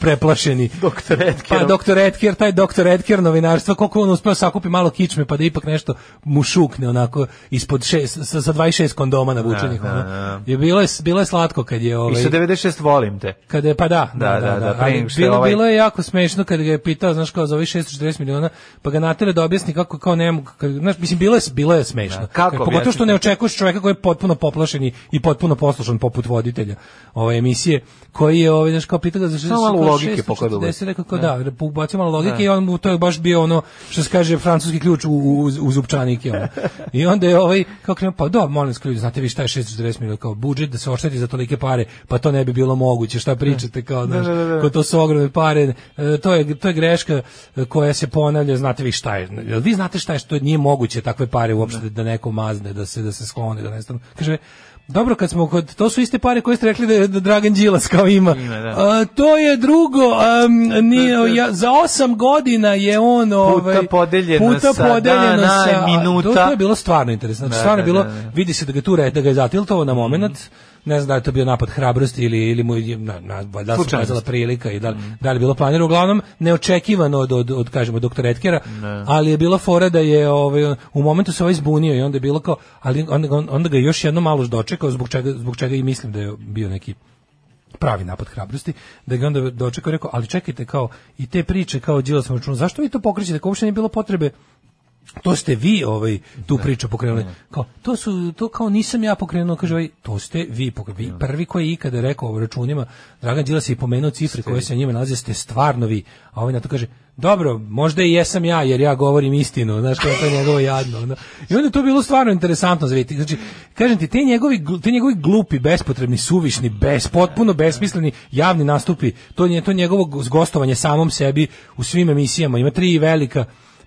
S5: preplašeni.
S6: Doktor Edker.
S5: Pa doktor Edker, taj doktor Edker novinarstva, koliko on uspeo sakupi malo kičme pa da ipak nešto mu šukne onako ispod šest, sa, sa 26 kondoma navučenih.
S6: Da, da,
S5: ono.
S6: da.
S5: Je bilo je, bilo je slatko kad je
S6: I
S5: ovaj,
S6: sa 96 volim te.
S5: kada je, pa da, da,
S6: Da,
S5: da,
S6: da,
S5: da,
S6: da, pre
S5: ali
S6: nego što je
S5: bilo,
S6: ovaj-
S5: bilo je jako smešno kad ga je pitao, znaš, kao za ovih 640 miliona, pa ga natjera da objasni kako, kao ne mogu, kad- znaš, mislim, bilo je, bilo je smešno.
S6: Da, kako
S5: Pogotovo što
S6: objasniti?
S5: ne očekuješ čoveka koji je potpuno poplašen i- i potpuno poslušan poput voditelja ove emisije, koji je, ovaj, znaš, kao pitao ga za 640
S6: Samo malo logike poklopio.
S5: rekao kao da, ubacio malo logike i on mu, to je baš bio ono, što se kaže, francuski ključ u, u, u zupčanike. Ono. I onda je ovaj, kao krenuo, pa da, molim vas, ljudi, znate vi šta je 640 miliona, kao budžet da se ošteti za tolike pare, pa to ne bi bilo moguće, šta pričate, kao, znaš,
S6: da, da, da.
S5: kao to su ogromne pare, E, to je, to je greška e, koja se ponavlja, znate vi šta je, jel vi znate šta je, što nije moguće takve pare uopšte da neko mazne, da se, da se sklone, da nestanu. Kaže, dobro, kad smo kod, to su iste pare koje ste rekli da, je- da Dragan Đilas kao ima.
S6: Ima, da.
S5: A, to je drugo, um, nije, ja, za osam godina je on ovaj,
S6: podeljeno
S5: puta
S6: sa
S5: podeljeno
S6: dana
S5: sa-
S6: i minuta.
S5: To, to je bilo stvarno interesantno. Znači,
S6: Da,
S5: stvarno
S6: da,
S5: je bilo,
S6: da, da.
S5: vidi se da ga tu re- da ga je zatiltovao na moment, ne znam da je to bio napad hrabrosti ili, ili mu je, na, na, valjda se
S6: Slučajnost.
S5: ukazala prilika i da li, da li je bilo planirano, uglavnom neočekivano od, od, od kažemo, doktora Etkera, ali je bila fora da je ovaj, u momentu se ovaj zbunio i onda je bilo kao, ali onda, ga- onda ga je još jedno malo dočekao, zbog čega, zbog čega i mislim da je bio neki pravi napad hrabrosti, da ga je onda dočekao i rekao, ali čekajte kao i te priče kao Đilas sam račun, zašto vi to pokrećete, kao uopšte nije bilo potrebe to ste vi ovaj tu priču pokrenuli. Kao to su to kao nisam ja pokrenuo, kaže ovaj, to ste vi pokrenuli. Vi prvi koji je ikada rekao o računima, Dragan Đilas je i pomenuo cifre koje se na njima nalaze, ste stvarno vi. A ovaj na to kaže, dobro, možda i jesam ja jer ja govorim istinu, znaš kako je to njegovo jadno. ono. I onda je to bilo stvarno interesantno za vidjeti. Znači, kažem ti, te njegovi, glu- te njegovi glupi, bespotrebni, suvišni, bez, potpuno besmisleni javni nastupi, to, nje- to njegovo gostovanje samom sebi u svim emisijama, ima tri velika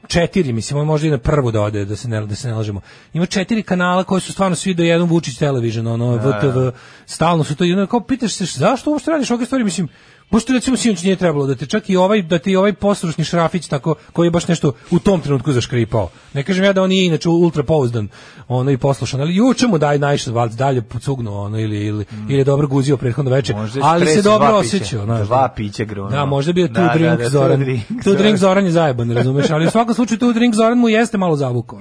S5: četiri, mislim, on može i na prvu da ode, da se ne, da se ne lažemo. Ima četiri kanala koji su stvarno svi do jednom Vučić Television, ono, VTV, stalno su to, i onda kao pitaš se, zašto uopšte radiš ovakve stvari, mislim, pošto recimo sinoć nije trebalo da te čak i ovaj, da ti i ovaj poslušni šrafić tako, koji je baš nešto u tom trenutku zaškripao. Ne kažem ja da on nije inače ultra pouzdan, ono i poslušan, ali juče mu daj najviše valc dalje pucugnuo, ono, ili, ili, ili je dobro guzio prethodno veče,
S6: Mm. Možda je
S5: ali se
S6: stresao
S5: dobro
S6: dva pića.
S5: osjećao. znaš,
S6: Dva
S5: da.
S6: pića grunuo.
S5: Da, možda bio tu
S6: Da, da,
S5: drink
S6: da, two
S5: Zoran.
S6: drink
S5: Two
S6: Zoran.
S5: drink Zoran je zajeban, razumeš, ali u svakom slučaju tu drink Zoran mu jeste malo zavukao.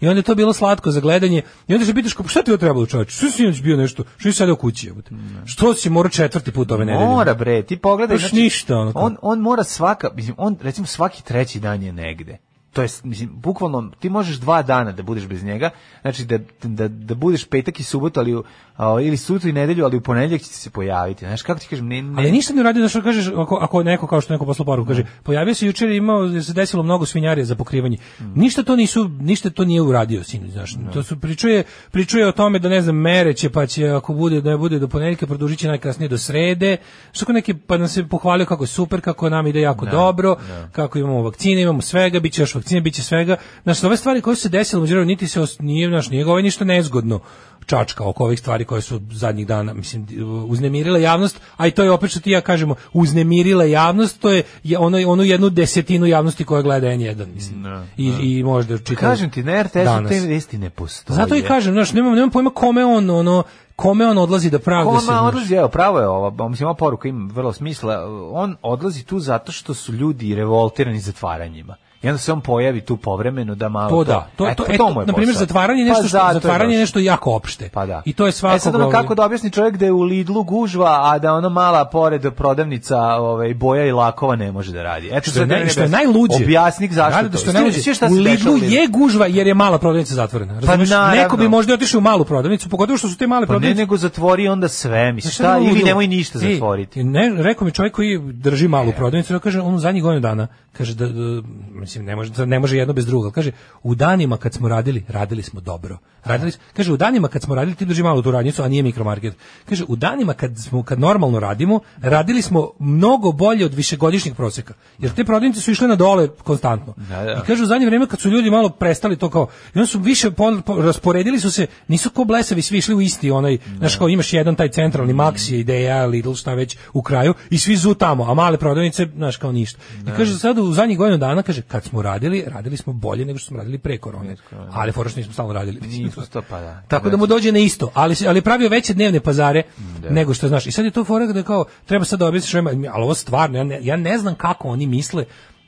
S5: I onda je to bilo slatko za gledanje. I onda se pitaš, kao, šta ti je trebalo čoveče? Što si sinoć bio nešto? Što si sad u kući? jebote? Što si morao četvrti put ove nedelje?
S6: Mora znači, bre, ti pogledaj,
S5: Baš ništa, ono.
S6: on on mora svaka, mislim, on recimo svaki treći dan je negde. To je, mislim, bukvalno, ti možeš dva dana da budeš bez njega, znači da, da, da budeš petak i subot, ali, u- a, ili sutra i nedelju, ali u ponedjeljak će se pojaviti. Znaš, kako ti kažem, ne, ne,
S5: Ali ništa ne uradio, što kažeš, ako, ako neko, kao što neko poslu paru, kaže, pojavio se jučer i imao, jer se desilo mnogo svinjarija za pokrivanje. Ništa to nisu, ništa to nije uradio, sinoć, znaš. To su, pričuje, pričuje o tome da, ne znam, mere će, pa će, ako bude, da bude do ponedjeljka, produžit će najkasnije do srede. Što neki, pa nam se pohvalio kako je super, kako nam ide jako dobro, kako imamo vakcine, imamo svega, bit će još vakcine, bit će svega. Znaš, ove stvari koje su se desile, međutim, niti se, os- nije, znaš, nije ga ovaj ništa nezgodno čačka oko ovih stvari koje su zadnjih dana mislim uznemirile javnost, a i to je opet što ti i ja kažemo uznemirila javnost, to je je ono onu jednu desetinu javnosti koja gleda N1 mislim. I, i možda čitav.
S6: Pa kažem ti, na RTS-u
S5: danas.
S6: te vesti ne postoje.
S5: Zato i kažem, znaš, nemam nemam pojma kome on ono kome on odlazi da pravda se.
S6: Ona
S5: znaš.
S6: odlazi, evo, pravo je ova, mislim, ova poruka ima vrlo smisla. On odlazi tu zato što su ljudi revoltirani zatvaranjima. I onda se on pojavi tu povremeno da malo...
S5: To da, to,
S6: E,
S5: to,
S6: pa
S5: e,
S6: mu je
S5: na primjer
S6: posao.
S5: zatvaranje je
S6: Pa
S5: nešto što,
S6: zato je
S5: zatvaranje je
S6: baš-
S5: nešto jako opšte.
S6: Pa da.
S5: I to je ovaj- svakako.
S6: E sad ono kako da objasni čovjek da je u Lidlu gužva, a da ono mala pored prodavnica ovaj, boja i lakova ne može da radi.
S5: što
S6: Eto,
S5: je,
S6: sad
S5: naj,
S6: meni
S5: što je
S6: objasni-
S5: najluđe.
S6: Objasnik zašto
S5: Rade da
S6: to.
S5: što je
S6: Svi-
S5: najluđe.
S6: svi šta
S5: U
S6: se dešava
S5: Lidlu
S6: u Lidlu?
S5: je gužva jer je mala prodavnica zatvorena. Razumeš? Neko
S6: naravno.
S5: bi možda otišao u malu prodavnicu, pogotovo što su te male
S6: Pa ne,
S5: prodavnice
S6: nego zatvori onda sve, mislim,
S5: Znaš šta
S6: šta,
S5: je
S6: ili
S5: ludilo?
S6: nemoj ništa
S5: Ej,
S6: zatvoriti.
S5: Ne, rekao mi čovjek koji drži malu prodavnicu, on kaže on u zadnjih godinu dana, kaže da, da, mislim ne može ne može jedno bez drugog, ali kaže u danima kad smo radili, radili smo dobro. Radili smo- kaže u danima kad smo radili ti drži malu tu radnicu, a nije mikromarket. Kaže u danima kad smo kad normalno radimo, radili smo mnogo bolje od višegodišnjeg prosjeka. Jer te prodavnice su išle na dole konstantno.
S6: Da, da.
S5: I kaže u zadnje vrijeme kad su ljudi malo prestali to kao i onda su više pon- po- rasporedili su se nisu ko blesavi svi išli u isti onaj znaš kao imaš jedan taj centralni Maxi Ideja Lidl šta već u kraju i svi zu tamo a male prodavnice znaš kao ništa i kaže sad u zadnjih godinu dana kaže kad smo radili radili smo bolje nego što smo radili pre korone ali fora što nismo stalno radili
S6: Nisu to, pa da.
S5: tako da mu dođe na isto, ali se- ali je pravio veće dnevne pazare nego što znaš. I sad je to fora da je kao treba sad da objasniš ovima, ali ovo stvarno ja ne, ja ne znam kako oni misle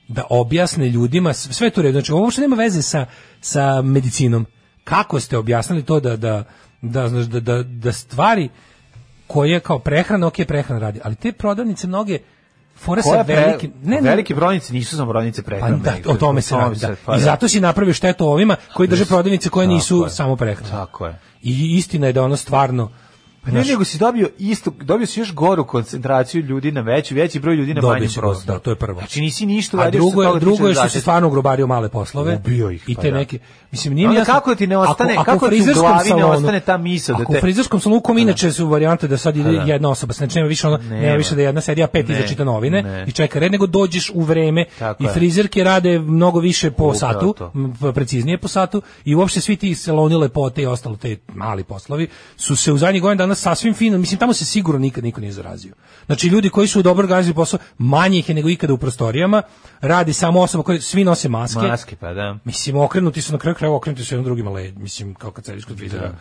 S5: da objasne ljudima s- sve je to u redu. Znači ovo uopšte nema veze sa sa medicinom. Kako ste objasnili to da da da znaš, da, da, da stvari koje kao prehrana, ok, prehrana radi, ali te prodavnice mnoge fora sa
S6: Koja pre-
S5: velikim,
S6: velike brojnice nisu samo brojnice
S5: pa
S6: prehrane.
S5: da, o tome se radi. da.
S6: pa
S5: I zato si napravio štetu ovima koji drže prodavnice koje nisu
S6: je.
S5: samo prehrana.
S6: Tako je.
S5: I istina je da ono stvarno
S6: Pa ne, nego si dobio isto, dobio si još goru koncentraciju ljudi na veći, veći broj ljudi na
S5: Dobio
S6: manjem
S5: si goru,
S6: prostoru.
S5: da, to je prvo.
S6: Znači nisi ništa
S5: A
S6: uradio
S5: drugo
S6: se
S5: je,
S6: toga
S5: drugo
S6: tiče
S5: je što
S6: zaštite.
S5: si stvarno ugrobario male poslove.
S6: Ubio ih,
S5: I
S6: pa
S5: te
S6: da.
S5: neke. Mislim, nije mi
S6: Onda
S5: jasno-
S6: kako ti ne ostane-
S5: ako,
S6: kako
S5: ako
S6: ti u
S5: u frizerskom
S6: glavi ne
S5: salonu-
S6: ostane ta misao da
S5: Ako
S6: te-
S5: u frizerskom salonu, kom inače su varijante da sad ide jedna osoba, znači nema više, ono, nema.
S6: Nema.
S5: više da jedna sedi, a pet
S6: Ne.
S5: iza čita novine
S6: Ne.
S5: i čeka red, nego dođeš u vreme
S6: Tako
S5: i
S6: je.
S5: frizerke rade mnogo više po
S6: Upravo
S5: satu,
S6: to.
S5: m, p- preciznije po satu i uopšte svi ti saloni lepote i ostalo te mali poslovi su se u zadnjih godina danas sasvim fino, mislim tamo se sigurno nikad niko nije zarazio. Znači ljudi koji su dobro organizovali posao, manje ih je nego ikada u prostorijama, radi samo osoba koja svi nose maske.
S6: Maske, pa da.
S5: Mislim, okrenuti su na kraju krajeva, okrenuti su jednom drugima led, mislim, kao kad sediš kod frizera,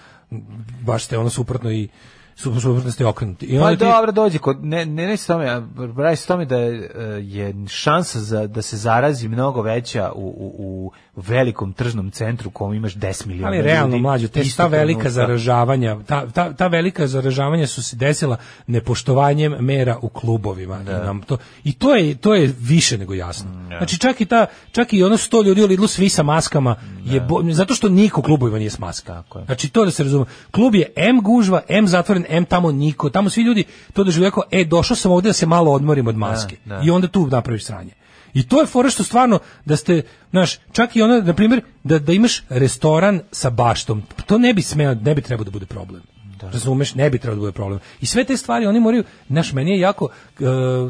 S5: baš ste ono suprotno i su- suprotno ste okrenuti. I
S6: Pa
S5: onda ti-
S6: dobro, dođi kod ne ne ne s tome, a radi se o tome da je, e, je šansa za da se zarazi mnogo veća u u, u velikom tržnom centru kom imaš 10 miliona
S5: Ali realno
S6: ljudi,
S5: mlađo, te
S6: istog
S5: ta velika
S6: trenutka.
S5: zaražavanja, ta, ta, ta velika zaražavanja su se desila nepoštovanjem mera u klubovima. I, nam to, I to je to je više nego jasno.
S6: Mm,
S5: Znači čak i ta čak i ono 100 ljudi u Lidlu svi sa maskama je bo- zato što niko u klubovima nije s maska.
S6: Tako je.
S5: Znači to da se razume. Klub je M gužva, M zatvoren, M tamo niko. Tamo svi ljudi to doživljaju kao e došao sam ovdje da se malo odmorim od maske.
S6: da.
S5: I onda tu napraviš sranje. I to je fora što stvarno da ste, znaš, čak i ono, na primjer, da, da imaš restoran sa baštom, to ne bi smeo, ne bi trebao da bude problem. Razumeš, ne bi trebao da bude problem. I sve te stvari oni moraju, znaš, meni je jako, e,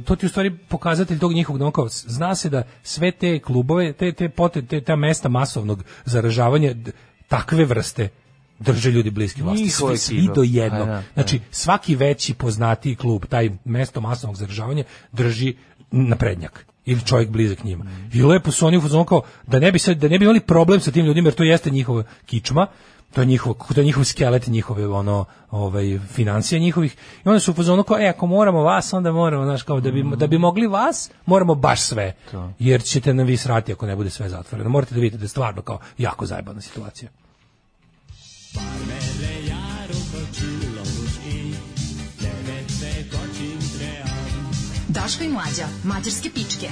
S5: to ti je u stvari pokazatelj tog njihovog nokao. Zna se da sve te klubove, te, te, pote, te, ta mesta masovnog zaražavanja, d- takve vrste drže ljudi bliski vlasti.
S6: Njihove
S5: Svi, svi
S6: ekipe.
S5: do
S6: Pa
S5: jednog.
S6: da, pa
S5: Znači, svaki veći poznatiji klub, taj mesto masovnog zaražavanja, drži na prednjak ili čovjek blizak njima. I lepo su oni u fazonu kao da ne bi sad, da ne bi imali problem sa tim ljudima jer to jeste njihova kičma, to je njihov to je njihov skelet, njihove ono ovaj financije njihovih. I onda su u fazonu kao e ako moramo vas onda moramo znaš kao da bi da bi mogli vas, moramo baš sve. Jer ćete nam vi srati ako ne bude sve zatvoreno. Morate da vidite da je stvarno kao jako zajebana situacija.
S4: Daško i Mlađa, mađarske pičke.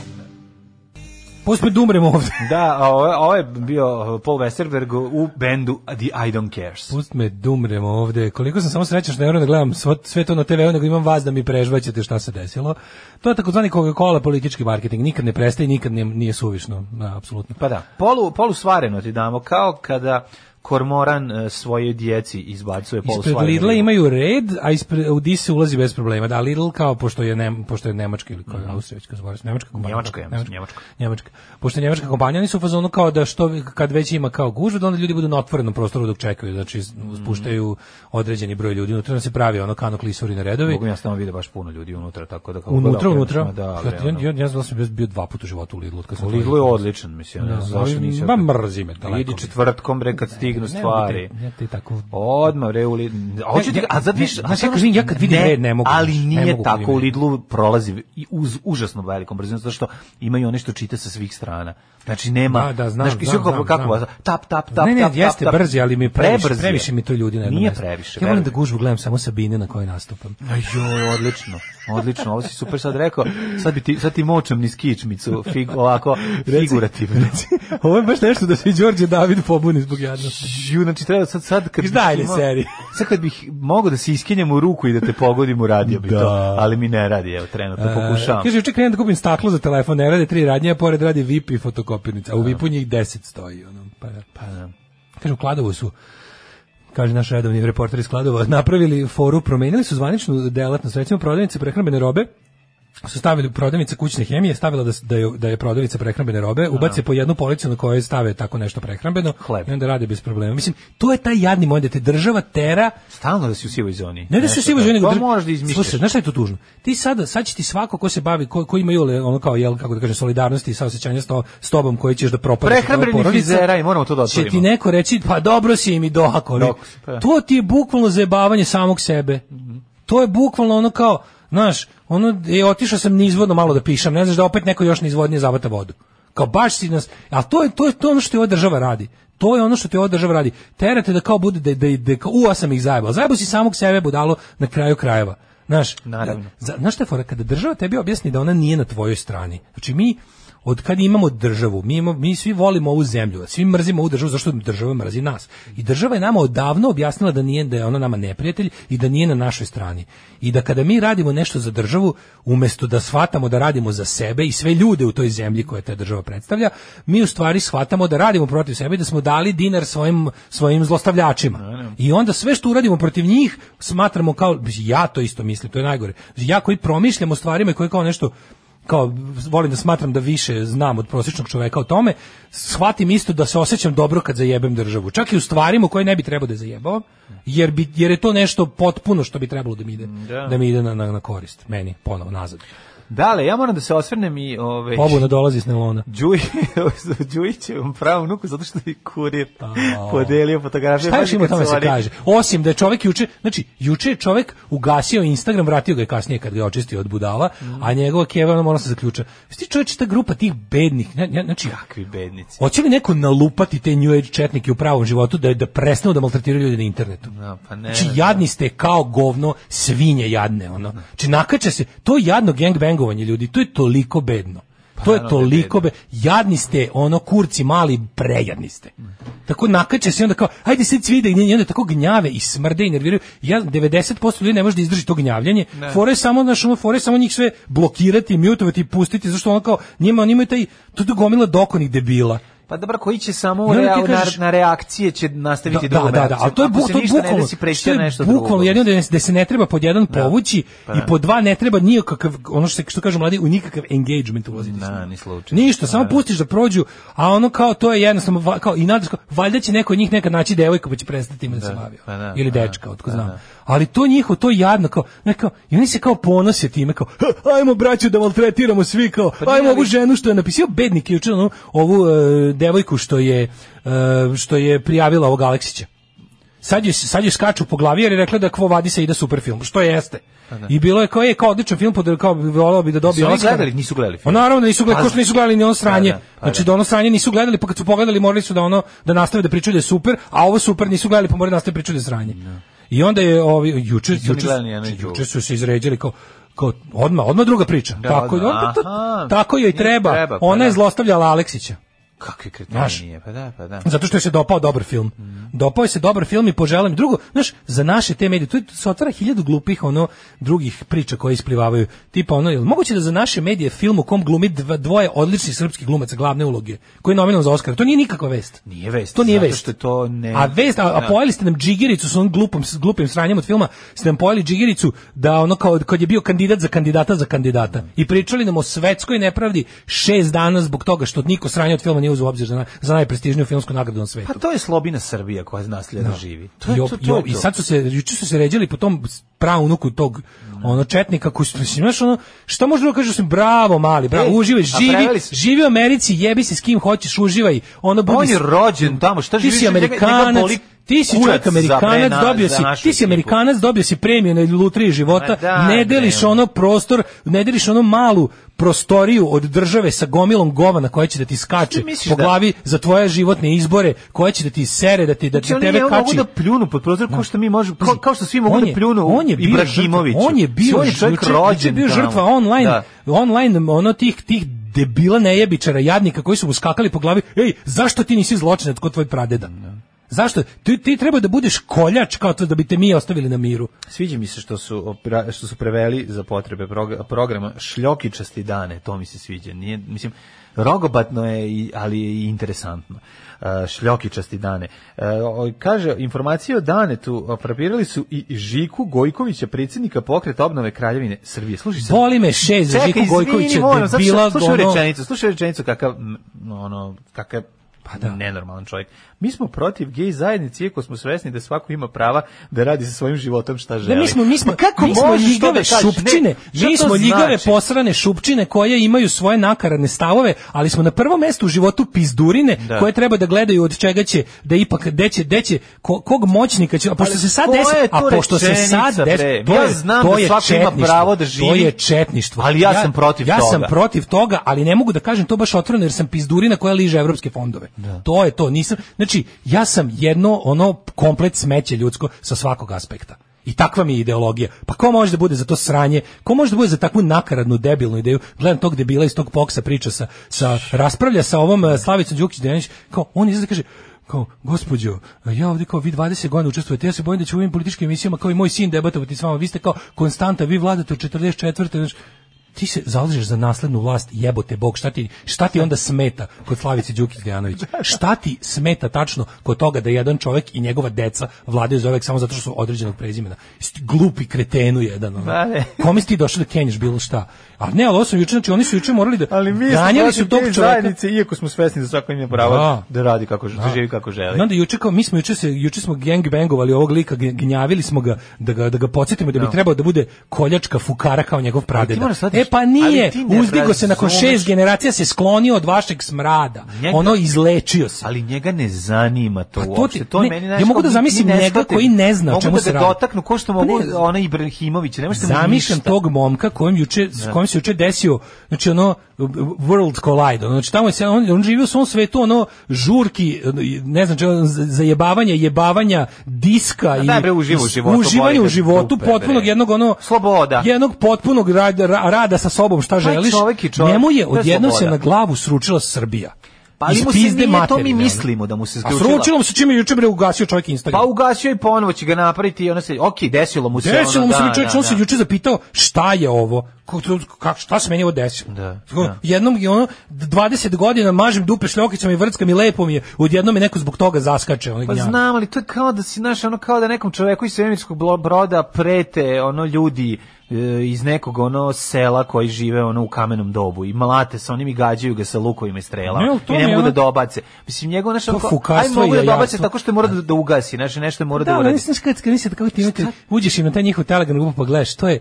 S5: Posle da umremo ovde.
S6: Da, a ovo, ovo je bio e, Paul Westerberg u bendu The I Don't Cares.
S5: Pust me dumrem ovde. Koliko sam samo srećan što ne moram da gledam svo- sve to na TV-u, nego imam vas da mi prežvaćete šta se desilo. To je takozvani Coca-Cola politički marketing. Nikad ne prestaje, nikad nije, nije suvišno. Da, apsolutno.
S6: Pa da, polu, polu svareno ti damo, kao kada kormoran e, svoje djeci izbacuje polu
S5: Ispred
S6: svareno.
S5: Lidla imaju red, a ispred, u Dis se ulazi bez problema. Da, Lidl kao, pošto je, nem, pošto je Nemačka ili koja je Austrijevska, zbora se, Nemačka kompanija.
S6: Mhm. Njemačka, ja mislim, Njemačka.
S5: Njemačka. Pošto je njemačka kompanija, oni su u fazonu kao da što vi- kad već ima kao gužvu, da onda ljudi budu na otvorenom prostoru dok čekaju, znači
S6: Mhm.
S5: spuštaju određeni broj ljudi, unutra se pravi ono kano klisuri na redovi.
S6: Mogu ja samo vidim baš puno ljudi unutra, tako da... Kako god
S5: Unutra,
S6: okreneš,
S5: unutra.
S6: ma Da,
S5: Ja-
S6: ali,
S5: ja,
S6: ono,
S5: ja, ja znam da sam bio- bio dva puta u životu u Lidlu. od Kad sam
S6: Lidl je odličan, mislim, ne znam zašto
S5: ali
S6: nisi...
S5: ba mrzi me daleko.
S6: Idi četvrtkom, bre, kad dignu
S5: Ne mogu
S6: stvari.
S5: te- ja te tako-
S6: Odmah re u Lidl. Hoću ti,
S5: ja-
S6: a zato
S5: ne,
S6: više,
S5: znaš, ja kažem, ja kad vidim red, ne mogu
S6: Ali
S5: više, ne
S6: nije
S5: mogu kad
S6: tako,
S5: vidim
S6: u
S5: red.
S6: Lidlu prolazi i uz užasno velikom brzinom, zato što imaju one što čita sa svih strana. Znači nema,
S5: Da, da, znam,
S6: znaš, i
S5: znam,
S6: sve kako-
S5: znam,
S6: kako
S5: znam.
S6: vas- tap, tap, tap,
S5: ne, ne,
S6: tap,
S5: jeste
S6: tap, tap.
S5: brzi, ali mi previše,
S6: Prebrz je.
S5: previše mi to ljudi na jednom
S6: Nije
S5: mestu.
S6: previše.
S5: Ja volim da
S6: verujem.
S5: gužvu gledam samo Sabine na kojoj nastupam.
S6: Joj, odlično, odlično, ovo si super sad rekao, sad, bi ti, sad ti močem niz kičmicu, fig, ovako, figurativno.
S5: Ovo je baš nešto da se i Đorđe David pobuni zbog jadnosti.
S6: Ju, znači treba sad, sad kad
S5: Izdaj li
S6: imao-
S5: seri?
S6: Sad kad bih mogao da se iskinjem u ruku i da te pogodim, uradio bi
S5: Da.
S6: to, ali mi ne radi, evo, trenutno pokušavam.
S5: E, Kaže, juče krenem da kupim staklo za telefon, ne rade tri radnje, a pored radi VIP i fotokopirnica, a u VIP-u njih deset stoji. Ono, pa, da.
S6: Pa, da.
S5: Kaže, u Kladovu su kaže naš redovni reporter iz Kladova, napravili foru, promenili su zvaničnu delatnost, recimo prodavnice prehrambene robe, su stavili prodavnica kućne hemije, stavila da, s- da, je, da je prodavnica prehrambene robe, ubace po jednu policu na kojoj stave tako nešto prehrambeno
S6: Hleb.
S5: i onda rade bez problema. Mislim, to je taj jadni moj da te država tera
S6: Stalno da si u sivoj zoni.
S5: ne da se
S6: Nešto Pa
S5: svi nego
S6: To
S5: dr-
S6: moraš da izmišljaš.
S5: Slušaj, znaš šta je tu tužno? Ti sada, sad će ti svako ko se bavi, ko, ko ima jole, ono kao, jel, kako da kažem, solidarnosti i saosećanja s, to, s tobom koji ćeš da propadneš. od tvoje
S6: Prehrambeni
S5: porodice,
S6: frizeraj, moramo to da
S5: Će ti
S6: otvorimo.
S5: neko reći, pa dobro si im i dohako. ali
S6: Dok, pa. Mhm.
S5: To ti je bukvalno zajebavanje samog sebe. To je bukvalno ono kao, znaš, ono, e, otišao sam nizvodno malo da pišem, ne znaš da opet neko još nizvodnije zavata vodu. Kao baš si nas, a to je, to je, to je ono što je ova država radi. To je ono što ti ova država radi. Terate da kao bude, da, da, da kao, u, ja sam ih zajebao. Zajebao si samog sebe budalo na kraju krajeva. Znaš,
S6: Naravno.
S5: za- Znaš šta je fora? Kada država tebi objasni da ona nije na tvojoj strani, znači mi od kad imamo državu, mi, imamo, mi svi volimo ovu zemlju, svi mrzimo ovu državu, zašto država mrzi nas. I država je nama odavno objasnila da nije da je ona nama neprijatelj i da nije na našoj strani. I da kada mi radimo nešto za državu, umesto da shvatamo da radimo za sebe i sve ljude u toj zemlji koje ta država predstavlja, mi u stvari shvatamo da radimo protiv sebe i da smo dali dinar svojim, svojim zlostavljačima. I onda sve što uradimo protiv njih smatramo kao, ja to isto mislim, to je najgore. Ja koji promišljam o stvarima i koji kao nešto kao volim da smatram da više znam od prosječnog čoveka o tome, shvatim isto da se osjećam dobro kad zajebem državu. Čak i u stvarima koje ne bi trebao da zajebavam, jer, bi, jer je to nešto potpuno što bi trebalo da mi ide, da. mi ide na, na, na korist. Meni, ponovo, nazad.
S6: Dale, ja moram da se osvrnem i... Ove,
S5: Pobuna dolazi s nelona.
S6: Đuj, Đujićevom pravnuku, zato što je kurir podelio fotografije.
S5: Šta još
S6: Pazi
S5: ima o
S6: kad
S5: tome
S6: su
S5: se
S6: oni-
S5: kaže? Osim da je čovek juče, znači juče je čovek ugasio Instagram, vratio ga je kasnije kad ga je očistio od budala, a njegova keva ona mora se zaključa. Sti čoveče ta grupa tih bednih, ne, ne, znači
S6: Kakvi bednici.
S5: Hoće li neko nalupati te New Age četnike u pravom životu da da prestanu da maltretiraju ljude na internetu?
S6: Da, pa ne.
S5: Znači, jadni ste kao govno svinje jadne, ono. Znači, nakače se, to je jadno gangbangovanje ljudi, to je toliko bedno. to je
S6: Pa naravno da je
S5: toliko be, jadni ste, ono, kurci mali, prejadni ste. Tako nakače se i onda kao, ajde se cvide, i onda tako gnjave i smrde i nerviraju. Ja, 90% ljudi ne može da izdrži to gnjavljanje. Fore je samo, znaš, ono, fore je samo njih sve blokirati, mutovati i pustiti, zašto ono kao, njima, oni imaju taj, to je gomila dokonih debila.
S6: Pa dobro, koji će samo
S5: I onda ti
S6: rea-
S5: kažeš-
S6: na, na reakcije će nastaviti
S5: da, da,
S6: drugu
S5: da, da,
S6: reakciju.
S5: ali to je
S6: Ako
S5: buk,
S6: se
S5: to je
S6: ništa ne
S5: bukvalno,
S6: desi, preći na
S5: to je
S6: nešto
S5: bukvalno
S6: drugo.
S5: jedino da, da se ne treba pod jedan povući
S6: Pa
S5: i
S6: da.
S5: pod dva ne treba nikakav, ono što, se- što kažu mladi, u nikakav engagement ulaziti. s
S6: Da,
S5: njim.
S6: ni slučajno.
S5: Ništa, samo pustiš da prođu, a ono kao to je jednostavno, va- kao, i nadaš kao, valjda će neko od njih nekad naći devojku pa će prestati ima da, se bavi.
S6: pa da,
S5: Ili
S6: pa da,
S5: dečka, otko
S6: pa
S5: znam.
S6: da.
S5: Ali to njihovo, to je jadno, kao, ne, kao, i oni se kao ponose time, kao, "Ha, ajmo braću da maltretiramo svi, kao,
S6: nije,
S5: ajmo
S6: Pa ali-
S5: ovu ženu što je napisao bednik juče, onu, ovu e, devojku što je, e, što je prijavila ovog Aleksića. Sad joj, sad joj skaču po glavi jer je rekla da Kvo Vadi se ide super film, što jeste. I bilo je kao, je, kao odličan film, pod, kao volao bi da
S6: Pa Su
S5: dobije
S6: oni
S5: Oscar.
S6: gledali? Nisu gledali
S5: Pa
S6: film.
S5: naravno da nisu gledali, ko što nisu gledali ni ono sranje.
S6: Pa da, pa
S5: znači
S6: da.
S5: da ono sranje nisu gledali, pa kad su pogledali morali su da ono da nastave da pričaju da je super, a ovo super nisu gledali pa moraju da nastave pričaju da je sranje. I onda je ovi juče
S6: ni
S5: juče,
S6: gledali ni jedno ni drugo.
S5: juče su se izređali kao kao odma odma druga priča.
S6: Da,
S5: tako
S6: odmah,
S5: onda to-
S6: aha.
S5: tako joj
S6: Nije
S5: treba.
S6: treba, pa
S5: Ona je
S6: da.
S5: zlostavljala Aleksića.
S6: Kakvi
S5: Znaš.
S6: kretenije, pa da, pa da.
S5: Zato što je se dopao dobar film.
S6: Mm.
S5: Dopao je se dobar film i poželim drugo, znaš, za naše te medije, tu je- tu se otvara hiljadu glupih ono drugih priča koje isplivavaju. Tipa ono, jel moguće da za naše medije film u kom glumi dva- dvoje odličnih srpskih glumaca glavne uloge, koji je nominovan za Oskar, to nije nikakva vest.
S6: Nije vest,
S5: To nije
S6: zato
S5: vest.
S6: što je to ne-
S5: A vest, a, a
S6: Da.
S5: pojeli ste nam džigericu sa onim glupom, s glupim sranjem od filma, ste nam pojeli džigericu da ono kao kad je bio kandidat za kandidata za kandidata i pričali nam o svetskoj nepravdi šest dana zbog toga što niko sranje od filma nije uzeo u obzir za, naj- za najprestižniju filmsku nagradu na svetu.
S6: Pa to je slobina Srbija koja nasljedno živi. To je
S5: Jo,
S6: to, to
S5: jo,
S6: je
S5: I
S6: to.
S5: sad su se, juče su se ređali po tom praunuku tog ono četnika koji su, mislim, znaš, ono, šta može drugo kažu, sam, bravo mali, bravo,
S6: E,
S5: uživaj,
S6: a
S5: živi,
S6: preveli su-
S5: živi u Americi, jebi se s kim hoćeš, uživaj, ono, budi,
S6: Pa On je rođen tamo, šta
S5: ti
S6: živiš?
S5: si
S6: Njega- njega
S5: Amerikanac,
S6: boli
S5: ti si
S6: kurac
S5: čovjek
S6: za
S5: Amerikanac,
S6: brena-
S5: dobio
S6: za
S5: si,
S6: našu
S5: ti si
S6: ekipu.
S5: Amerikanac, dobio si premiju na lutriji života,
S6: Ma da,
S5: ne deliš
S6: nema.
S5: ono prostor, ne deliš ono malu prostoriju od države sa gomilom govana koja će da ti skače
S6: Ti misliš
S5: po
S6: da-
S5: glavi za tvoje životne izbore, koja će da ti sere, da ti da
S6: Znači,
S5: ti
S6: oni
S5: tebe
S6: njemu mogu
S5: kači.
S6: da pljunu pod prozor kao što mi možemo, kao,
S5: Pazi,
S6: kao što svi mogu
S5: on
S6: da
S5: je-
S6: pljunu
S5: on je bio žrtva-
S6: Ibrahimoviću.
S5: On je bio,
S6: on je čovjek
S5: juče- juče
S6: rođen
S5: bio
S6: tamo.
S5: žrtva online,
S6: Da.
S5: online ono tih tih debila nejebičara jadnika koji su mu skakali po glavi, ej, zašto ti nisi zločinac kod tvoj pradeda? Zašto? Ti, ti treba da budeš koljač kao to da bi te mi ostavili na miru.
S6: Sviđa mi se što su opra- što su preveli za potrebe proga- programa šljokičasti dane, to mi se sviđa. Nije mislim rogobatno je, i- ali je i interesantno. E, šljokičasti dane. E, o- kaže, informacije o Danetu apropirirali su i Žiku Gojkovića, predsjednika pokreta obnove Kraljevine Srbije. Slušaj sad.
S5: Boli me šest za
S6: Čekaj,
S5: Žiku
S6: izvini,
S5: Gojkovića,
S6: moram, zato što-
S5: debila,
S6: Slušaj
S5: ono-
S6: rečenicu, slušaj rečenicu kakav, m, ono, kakav pa da. nenormalan čovjek. Mi smo protiv gej zajednice, iako smo svesni da svako ima prava da radi sa svojim životom šta želi.
S5: Da, mi smo, mi smo,
S6: Pa kako
S5: mi smo
S6: možeš to
S5: ljigave
S6: da kažeš? Ne,
S5: šupčine,
S6: šta
S5: mi
S6: to
S5: smo ljigave
S6: znači?
S5: posrane šupčine koje imaju svoje nakaradne stavove, ali smo na prvom mestu u životu pizdurine
S6: Da.
S5: koje treba da gledaju od čega će, da ipak, deće, deće, ko, kog moćnika će, a pošto
S6: Ali
S5: se sad
S6: koja
S5: desi,
S6: je to
S5: a pošto se sad
S6: rečenica,
S5: desi,
S6: bre?
S5: to
S6: Ja
S5: je,
S6: znam
S5: to
S6: da
S5: je
S6: svako ima
S5: četništvo,
S6: pravo da
S5: To
S6: živi,
S5: je četništvo.
S6: ali ja sam protiv
S5: Ja sam
S6: toga.
S5: protiv toga, ali ne mogu da kažem to baš otvoreno jer sam pizdurina koja liže evropske fondove. To je to, nisam. Znači, ja sam jedno ono komplet smeće ljudsko sa svakog aspekta. I takva mi je ideologija. Pa ko može da bude za to sranje? Ko može da bude za takvu nakaradnu debilnu ideju? Gledam tog debila iz tog poksa priča sa, sa raspravlja sa ovom eh, Slavicom Đukić Denić, kao on izlazi i kaže kao, gospođo, eh, ja ovdje kao vi 20 godina učestvujete, ja se bojim da ću u ovim političkim emisijama kao i moj sin debatovati s vama, vi ste kao konstanta, vi vladate od 44. Znači, ti se zalažeš za naslednu vlast, jebote bog, šta ti, šta ti onda smeta kod Slavice Đukić Dejanović? Šta ti smeta tačno kod toga da jedan čovjek i njegova deca vladaju za uvek samo zato što su određenog prezimena? Isti Glupi kretenu jedan. ono.
S6: Ma ne.
S5: Kome si ti došao da kenješ bilo šta? A ne, ali ovo su juče, znači oni su juče morali da
S6: Ali mi smo
S5: ganjali su
S6: protiv
S5: tog
S6: gej
S5: čovjeka.
S6: zajednice, iako smo svesni da svako ima pravo
S5: Da.
S6: da, radi kako želi, da. živi kako želi.
S5: I onda juče kao, mi smo juče se juče smo gangbangovali ovog lika, g- gnjavili smo ga da ga da ga podsjetimo da bi trebao da bude koljačka fukara kao njegov pradeda.
S6: moraš shvatiti-
S5: E pa nije,
S6: ali ti ne
S5: uzdigo se nakon
S6: razumeš.
S5: šest generacija se sklonio od vašeg smrada.
S6: Njega-
S5: Ono izlečio se.
S6: ali njega ne zanima to,
S5: Pa to ti-
S6: uopšte. To
S5: ne,
S6: je meni znaš,
S5: ja mogu
S6: kao
S5: da
S6: mi- mi
S5: zamislim
S6: ne
S5: njega
S6: shvatim.
S5: koji ne zna o čemu
S6: mogu
S5: se
S6: da
S5: radi.
S6: ga dotaknu, ko što
S5: Pa ne,
S6: mogu ona Ibrahimović, ne možete mu
S5: Zamišljam
S6: ništa.
S5: tog momka kojem juče, s kojim se juče desio, znači ono world collide, ono, znači tamo je se, on, on živi u svom svetu, ono žurki, ne znam, čega, z- zajebavanja, jebavanja, diska i
S6: daj bre, uživaj u životu,
S5: uživanje
S6: boli
S5: u
S6: te
S5: životu,
S6: dupe,
S5: potpunog
S6: bre.
S5: jednog ono,
S6: Sloboda.
S5: jednog potpunog rada, ra- rada sa sobom, šta
S6: Pa,
S5: želiš,
S6: čovek je čovek,
S5: njemu je
S6: to je
S5: odjednom se
S6: sloboda.
S5: na glavu sručila Srbija.
S6: Pa ali
S5: Iz
S6: mu se
S5: pizde
S6: nije, to mi
S5: materine, ono.
S6: mislimo da mu se
S5: A
S6: sključila.
S5: sručilo mu se čime je juče bre ugasio čovjek Instagram.
S6: Pa ugasio i ponovo će ga napraviti i ona se, ok, desilo mu se.
S5: Desilo
S6: ono,
S5: mu se
S6: da,
S5: mi čovječ,
S6: da,
S5: on se
S6: da.
S5: juče zapitao šta je ovo, kako, kako, šta se meni ovo desilo.
S6: Da,
S5: Tako,
S6: da.
S5: Jednom je ono, 20 godina mažem dupe šljokicama i vrckam i lepo mi je, odjednom je neko zbog toga zaskače. Ono,
S6: Pa
S5: gnjavi.
S6: znam, ali to je kao da si, znaš, ono kao da nekom čoveku iz svemirskog blo- broda prete, ono, ljudi e, iz nekog, ono, sela koji žive, ono, u kamenom dobu i malate sa onim i gađaju ga sa lukovima i strelama
S5: Ne, ali to
S6: i
S5: mi
S6: ne
S5: je
S6: mogu da
S5: ono-
S6: dobace. Mislim, njegov, znaš,
S5: To
S6: ono, kao, aj
S5: fukarstvo
S6: mogu
S5: i
S6: da dobace
S5: jajarstvo.
S6: tako što mora da, da ugasi, znaš, nešto mora da
S5: da, ali
S6: uradi.
S5: znaš kad, kad mislite kako ti imate, uđeš im na taj njihov Telegram grupu pa gledaš, to je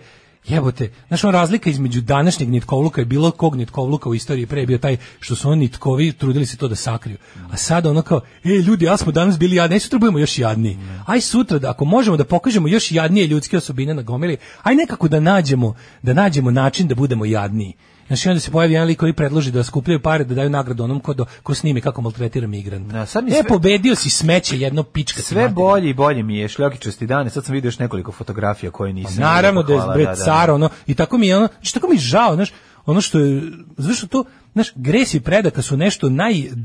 S5: jebote, znaš on razlika između današnjeg nitkovluka i bilo kog nitkovluka u istoriji pre je bio taj što su oni nitkovi trudili se to da sakriju. A sada ono kao, e ljudi, ja smo danas bili jadni, aj sutra budemo još jadniji. Aj sutra, da, ako možemo da pokažemo još jadnije ljudske osobine na gomili, aj nekako da nađemo, da nađemo način da budemo jadniji. Znaš, i onda se pojavi jedan lik koji predloži da skupljaju pare, da daju nagradu onom ko, do, ko snimi kako maltretira migranta.
S6: Da, sad mi
S5: E,
S6: sve-
S5: pobedio si smeće jedno pička. ti
S6: Sve
S5: materina.
S6: bolje i bolje mi je šljokičasti dane. Sad sam vidio još nekoliko fotografija koje nisam. vidio,
S5: Naravno
S6: pa
S5: da je
S6: hvala,
S5: bre car, ono, i tako mi je ono, znači tako mi je žao, znaš, ono što je, zašto to, znaš, gresi predaka su nešto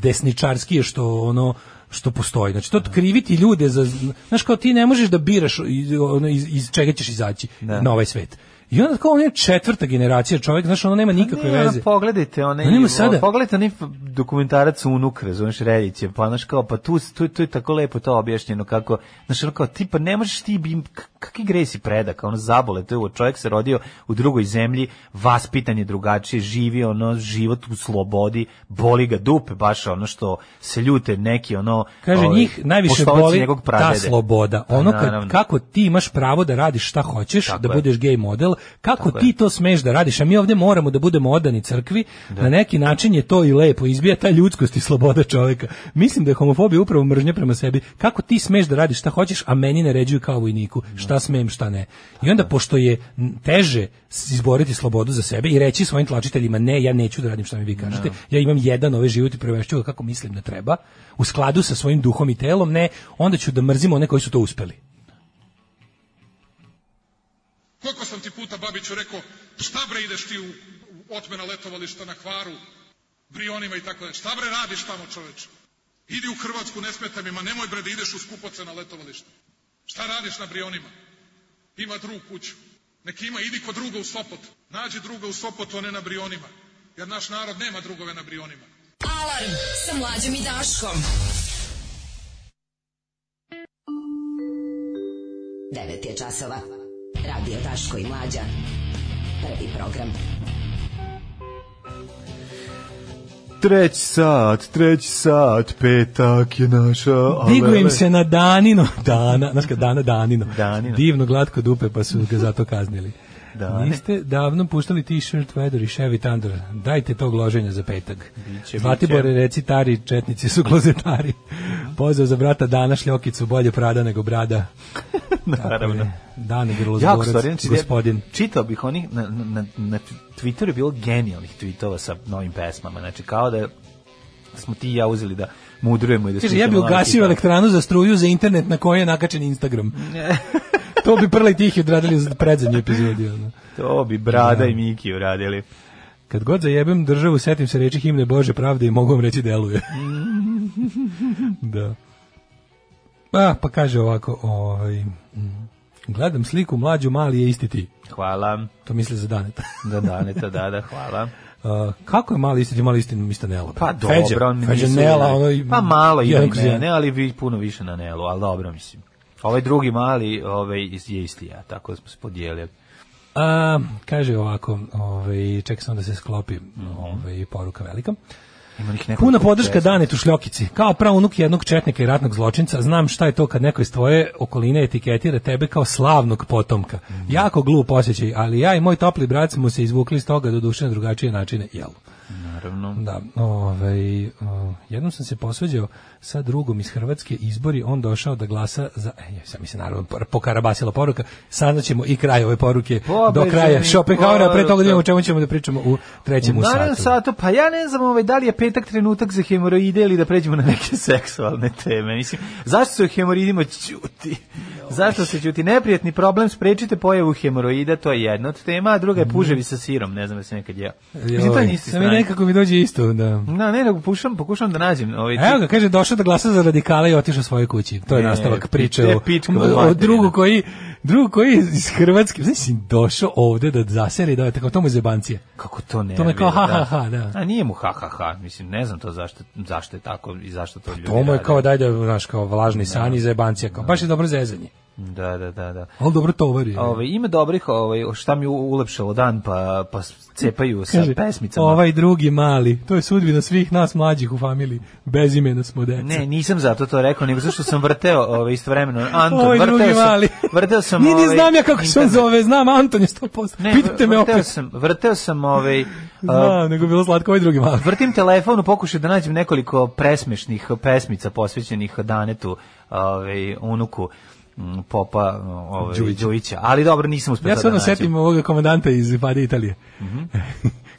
S5: najdesničarskije što ono, što postoji. Znači, to kriviti ljude za, znaš, kao ti ne možeš da biraš iz, ono, iz, iz čega ćeš izaći na ovaj svet. I onda kao on je četvrta generacija čovjek, znaš, ono nema nikakve
S6: Ne, ono,
S5: veze.
S6: Pogledajte one,
S5: Pa nema sada.
S6: pogledajte onaj dokumentarac Unuk, razumeš, Reljić je, pa znaš kao, pa tu, tu, tu je tako lepo to objašnjeno kako, znaš, ono kao, ti pa ne možeš ti, bi- k- kakvi gresi predak, ono zabole, to je ovo, čovjek se rodio u drugoj zemlji, vaspitan je drugačije, živi ono, život u slobodi, boli ga dupe, baš ono što se ljute neki, ono,
S5: Kaže,
S6: ovaj,
S5: njih najviše
S6: poštovci
S5: boli
S6: njegovog
S5: ta
S6: pradede.
S5: sloboda.
S6: Pa,
S5: Ono kad,
S6: naravno.
S5: kako ti imaš pravo da radiš šta hoćeš,
S6: Tako
S5: da
S6: je.
S5: budeš gay model, kako
S6: Tako
S5: ti
S6: je.
S5: to smeš da radiš, a mi ovdje moramo da budemo odani crkvi, na neki način je to i lepo, izbija ta ljudskost i sloboda čoveka. Mislim da je homofobija upravo mržnja prema sebi, kako ti smeš da radiš šta hoćeš, a meni naređuju kao vojniku, šta smem, šta ne. I onda, pošto je m, teže s- izboriti slobodu za sebe i reći svojim tlačiteljima, ne, ja neću da radim šta mi vi kažete, ja imam jedan ovaj život i prevešću ga kako mislim da treba, u skladu sa svojim duhom i telom, ne, onda ću da mrzimo one koji su to uspeli.
S8: Koliko sam ti puta Babiću rekao, šta bre ideš ti u, u otmena letovališta na kvaru, brionima i tako dalje. Šta bre radiš tamo čoveče? Idi u Hrvatsku, ne smeta mi, ma nemoj bre da ideš u skupoce na letovalište. Šta radiš na brionima? Ima drugu kuću. Nek ima, idi kod druga u Sopot. Nađi druga u Sopotu, a ne na brionima. Jer naš narod nema drugove na brionima.
S4: Alarm sa mlađom i Daškom. 9 je časova. Radio Daško i Mlađa. Prvi program.
S6: Treći sat, treći sat, petak je naša...
S5: Digu im
S6: alele.
S5: se na danino. Dana, znaš kad dana danino.
S6: Danino.
S5: Divno glatko dupe pa su ga zato kaznili.
S6: Dane.
S5: Niste davno puštali t-shirt Vedor i Chevy Thunder. Dajte tog loženja za petak.
S6: Biće,
S5: Zlatibore
S6: biće.
S5: recitari, četnici su klozetari. Pozdrav za brata Dana Šljokicu, bolje prada nego brada.
S6: Naravno.
S5: Dane
S6: Jako
S5: Grlozborac,
S6: stvari, znači,
S5: gospodin.
S6: ja čitao bih onih, na, na, na- na Twitteru je bilo genijalnih tweetova sa novim pesmama, znači kao da smo ti i ja uzeli da mudrujemo i ono, da
S5: Kaže,
S6: slušamo
S5: ja bi
S6: nove
S5: ugasio
S6: hitove.
S5: elektranu za struju za internet na kojoj je nakačen Instagram. to bi prle tih odradili za predzadnju epizodiju. ono.
S6: To bi Brada i Miki uradili.
S5: Kad god zajebem državu, setim se reči himne Bože pravde i mogu vam reći deluje. da. Pa, pa kaže ovako, ovaj, mm, gledam sliku mlađu, mali je isti ti.
S6: Hvala.
S5: To misli za daneta.
S6: Da, Daneta, da, da, hvala.
S5: Uh, kako je mali isti ti, mali isti mi isto nela. bre.
S6: Pa dobro, on
S5: Feđa,
S6: nisu
S5: nela,
S6: uradili.
S5: ono i-
S6: Pa malo ima
S5: jedan
S6: i
S5: kroz jedan.
S6: mene, ali vi puno više na Nelu, ali dobro, mislim. Ovaj drugi mali ovaj, je isti ja, tako da smo se podijelili.
S5: A, kaže ovako, ovaj, čekaj sam da se sklopi
S6: Mhm.
S5: ovaj, poruka velika.
S6: Ima ih nekoliko
S5: Puna podrška
S6: pesama.
S5: Danetu Šljokici. Kao pravunuk jednog četnika i ratnog zločinca, znam šta je to kad neko iz tvoje okoline etiketira tebe kao slavnog potomka.
S6: Mhm.
S5: Jako glup osjećaj, ali ja i moj topli brat smo se izvukli iz toga do duše na drugačije načine. Jel?
S6: Naravno.
S5: Da, ovaj, o, jednom sam se posveđao sa drugom iz Hrvatske izbori, on došao da glasa za, e, ja sam mi se naravno por- pokarabasila poruka, saznaćemo i kraj ove poruke do
S6: Pobeđeni
S5: kraja Schopenhauera, pre toga da vidimo o
S6: poruka.
S5: čemu ćemo da pričamo u trećem u
S6: Naravno
S5: satu.
S6: satu, pa ja ne znam ovaj, da li je petak trenutak za hemoroide ili da pređemo na neke seksualne teme. Mislim, zašto se o hemoroidima ćuti? Zašto se ćuti? Neprijetni problem, sprečite pojavu hemoroida, to je jedna od tema, a druga je puževi sa sirom, ne znam da se nekad ja. Mislim, to je
S5: Mhm. Joj,
S6: na istoj
S5: sam i
S6: strani.
S5: nekako mi dođe isto, da.
S6: Na, ne, nego pokušam, pokušam da nađem. Ovaj,
S5: Evo ga, kaže, došao da glasa za radikale i otišao svojoj kući. To je
S6: E,
S5: nastavak
S6: pi-
S5: priče
S6: te
S5: o,
S6: pička
S5: o- o
S6: materina.
S5: drugu koji, drugu koji je iz Hrvatske, znaš, si došao ovde da zaseli, da je tako, to mu je zebancija.
S6: Kako to ne?
S5: To me kao
S6: vidi,
S5: ha, ha, ha, da.
S6: A nije mu ha ha ha, mislim, ne znam to zašto, zašto je tako i zašto to ljudi
S5: Pa To mu je
S6: rade.
S5: kao, daj da, znaš, kao vlažni san i zebancija, kao, baš je dobro zezanje.
S6: Da, da, da, da.
S5: Ali dobro tovari. je.
S6: Ove, Ovaj, ima dobrih, ove, šta mi u- ulepšalo dan, pa, pa s- cepaju sa
S5: Kaže,
S6: pesmicama.
S5: Ovaj drugi mali, to je sudbina svih nas mlađih u familiji, bez imena smo deca.
S6: Ne, nisam zato to rekao, nego zašto sam vrteo ove, istovremeno. Anton,
S5: Ovaj drugi
S6: vrteo sam,
S5: mali.
S6: vrteo sam...
S5: Ni, ni
S6: ovaj,
S5: znam ja kako se on
S6: internet.
S5: zove, znam Anton je 100%.
S6: Ne,
S5: Pitajte me
S6: vrteo
S5: opet.
S6: Sam, vrteo sam ovaj... a,
S5: Znam, nego je bilo slatko ovaj drugi mali.
S6: Vrtim telefon u pokušaju da nađem nekoliko presmešnih pesmica posvećenih Danetu, ovaj, unuku mm, popa ovaj,
S5: Đujića.
S6: Đujića. Ali dobro, nisam uspio
S5: Ja
S6: to
S5: se ono
S6: da
S5: odmah
S6: znači- nađem.
S5: setim ovoga komandanta iz Vade Italije.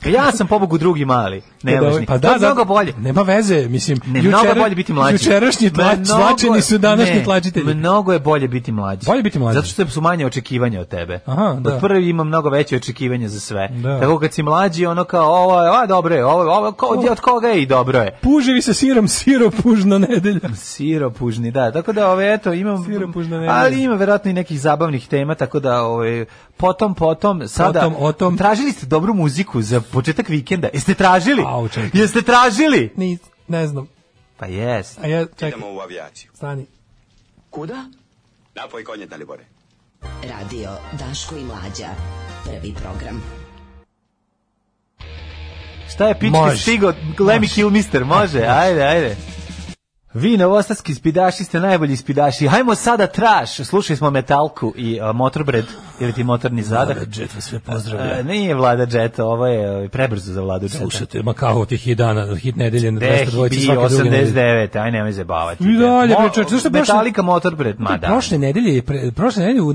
S6: Ja sam pobogu drugi mali, nevažni.
S5: Pa
S6: to
S5: da,
S6: je
S5: zato-
S6: mnogo bolje.
S5: Nema veze, mislim.
S6: Ne, mnogo je
S5: jučera-
S6: bolje biti mlađi.
S5: Jučerašnji tlač,
S6: Mnogo-
S5: tlačeni su današnji
S6: ne,
S5: tlačitelji.
S6: Mnogo je bolje biti mlađi.
S5: Bolje biti mlađi.
S6: Zato što su manje očekivanja od tebe.
S5: Aha, da.
S6: Od prvi ima mnogo veće očekivanja za sve.
S5: Da.
S6: Tako kad si mlađi, ono kao, ovo je, a dobro je, ovo, ovo ko, od koga je i dobro je.
S5: Puževi sa sirom, siro pužna nedelja.
S6: Siropužni, da. Tako da, ove, eto, imam...
S5: Siropužna nedelja.
S6: Ali ima verovatno i nekih zabavnih tema, tako da, ove, potom, potom, sada...
S5: Potom, otom.
S6: Tražili ste dobru muziku za početak vikenda. Jeste tražili?
S5: Au, čekaj.
S6: Jeste tražili?
S5: Ni, ne znam.
S6: Pa jest.
S5: A ja, čekaj,
S9: Idemo u avijaciju.
S5: stani.
S9: Kuda? Napoj konje, Dalibore.
S4: Radio Daško i Mlađa. Prvi program.
S6: Šta je pički
S5: Može.
S6: stigo? Lemmy Kill Mister, može? Ajde, ajde. Vi novosadski spidaši ste najbolji spidaši. Hajmo sada traš. Slušali smo metalku i a, motorbred ili ti motorni zadah.
S5: Jet vas sve
S6: E, nije Vlada Jet, ovo je e, prebrzo za Vladu Jeta.
S5: Slušajte, ma kao tih hit dana, hit nedelje na
S6: Deh,
S5: 202
S6: bio
S5: svake druge nedelje.
S6: 89, aj nemoj zabavati.
S5: I dalje,
S6: Mo-
S5: bre, čovječe, zašto baš-
S6: Metallica Motorbred, ma da.
S5: Prošle nedelje, je pre, prošle nedelje u,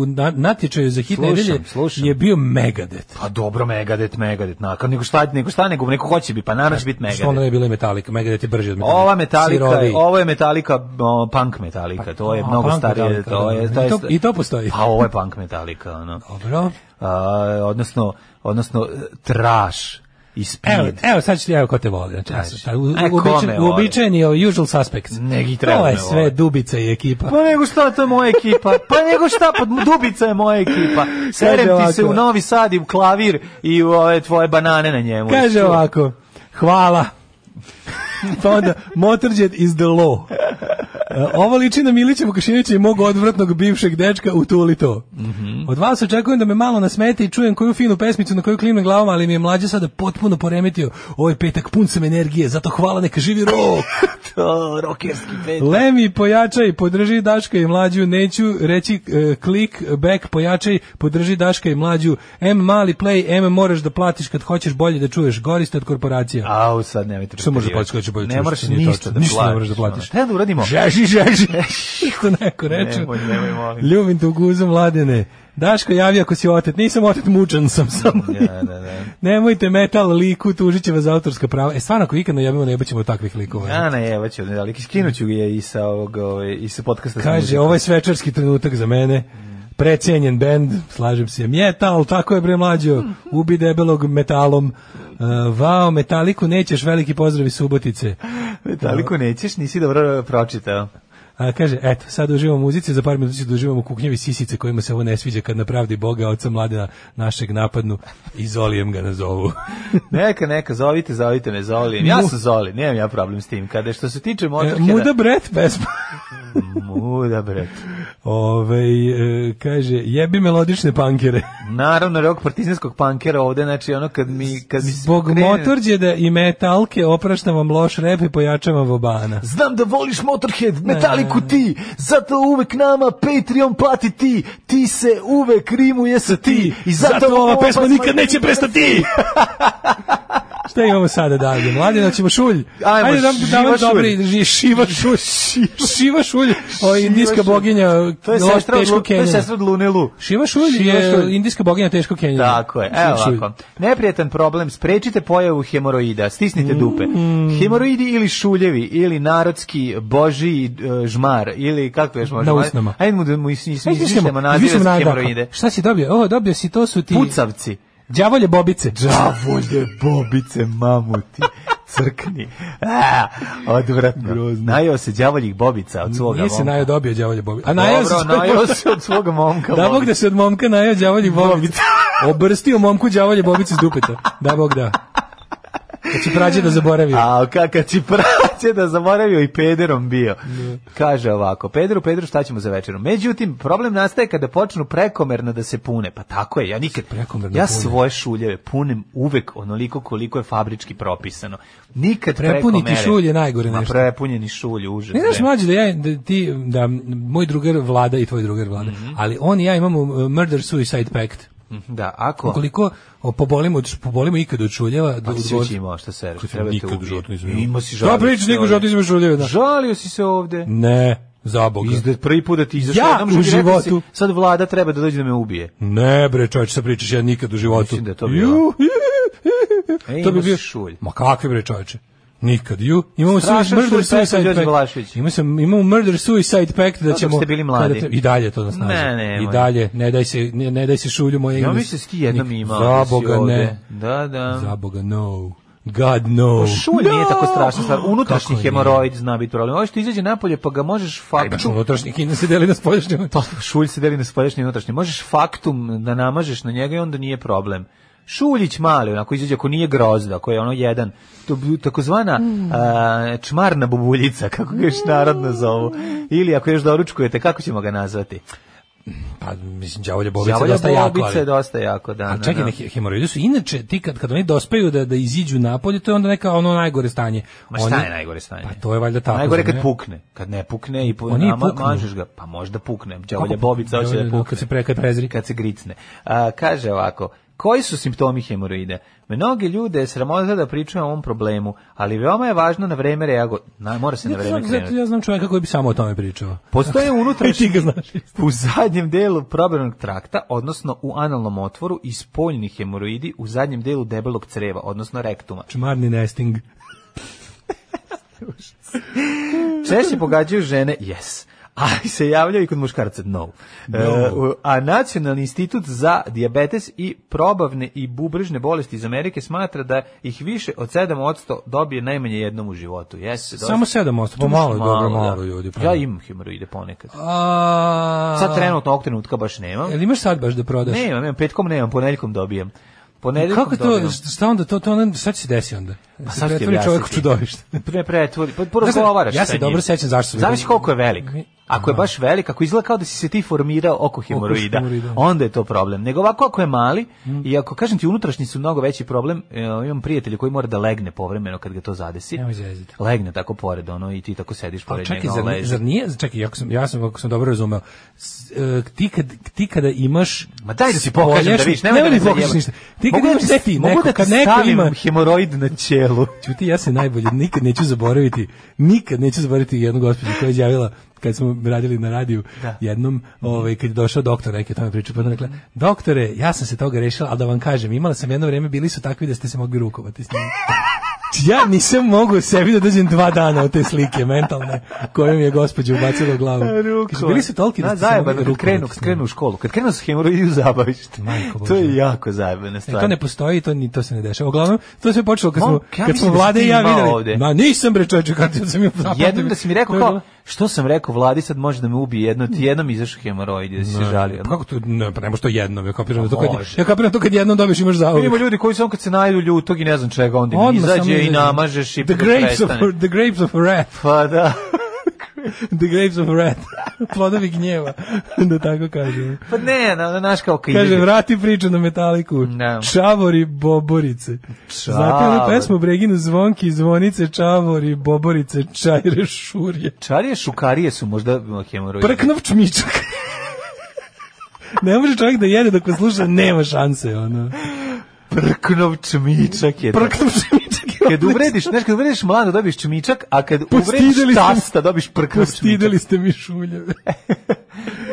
S5: u na- natječaju za hit
S6: Slušam,
S5: nedelje
S6: slušam.
S5: je bio Megadeth.
S6: Pa dobro, Megadeth, Megadeth, nakon, nego šta, nego šta, nego, neko hoće bi, pa naravno će biti
S5: Što ono
S6: Megadeth.
S5: je bilo i Metallica, Megadeth je brži od Metallica.
S6: Ova metalika,
S5: Siroviji.
S6: ovo je metalika, o, punk metalika, to je
S5: Pa, A,
S6: mnogo
S5: punk
S6: starije,
S5: Metallica,
S6: to je,
S5: da.
S6: to je,
S5: I to- i to postoji.
S6: Pa ovo je punk metalika, ono.
S5: Dobro.
S6: A, odnosno, odnosno, trash i speed.
S5: Evo, evo sad ću ti, evo ko te voli. Znači, ja sam taj u- u-
S6: E, ko
S5: uobičajen-
S6: me voli?
S5: uobičajeni ovaj usual suspects.
S6: Nek i treba
S5: To je
S6: me
S5: sve
S6: voli.
S5: Dubica i ekipa.
S6: Pa nego šta, to je moja ekipa. Pa nego šta, pa Dubica je moja ekipa.
S5: Kaže
S6: Serem ti se
S5: ovako.
S6: u Novi Sad i u klavir i u ove tvoje banane na njemu.
S5: Pa, Kaže
S6: Što?
S5: ovako, hvala. pa onda, Motorjet is the law. E, Ovo liči na Milića Vukašinovića i mog odvratnog bivšeg dečka u Tuli to.
S6: Mhm.
S5: Od vas očekujem da me malo nasmete i čujem koju finu pesmicu na koju klimnem glavom, ali mi je mlađe sada potpuno poremetio. Ovaj petak pun sam energije, zato hvala, neka živi rok.
S6: To, rokerski pet.
S5: Lemi, pojačaj, podrži Daška i mlađu, neću reći e, klik, back, pojačaj, podrži Daška i mlađu, M mali play, M moraš da platiš kad hoćeš bolje da čuješ, goriste od korporacija.
S6: Au, sad nemojte.
S5: Što može
S6: preterivati.
S5: plaćati, hoće bolje
S6: Ne
S5: čuješ,
S6: moraš
S5: to nije
S6: ništa
S5: tačno.
S6: da platiš.
S5: Ništa ne moraš da platiš.
S6: Treba da uradimo.
S5: Žeži, žeži. Što neko reče.
S6: Nemoj, nemoj, molim.
S5: Ljubim te u guzu, mladene. Daško, javi ako si otet. Nisam otet, mučan sam samo.
S6: Da, da, da.
S5: Nemojte metal liku, tužit će vas za autorska prava. E, stvarno, ako ikad najavimo, ne baćemo takvih likova.
S6: Ja ne, evo ću, ali skinuću je i sa, ovog, ovaj, i sa podcasta. sa
S5: Kaže,
S6: muzikom.
S5: ovo je svečarski trenutak za mene. Precenjen bend, slažem se, metal, tako je bre mlađo, ubi debelog metalom. Uh, vao, metaliku nećeš, veliki pozdrav iz Subotice.
S6: Metaliku nećeš, nisi dobro pročitao.
S5: A, kaže, eto, sad uživamo u muzici, za par minuta ću da uživamo u kuknjevi sisice kojima se ovo ne sviđa kad na pravdi Boga, oca mladena našeg napadnu i Zolijem ga E, nazovu.
S6: Neka, neka, zovite, zovite me, Zoli. Ja sam Zoli, nemam ja problem s tim. Kada je što se tiče
S5: E,
S6: Motorheada...
S5: Muda Bret pesma.
S6: Muda, bre.
S5: Ove, e, kaže, jebi melodične pankere.
S6: Naravno, rok partizanskog pankera ovde, znači ono kad mi... Kad mi
S5: Zbog
S6: krene-
S5: motorđeda i metalke opraštam vam loš rep i pojačavam vobana.
S6: Znam da voliš Motorhead, Metaliku ti, zato uvek nama Patreon plati ti, ti se uvek rimuje sa ti, i zato,
S5: neće prestati. Šta imamo sada dalje? Mladina, ćemo šulj.
S6: Ajmo,
S5: nam-
S6: Šiva
S5: nam dobre,
S6: šulj.
S5: ži- šiva šulj. Šiva šulj, o, indijska
S6: šulj.
S5: boginja
S6: To je
S5: loš-
S6: sestra od,
S5: teško
S6: Lu- to je
S5: kenjanja.
S6: sestra od Lune Lu.
S5: Šiva šulj
S6: Šiva šulj.
S5: je indijska boginja teško kenjanja.
S6: Tako je, evo
S5: Šiva šulj.
S6: ovako. Neprijatan problem, sprečite pojavu hemoroida, stisnite dupe.
S5: Mm.
S6: Hemoroidi ili šuljevi, ili narodski boži e, žmar, ili kako još može.
S5: Na usnama.
S6: Ajde mu da mu is- is-
S5: Ajde,
S6: izmišljamo
S5: izmišljamo-
S6: nazive
S5: izmišljamo
S6: za
S5: nagradu.
S6: hemoroide.
S5: Šta si dobio? O, dobio si, to su ti...
S6: Pucavci.
S5: Đavolje bobice.
S6: Đavolje, bobice, mamuti, crkni. A, odvratno. Najao se đavoljih bobica od svoga
S5: Nije se
S6: momka.
S5: najo dobio đavolje bobice. A najao se
S6: Dobro, najao se od svoga momka.
S5: Da bog
S6: bobice.
S5: da se od momka najao đavolji bobica. Obrstio momku đavolje bobice iz dupeta. Da bog da. Kad će prađe da zaboravio.
S6: A kaka ti praće da zaboravio i pederom bio. Kaže ovako, pederu, pederu, šta ćemo za večeru? Međutim, problem nastaje kada počnu prekomerno da se pune. Pa tako je, ja nikad,
S5: prekomerno
S6: ja
S5: pune.
S6: svoje šuljeve punem uvek onoliko koliko je fabrički propisano. Nikad
S5: Prepuniti
S6: prekomere.
S5: šulj je najgore
S6: Ma
S5: nešto.
S6: prepunjeni šulj, užas.
S5: Ne znaš
S6: bre.
S5: mlađe da ja da ti da moj drugar vlada i tvoj drugar vlada.
S6: Mhm.
S5: Ali on i ja imamo uh, murder suicide pact.
S6: Da, ako...
S5: Koliko pobolimo od š- pobolimo ikad od šuljeva do
S6: Pa si
S5: od-
S6: već imao šta se reći,
S5: Kad sam
S6: treba te
S5: nikad u
S6: ubije.
S5: životu nisam
S6: Imao si
S5: Da
S6: žalio.
S5: pričaš nikad u životu nisam imao šuljeve, da.
S6: Žalio si se ovde.
S5: Ne, za boga.
S6: Izde prvi put da ti izašao
S5: Ja
S6: jednom
S5: u
S6: i rekao si,
S5: životu.
S6: sad vlada treba da dođe da me ubije.
S5: Ne bre, čovječe, sad pričaš ja nikad u životu.
S6: Mislim da je to
S5: Ju,
S6: bilo. E,
S5: to bi
S6: ima
S5: bio
S6: šulj.
S5: Ma kakve bre čoveče? Nikad ju. Imamo se
S6: Strašan šulj
S5: murder
S6: Petka Đorđe
S5: suicide pact.
S6: Vlašić.
S5: Imamo se imamo murder suicide pact da
S6: dok
S5: ćemo
S6: ste bili mladi.
S5: kada te- i dalje to nas snaži.
S6: Ne, nemoj.
S5: I dalje ne daj se ne, ne daj se šulju moje
S6: Ja
S5: ime.
S6: mislim da si ti jednom
S5: Nik-
S6: imao.
S5: Za
S6: da si
S5: boga
S6: ovde.
S5: ne.
S6: Da, da.
S5: Za boga no. God no.
S6: Pa Šulj nije tako strašna stvar. Unutrašnji
S5: Kako nije?
S6: hemoroid zna biti problem. Ovo što izađe napolje pa ga možeš
S5: Ajme,
S6: faktum...
S5: unutrašnji kina se deli na spoljašnje.
S6: Pa, šulj se deli na spoljašnji i unutrašnji. Možeš faktum da namažeš na njega i onda nije problem. Šuljić mali, onako izađe, ako nije grozda, ako je ono jedan, to bi takozvana a, čmarna bubuljica, kako ga još narodno zovu. Ili ako još doručkujete, kako ćemo ga nazvati?
S5: Pa mislim đavolja bobica
S6: Đavolja
S5: dosta jako.
S6: bobica je
S5: ali-
S6: dosta jako, da.
S5: A
S6: da,
S5: čekaj,
S6: da.
S5: neki hemoroidi su inače ti kad kad oni dospeju da da iziđu napolje, to je onda neka ono najgore stanje.
S6: Ma šta
S5: Oni-
S6: je najgore stanje?
S5: Pa to je valjda tako.
S6: Najgore
S5: zar ne?
S6: kad pukne. Kad ne pukne i po,
S5: Oni i
S6: nama-
S5: puknu.
S6: mažeš ga, pa možda pukne. Đavolja
S5: Kako?
S6: bobica hoće da
S5: Đavolja,
S6: pukne.
S5: kad se pre- kad prezri.
S6: Kad se gricne. A, kaže ovako, koji su simptomi hemoroide? Mnogi ljude je sramota da pričaju o ovom problemu, ali veoma je važno na vreme reago... Na, mora se na
S5: Zato
S6: vreme
S5: što- zato
S6: krenuti.
S5: ja znam čovjeka koji bi samo o tome pričao.
S6: Postoje unutrašnji
S5: I ti ga znaš.
S6: u zadnjem delu probranog trakta, odnosno u analnom otvoru i spoljni hemoroidi u zadnjem delu debelog creva, odnosno rektuma.
S5: Čmarni nesting.
S6: Češće pogađaju žene, yes. A se javljaju i kod muškarca, no. E, u- a Nacionalni institut za dijabetes i probavne i bubrežne bolesti iz Amerike smatra da ih više od 7% dobije najmanje jednom u životu. Yes,
S5: Samo 7%, pa malo je dobro, malo ljudi. pa.
S6: Ja imam hemoroide ponekad.
S5: A,
S6: Sad trenutno, ovog trenutka baš nemam.
S5: Jel imaš sad baš da prodaš? Pa
S6: Nemam, nemam, petkom nemam, ponedeljkom dobijem. Ponedeljkom
S5: Kako to,
S6: dobijem.
S5: šta onda, to, to onda, šta će se desi onda? Pa
S6: sad ću ti objasniti.
S5: čovjek u čudovište.
S6: Ne pretvori, pa prvo
S5: Znaš,
S6: govaraš
S5: ja se
S6: sa njim.
S5: dobro sećam zašto sam-
S6: Zavisi koliko je velik.
S5: Mi-
S6: Ako je
S5: Aha.
S6: baš velik, ako izgleda kao da si se ti formirao oko hemoroida,
S5: hemoroida. Mm.
S6: onda je to problem. Nego ovako ako je mali i ako kažem ti unutrašnji su mnogo veći problem, e, imam prijatelja koji mora da legne povremeno kad ga to zadesi.
S5: Nemoj zezati.
S6: Legne tako pored ono i ti tako sediš
S5: Pa
S6: pored
S5: čekaj,
S6: njega, on
S5: zar, nije-
S6: leži.
S5: zar nije, čekaj, ako sam, ja sam, ako sam dobro razumeo, s- e, ti, kad, ti kada imaš...
S6: Ma daj da si pokažem da
S5: spoljašnji-
S6: vidiš, nemoj da
S5: nemoj
S6: me
S5: mi pokažeš
S6: zajebaš.
S5: ništa. Ti
S6: Mogu
S5: kada
S6: da
S5: imaš,
S6: ti-
S5: sve ti,
S6: mogu
S5: neko,
S6: da ti
S5: kad neko
S6: stavim
S5: ima...
S6: hemoroid na ćelu.
S5: Ćuti, ja se najbolje nikad neću zaboraviti, nikad neću zaboraviti jednu gospođu koja je izjavila kad smo radili na radiju jednom, ovaj, kad je došao doktor, neki o tome priča, pa onda rekla, doktore, ja sam se toga rešila, ali da vam kažem, imala sam jedno vrijeme, bili su takvi da ste se mogli rukovati s njima. Ja nisam mogao sebi da dođem dva dana od te slike mentalne kojom je gospođa ubacila u glavu. Kaže, bili su toliki da
S6: da
S5: ste se mogli
S6: zajebano, kad krenu,
S5: rukovati
S6: kad
S5: s njima.
S6: krenu u školu, kad krenu s hemoroidu zabavište.
S5: Majko
S6: To je
S5: Božja.
S6: jako zajebana
S5: E,
S6: stvar.
S5: to ne postoji, to ni to se ne dešava. Uglavnom, to se počelo kad smo
S6: Mom, ja
S5: kad
S6: mislim
S5: smo
S6: da si
S5: vlade
S6: ti
S5: i ja
S6: imao
S5: videli.
S6: ovde.
S5: Ma nisam bre čoveče kad sam mi zapamtio.
S6: Jednom da si mi
S5: pa To
S6: rekao
S5: je
S6: kao,
S5: bilo-
S6: što sam rekao vladi, sad može da me ubije jedno, ti jednom izašao hemoroidi, da si se žalio. Ono,
S5: Pa Kako to ne, pa ne može to jednom, ja kapiram da to kad
S6: može.
S5: ja kapiram to kad jednom dobiš imaš za
S6: Ima ljudi koji samo kad se najdu ljutog i ne znam čega, onda im
S5: Odmah samo
S6: izađe i
S5: izađe.
S6: namažeš i pa
S5: the grapes of
S6: prestane.
S5: the grapes of wrath,
S6: Pa da.
S5: the grapes of wrath, plodovi gnjeva, da tako kažem.
S6: Pa ne, na, na, naš kao kad
S5: Kaže,
S6: izađe.
S5: vrati priču na metaliku.
S6: Da.
S5: Čavori boborice. Znate li pesmu Breginu zvonki, zvonice, čavori, boborice, čajre, šurje.
S6: Čarije šukarije su možda ono, hemoroidi.
S5: Prknov čmičak. ne može čovjek da jede dok vas sluša, nema šanse, ono.
S6: Prknov čmičak je. to.
S5: Prknov čmičak je
S6: Kad
S5: odlično.
S6: uvrediš, znaš, kad uvrediš mlado dobiješ čmičak, a kad
S5: Postideli
S6: uvrediš
S5: ste me.
S6: tasta dobiš prknov čmičak.
S5: Postideli ste mi šuljeve.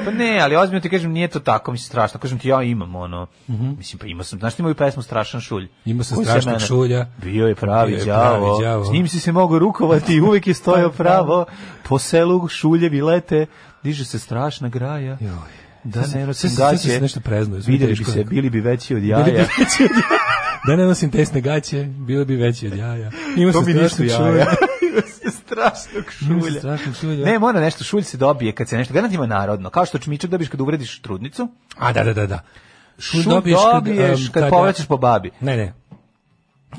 S6: Pa ne, ali ozbiljno ti kažem, nije to tako, mislim, strašno. Kažem ti, ja imam, ono, mislim, pa imao sam, znaš ti moju pesmu Strašan šulj?
S5: Mhm. Imao sam
S6: Koji se
S5: strašnog
S6: mene-
S5: šulja.
S6: Bio je pravi
S5: Bio je
S6: đavo.
S5: pravi đavo. Pa,
S6: S njim si se mogao rukovati i uvijek je stojao pravo. Po selu šuljevi lete, diže se strašna graja. Da
S5: Sad se-
S6: ne nosim
S5: sad se- sad se
S6: gaće,
S5: nešto preznao, izvini,
S6: vidjeli bi
S5: teško
S6: se,
S5: nekako.
S6: bili bi veći od
S5: Bili bi
S6: jaja.
S5: veći od jaja. Da ne nosim tesne gaće, bilo bi veći od jaja. Imao
S6: To
S5: sam
S6: mi nisu
S5: strašnog
S6: jaja.
S5: šulja.
S6: Ima se strašnog
S5: Imao sam
S6: šulja.
S5: strašnog šulja.
S6: Ne, mora nešto, šulj se dobije kad se nešto, garant ima narodno, kao što čmičak dobiš kad uvrediš trudnicu,
S5: A, da, da, da, da.
S6: šulj dobiješ kad,
S5: em,
S6: kad,
S5: kada-
S6: povraćaš po babi.
S5: um, Ne, ne.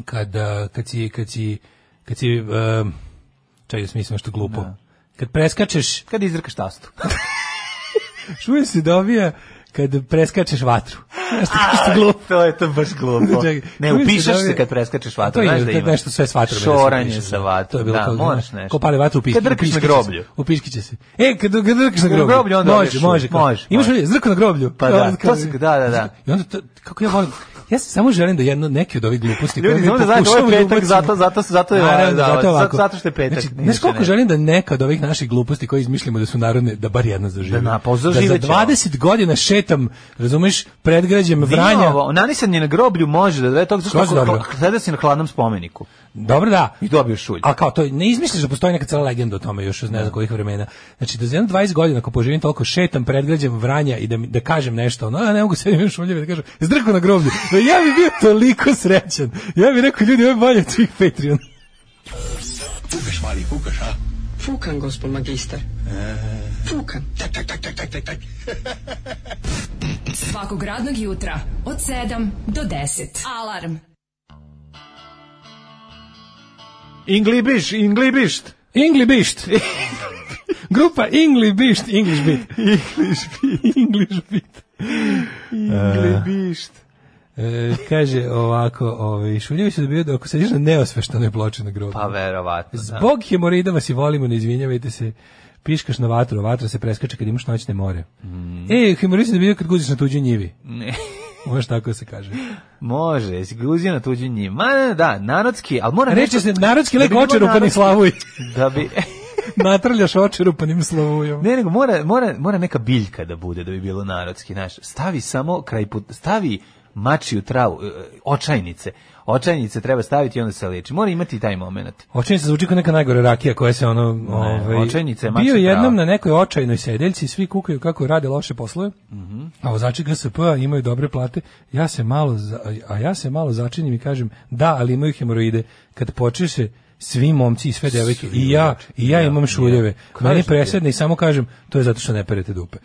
S5: Kad, a, kad si, kad si, kad si, um, čekaj da smislim nešto glupo. Kad preskačeš,
S6: Kad izrkaš tastu.
S5: šulj se dobija kad preskačeš vatru. Nešto, nešto glupo.
S6: to je to baš glupo.
S5: Čekaj,
S6: ne,
S5: čuj se
S6: upišeš
S5: da
S6: se
S5: je-
S6: kad preskačeš vatru.
S5: To je
S6: znaš da
S5: kad
S6: ima.
S5: nešto sve s vatrom. je da se
S6: Šoranje
S5: upišeš,
S6: sa
S5: da.
S6: vatrom.
S5: To je bilo
S6: da,
S5: kao,
S6: moraš
S5: znaš,
S6: nešto.
S5: Ko pali vatru u piški.
S6: Kad drkaš na
S5: upiškiće se.
S6: groblju.
S5: Upiškiće se. E, kad, kad drkaš na
S6: Na
S5: groblju.
S6: groblju onda
S5: može,
S6: odeš u-
S5: može, kao,
S6: može,
S5: Imaš
S6: može.
S5: li zrko na groblju?
S6: Pa
S5: I onda
S6: da,
S5: kao-
S6: to se- da, da, da.
S5: I onda to, kako ja volim, Ja se samo želim da jedno neki od ovih gluposti
S6: Ljudi,
S5: koje mi
S6: samo da znate, ovo je
S5: pokušavamo da
S6: petak,
S5: ubacimo-
S6: zato- zato- zato je-
S5: Naravno,
S6: da,
S5: zato je ovako.
S6: zato što je petak,
S5: Znači,
S6: ništa
S5: znaš koliko
S6: ne.
S5: želim da neka od ovih naših gluposti koje izmišljamo da su narodne, da bar jedna zaživi.
S6: Da, na, pa
S5: da za
S6: zaživeće,
S5: 20 godina šetam, razumeš, predgrađem
S6: Vranja.
S5: Vranja.
S6: Ovo, nanisan je na groblju, može da da je to,
S5: Skroz
S6: zašto
S5: dobro.
S6: sada si na hladnom spomeniku
S5: Dobro da.
S6: i dobio šulj.
S5: A kao to ne izmisliš da postoji neka cela legenda o tome još iz ne znam kojih vremena. Znači da za jedno 20 godina ako poživim toliko šetam predgrađem Vranja i da mi, da kažem nešto, no ja ne mogu sebi još uljeve da kažem. Zdrko na groblju. Da ja bi bio toliko srećan. Ja bih rekao ljudi, ovo je bolje od svih Patreon.
S10: Fukan, gospod magister. Fukan.
S4: Svakog radnog jutra od 7 do 10. Alarm.
S6: Inglibiš, Inglibišt.
S5: Inglibišt. Grupa Inglibišt, English Beat. English Beat. English Beat.
S6: Inglibišt.
S5: E, kaže ovako, ovaj, Šuljević je dobio da ako sediš na neosveštanoj ploči na grobu.
S6: Pa verovatno. da.
S5: Zbog hemoroida vas i volimo, ne izvinjavajte se. Piškaš na vatru, a vatra se preskače kad imaš noćne more. E, hemoroid se dobio kad guziš na tuđoj njivi.
S6: Mm. Ne.
S5: Možeš tako da se kaže.
S6: Može, jesi guzio na tuđi njim. Ma, ne, da, narodski, ali mora
S5: Reče se, narodski lek
S6: bi bilo
S5: očerupanim
S6: narodski.
S5: slavuj.
S6: Da bi...
S5: Natrljaš pa očerupanim slavujom.
S6: Ne, nego mora, mora, mora neka biljka da bude da bi bilo narodski, znaš. Stavi samo kraj put, stavi mačiju travu, e, očajnice. Očajnice treba staviti i onda se leči. Mora imati i taj moment.
S5: Očajnica zvuči kao neka najgore rakija koja se ono... ovaj,
S6: očajnica je
S5: Bio
S6: mačja
S5: jednom
S6: trava.
S5: na nekoj očajnoj sedeljci, svi kukaju kako rade loše poslove,
S6: Mhm.
S5: a vozači GSP -a imaju dobre plate, ja se malo, za- a ja se malo začinim i kažem, da, ali imaju hemoroide, kad počeše svi momci i sve devojke i ja i ja
S6: ja,
S5: imam
S6: ja.
S5: šuljeve.
S6: Kažem
S5: Meni
S6: ti.
S5: presedne i samo kažem, to je zato što ne perete dupe.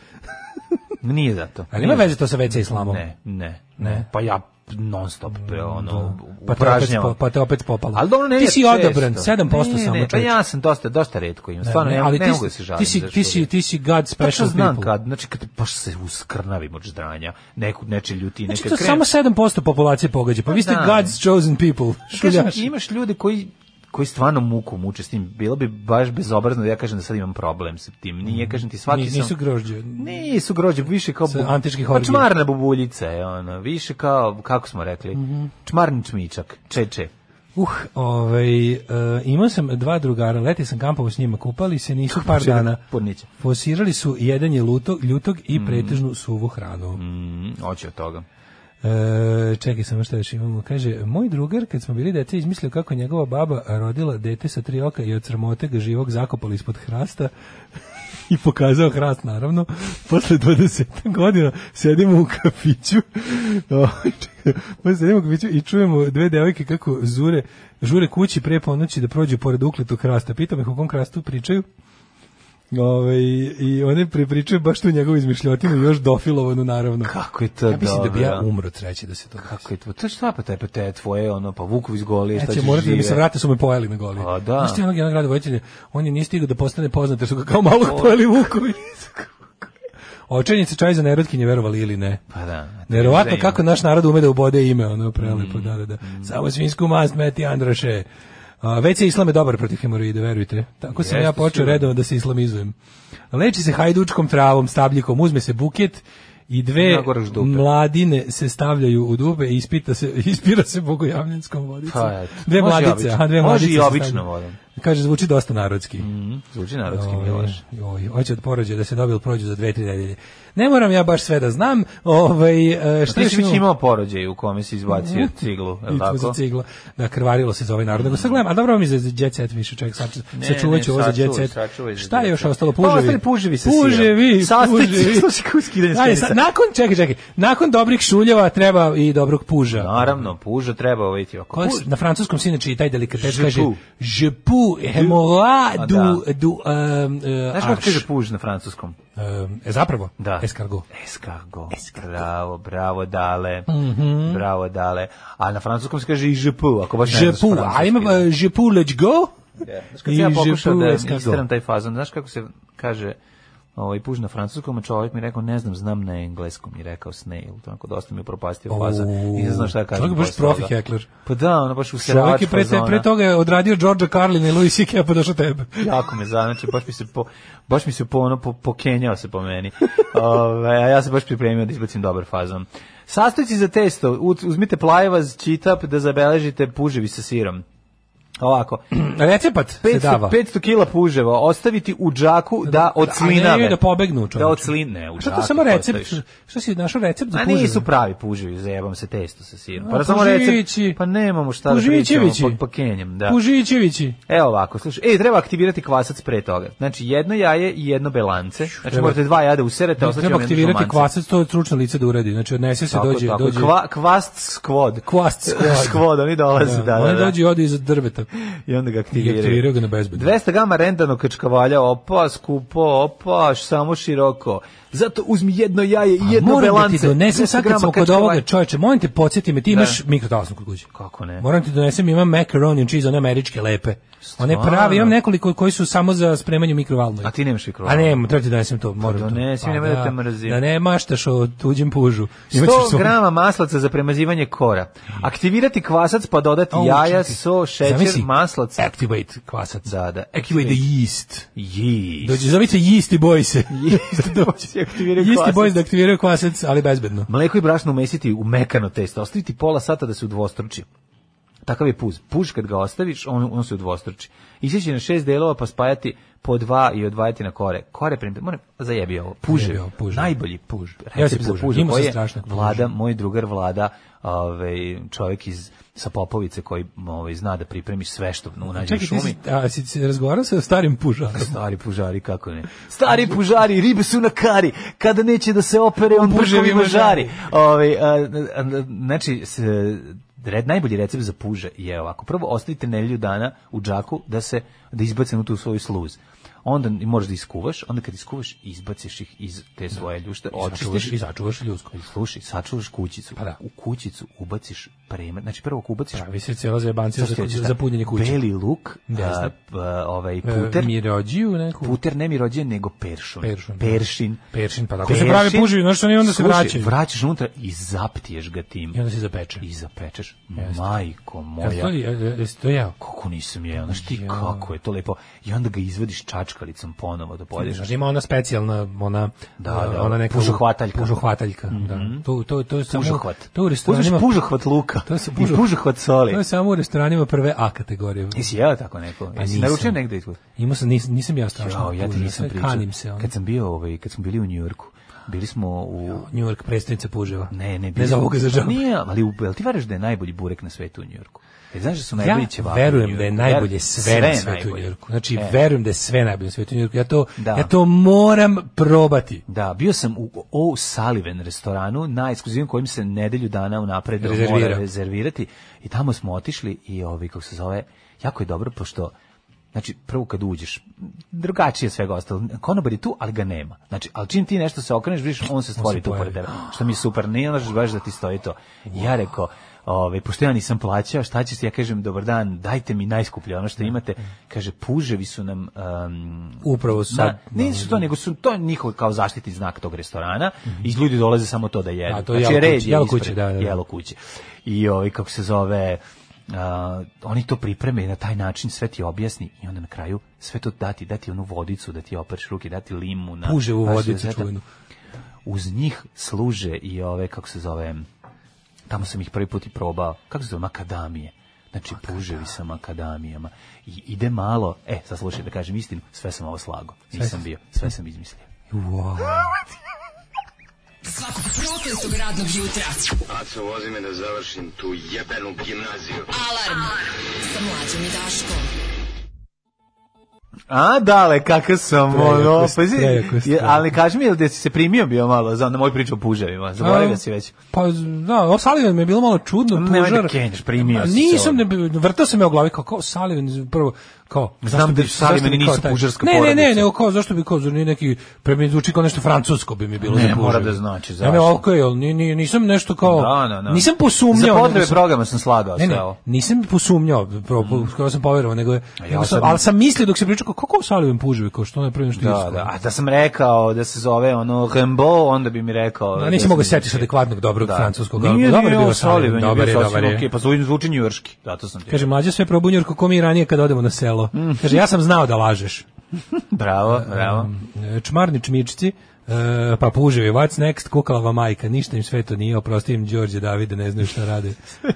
S6: Nije zato.
S5: Ali ima veze to sa WC islamom.
S6: Ne, ne,
S5: Ne.
S6: ne. Pa ja non stop pre, ono,
S5: Pa te, opet,
S6: upražnjavam.
S5: spo- pa te opet popalo.
S6: Ali dobro, ne
S5: ti si
S6: često.
S5: odabran, 7%
S6: ne,
S5: samo
S6: ne, pa
S5: čovječe.
S6: ja sam dosta, dosta redko imam. Stvarno,
S5: Ne,
S6: ne,
S5: ali
S6: ne
S5: ti
S6: mogu
S5: si-
S6: da se žalim.
S5: Ti si,
S6: za
S5: ti
S6: što
S5: si,
S6: je.
S5: ti si God
S6: Pa što
S5: special
S6: znam
S5: people.
S6: kad, znači kad baš se uskrnavim od ždranja, neku, neče ljutine.
S5: Znači
S6: kad
S5: to
S6: krenem-
S5: samo 7% populacije pogađa, pa vi ste
S6: da.
S5: God's chosen people,
S6: Pa Kažem,
S5: šuljaši.
S6: imaš ljude koji koji stvarno muku muče s tim. Bilo bi baš bezobrazno da ja kažem da sad imam problem sa tim. Nije, kažem ti, svaki
S5: Ni- Nisu
S6: sam...
S5: grožđe.
S6: Nisu grođe, više kao...
S5: Sa
S6: bu-
S5: antičkih
S6: pa
S5: orgija.
S6: čmarna bubuljica je, ono, više kao, kako smo rekli,
S5: Mhm.
S6: čmarni čmičak, čeče.
S5: Uh, ovaj, e, imao sam dva drugara, leti sam kampovo s njima, kupali se nisu par dana.
S6: Porniće.
S5: Fosirali su jedan je lutog, ljutog i pretežnu suvu hranu.
S6: Mm, hoće od toga.
S5: E, čekaj samo što još imamo. Kaže, moj drugar kad smo bili dete izmislio kako je njegova baba rodila dete sa tri oka i od sramote ga živog zakopali ispod hrasta i pokazao hrast naravno. Posle 20 godina sedimo u kafiću. O, čekaj, Posle sedimo u kafiću i čujemo dve devojke kako zure, žure kući pre ponoći da prođu pored ukletog hrasta. Pitam ih o kom hrastu pričaju. Ove, i one prepričaju baš tu njegovu izmišljotinu još dofilovanu naravno
S6: Kako je to
S5: ja mislim da bi ja
S6: dobro.
S5: umro od sreće da se to
S6: Kako je to? To je šta pa te, pa te tvoje, ono, pa vuku iz golije, šta
S5: Eće,
S6: ćeš
S5: morate da mi se
S6: žive?
S5: vrate, su me pojeli me goli.
S6: A, da.
S5: Znaš ti onog jednog rada on je nije stigao da postane poznat, jer su ga kao malog pojeli vukovi. Očenjice čaj za nerotkinje, verovali ili ne.
S6: Pa da.
S5: Nerovatno
S6: Ima.
S5: kako naš narod ume da ubode ime, ono
S6: Mm,
S5: prelepo, da, da, da. Samo svinsku mast meti Andraše. A, već se islam je dobar protiv hemoroida, verujte. Tako sam
S6: Jeste,
S5: ja počeo
S6: sigurno.
S5: redovno da se islamizujem. Leči se hajdučkom travom, stabljikom, uzme se buket i dve
S6: Nagoraš dupe.
S5: mladine se stavljaju u dube i ispita se, ispira se bogojavljenskom vodicom.
S6: Pa, eto.
S5: dve
S6: Može i
S5: mladice,
S6: obično.
S5: aha, dve
S6: Može
S5: mladice.
S6: i
S5: se
S6: obično
S5: stavljaju.
S6: vodom.
S5: Kaže, zvuči dosta narodski.
S6: Mm, Zvuči narodski
S5: Ovaj,
S6: Miloš.
S5: joj, hoće od porođaja da se dobil prođu za dve, tri nedelje. Ne moram ja baš sve da znam. Ovaj, e, šta
S6: Pa Ti
S5: još
S6: si već
S5: imamo?
S6: imao porođaj u kome si izbacio ciglu, je li
S5: I to za
S6: tako?
S5: cigla. Da, krvarilo se za ovaj narod. Nego sad gledam, a dobro ovo mi je za jet set više, čovjek, saču, sačuvat ću
S6: ne,
S5: ovo za jet
S6: sačuvaj,
S5: set.
S6: sačuvaj za
S5: Šta je
S6: jet
S5: još
S6: set.
S5: ostalo?
S6: Pa
S5: Puževi.
S6: ostali puževi sa
S5: Puževi,
S6: sirom. Sastojci,
S5: puževi.
S6: slušaj kako skidanje
S5: Ajde,
S6: stenica.
S5: sad, nakon, čekaj, čekaj, nakon dobrih šuljeva treba i dobrog puža.
S6: Naravno, puža treba oviti oko.
S5: Kako se- na francuskom sinače i taj delikatet
S6: Je
S5: kaže
S6: pu.
S5: je pu hemora
S6: A,
S5: du
S6: da.
S5: du um, uh,
S6: Znaš kako kaže puž na francuskom?
S5: Um, e, zapravo?
S6: Da.
S5: Escargot.
S6: Escargot. Bravo, bravo, dale.
S5: Mhm.
S6: Bravo, dale. A na francuskom se kaže i žepu, ako baš ne
S5: Je
S6: znaš
S5: pu, a
S6: francuski.
S5: ima uh, je pu let's go?
S6: Da. Znaš kad sam ja
S5: i
S6: pokušao
S5: je pu
S6: da
S5: escargot.
S6: isteram taj fazon, znaš kako se kaže ovaj puž na francuskom, a čovjek mi rekao ne znam, znam na engleskom i rekao snail. To onako dosta mi je upropastio fazon. I ne znam šta kažem.
S5: Čovjek je baš
S6: posle toga.
S5: profi hekler.
S6: Pa da, ono baš usjerač
S5: Čovjek je pre, te, pre toga je odradio Georgia Carlina i Louis C.K. pa došao tebe.
S6: jako me zanači, baš mi se po, baš Ovaj, mi se po ono po, pokenjao se po meni. Ove, a ja se baš pripremio da izbacim dobar fazon. Sastojci za testo, u- uzmite plajevaz, čitap da zabeležite puževi sa sirom. Ovako,
S5: Recepat se
S6: 500,
S5: dava.
S6: 500 kila puževa ostaviti u džaku da
S5: A ne,
S6: odslinave.
S5: da pobegnu
S6: Da
S5: čoveče.
S6: odsline, u
S5: Šta
S6: džaku
S5: to samo recept?
S6: ostaviš.
S5: Šta si našao recept za
S6: A
S5: puževe?
S6: nisu pravi puževi, zajebam se testo sa sirom. Pa
S5: A,
S6: samo recept,
S5: puživići.
S6: pa nemamo šta da pričamo
S5: Puživićevići.
S6: pod pakenjem. Da.
S5: Pužićevići.
S6: Evo ovako, slušaj, ej, treba aktivirati kvasac pre toga. Znači, jedno jaje i jedno belance. Znači,
S5: treba-
S6: morate dva jada userete, ostaće
S5: Treba
S6: vam jedno
S5: aktivirati
S6: žumance.
S5: kvasac, to je stručno lice da uradi. Znači, odnese se,
S6: Tako,
S5: dođe...
S6: tako.
S5: dođe
S6: Kva, kvast squad.
S5: Kvast squad.
S6: Squad, oni dolaze, da, da,
S5: Oni
S6: da.
S5: dođu i ode iza drveta.
S6: I onda ga
S5: I
S6: aktiviraju.
S5: aktiviraju ga na bezbedno.
S6: 200 gama rendanog krčkavalja, opa, skupo, opa, š- samo široko. Zato uzmi jedno jaje i
S5: A
S6: jedno
S5: Pa moram da ti
S6: belance.
S5: donesem
S6: 200
S5: sad kad smo
S6: grama
S5: kod
S6: krčkavalja.
S5: ovoga čoveče, molim te podsjeti me, ti
S6: Da.
S5: imaš mikrotalasnu kod kuće.
S6: Kako ne?
S5: Moram ti donesem, imam macaroni and cheese, one američke lepe. One prave, imam nekoliko koji su samo za spremanje u mikrovalnoj.
S6: A ti nemaš
S5: A
S6: mikrovalnu?
S5: ne, treba ti donesem to, moram to. Pa
S6: donesi, nemoj da te mrzim.
S5: Da ne maštaš o tuđem pužu. Imat ćeš
S6: 100
S5: svoj-
S6: grama maslaca za premazivanje kora. Aktivirati kvasac pa dodati
S5: Au,
S6: jaja,
S5: čekaj.
S6: so, šećer,
S5: Zamisli.
S6: maslac.
S5: Activate kvasac.
S6: Da, da.
S5: Activate the yeast.
S6: Jeez.
S5: Dođe, zove se yeast i boj se.
S6: Yeast boys i aktiviraju
S5: Yeast i
S6: kvasac.
S5: boys da aktiviraju kvasac, ali bezbedno.
S6: Mleko i brašno umesiti u mekano testo, ostaviti pola sata da se udvostruči. Takav je puz. Puž kad ga ostaviš, on, on se udvostruči. Iseći na šest delova pa spajati po dva i odvajati na kore. Kore prim, moram zajebi ovo. Puže,
S5: Zajebi ovo, puže.
S6: najbolji puž.
S5: Ja se
S6: Recept za
S5: pužem.
S6: puže
S5: Imao
S6: koji
S5: sam
S6: je
S5: strašnog puža.
S6: Vlada, moj drugar Vlada, ovaj čovjek iz sa Popovice koji ovaj zna da pripremi sve što mu nađe
S5: Čekaj,
S6: u
S5: ti
S6: šumi.
S5: si, a, si, si razgovarao sa starim pužarom?
S6: Stari pužari, kako ne. Stari pužari, ribe su na kari. Kada neće da se opere, on puževima
S5: puževima
S6: žari.
S5: žari.
S6: Ove, a, a, a, znači, s, red, najbolji recept za puže je ovako. Prvo, ostavite nedelju dana u džaku da se da izbacimo tu svoju sluz. Onda i možeš da iskuvaš, onda kad iskuvaš, izbaciš ih iz te svoje ljušte, očistiš
S5: Sačuvaš i začuvaš ljudsko.
S6: Slušaj, sačuvaš kućicu.
S5: Pa da.
S6: U kućicu ubaciš premer. Znači, prvo ako ubaciš
S5: Pravi se cijela zajebancija
S6: Sad
S5: za,
S6: ću reći,
S5: za,
S6: šta?
S5: za punjenje kuće.
S6: Beli luk,
S5: Ne
S6: a,
S5: znam.
S6: a, ovaj
S5: E,
S6: puter,
S5: Mirođiju neku.
S6: puter ne mi rođen nego peršun.
S5: Peršun, da.
S6: Peršin.
S5: Peršin, pa tako se pravi puževi, znaš što oni onda se
S6: Slušaj,
S5: vraćaju.
S6: vraćaš unutra i zaptiješ ga tim.
S5: I onda se zapeče.
S6: I zapečeš. Majko moja.
S5: Jel to, jel- jesi to jeo?
S6: Kako nisam jeo, znaš ti
S5: Ja.
S6: kako je to lepo. I onda ga izvadiš čačkalicom ponovo da pojedeš.
S5: Znaš, ima ona specijalna, ona,
S6: Da, Mhm. da,
S5: ona neka
S6: pužohvataljka.
S5: Pužohvataljka, da. To, to, to je samo,
S6: Pužohvat.
S5: To u
S6: Uzmeš
S5: restoranima,
S6: pužohvat luka
S5: To se
S6: i
S5: pužo-
S6: pužohvat soli.
S5: to je samo u restoranima prve A kategorije.
S6: Jesi jeo tako neko?
S5: Pa
S6: Jesi
S5: nisam.
S6: naručio negde? i-
S5: Imao sam, nisam, nisam ja strašno.
S6: Jao, ja ti
S5: puža,
S6: nisam
S5: sve
S6: pričao.
S5: Kanim se, ono.
S6: Kad sam bio, ovaj, kad smo bili u Njujorku, bili smo u,
S5: New York predstavnica puževa.
S6: Ne, ne,
S5: Ne za ovoga za žabu.
S6: Nije, ali u, jel ti veruješ da je najbolji burek na svetu u Njujorku? Jer znaš da su najbolji
S5: Ja
S6: ćevapi u
S5: verujem
S6: Njujorku?
S5: da je najbolje
S6: Ver-
S5: sve na svetu u
S6: najbolje.
S5: Njujorku. Znači,
S6: E.
S5: verujem da je sve najbolje na svetu u Njujorku. Ja to,
S6: Da.
S5: ja to moram probati.
S6: Da, bio sam u O Sullivan restoranu, najekskluzivnom kojim se nedelju dana unapred mora
S5: Rezervira.
S6: rezervirati i tamo smo otišli i ovi kako se zove, jako je dobro pošto Znači, prvo kad uđeš, drugačije je svega ostalo. Konobar je tu, ali ga nema. Znači, ali čim ti nešto se okreneš, vidiš, on se stvori tu
S5: pojavi.
S6: pored tebe. Što mi je super, nije ono baš da ti stoji to. I ja rekao, ovaj, pošto ja nisam plaćao, šta ćete, ja kažem, dobar dan, dajte mi najskuplje ono što imate. Kaže, puževi su nam um,
S5: Upravo sad.
S6: da, nisu to, nego su to je njihov kao zaštitni znak tog restorana i ljudi dolaze samo to da jedu.
S5: Da, to je
S6: znači,
S5: jelo
S6: red
S5: kuće,
S6: je
S5: jelo
S6: ispred,
S5: kuće, da, da, da.
S6: jelo kuće. I ovaj, kako se zove, a, oni to pripreme i na taj način sve ti objasni i onda na kraju sve to dati, dati onu vodicu da ti opereš ruke, dati limu. Na,
S5: Puževu
S6: baš je
S5: vodicu
S6: zeta.
S5: čuvenu.
S6: Uz njih služe i ove, kako se zove, tamo sam ih prvi put i probao, kako se zove, makadamije. Znači, puževi sa makadamijama. I ide malo, e, sad slušaj da kažem istinu, sve sam ovo slago. Nisam bio, sve sam izmislio.
S5: Wow.
S4: Svakog prokletog radnog jutra.
S9: Aco, vozi me da završim tu jebenu gimnaziju.
S4: Alarm. Sa mlađom i Daškom.
S6: A, dale, kakav sam,
S5: Prejako
S6: ono,
S5: si,
S6: pazi,
S5: prejako si,
S6: je-
S5: prejako.
S6: ali kaži mi, jel da si se primio bio malo za na moju priču o puževima? Zaboravio
S5: A,
S6: si već.
S5: Pa, da, o Sullivan mi je bilo malo čudno,
S6: Nemoj da
S5: pužar.
S6: kenjaš, primio
S5: A
S6: si se
S5: Nisam,
S6: ovdje.
S5: ne, bi- vrtao sam me u glavi, kao, kao Sullivan, prvo, kao,
S6: Znam
S5: zašto
S6: da
S5: bi- zašto
S6: Sullivani
S5: bi kao
S6: nisu
S5: taj-
S6: pužarska
S5: ne, Ne, ne,
S6: porodica.
S5: ne, nego kao, zašto bi, kao, zar nije neki, premi zvuči kao nešto francusko bi mi bilo
S6: Ne,
S5: za pužar.
S6: mora da znači,
S5: Ne, ne,
S6: zašto.
S5: okej, ali ni- ni- nisam nešto kao,
S6: Da, da, da.
S5: nisam posumnjao.
S6: Za
S5: nego
S6: potrebe
S5: sam-
S6: programa sam slagao
S5: Ne, ne,
S6: Pa sve ovo. Mm.
S5: nisam posumnjao, pro, skoro sam poverovao, nego, je-
S6: ja
S5: nego sam,
S6: sad-
S5: ali sam mislio dok se pričao, kao, kako Sullivan puževi, kao što ono je prvi nešto
S6: Da,
S5: isko.
S6: da, a da sam rekao da se zove ono Rambo, onda bi mi rekao...
S5: Da, nisam mogao
S6: sam-
S5: setiš adekvatnog dobrog francuskog. ali
S6: Nije,
S5: dobar
S6: nije,
S5: je bio
S6: on Sullivan je
S5: Sullivan, dobar
S6: bio
S5: je,
S6: sasvim
S5: dobar je.
S6: okej, pa zvuči, zvuči njujorski, zato sam ti... Mm.
S5: Kaže, mlađe sve probu u Njurku, ko mi ranije kad odemo na selo. Kaže, ja sam znao da lažeš.
S6: Bravo, bravo.
S5: E, Čmarni čmičci, e, pa puževi, what's next, kukalava majka, ništa im sve to nije, oprosti im Đorđe Davide, ne znaju šta rade. E,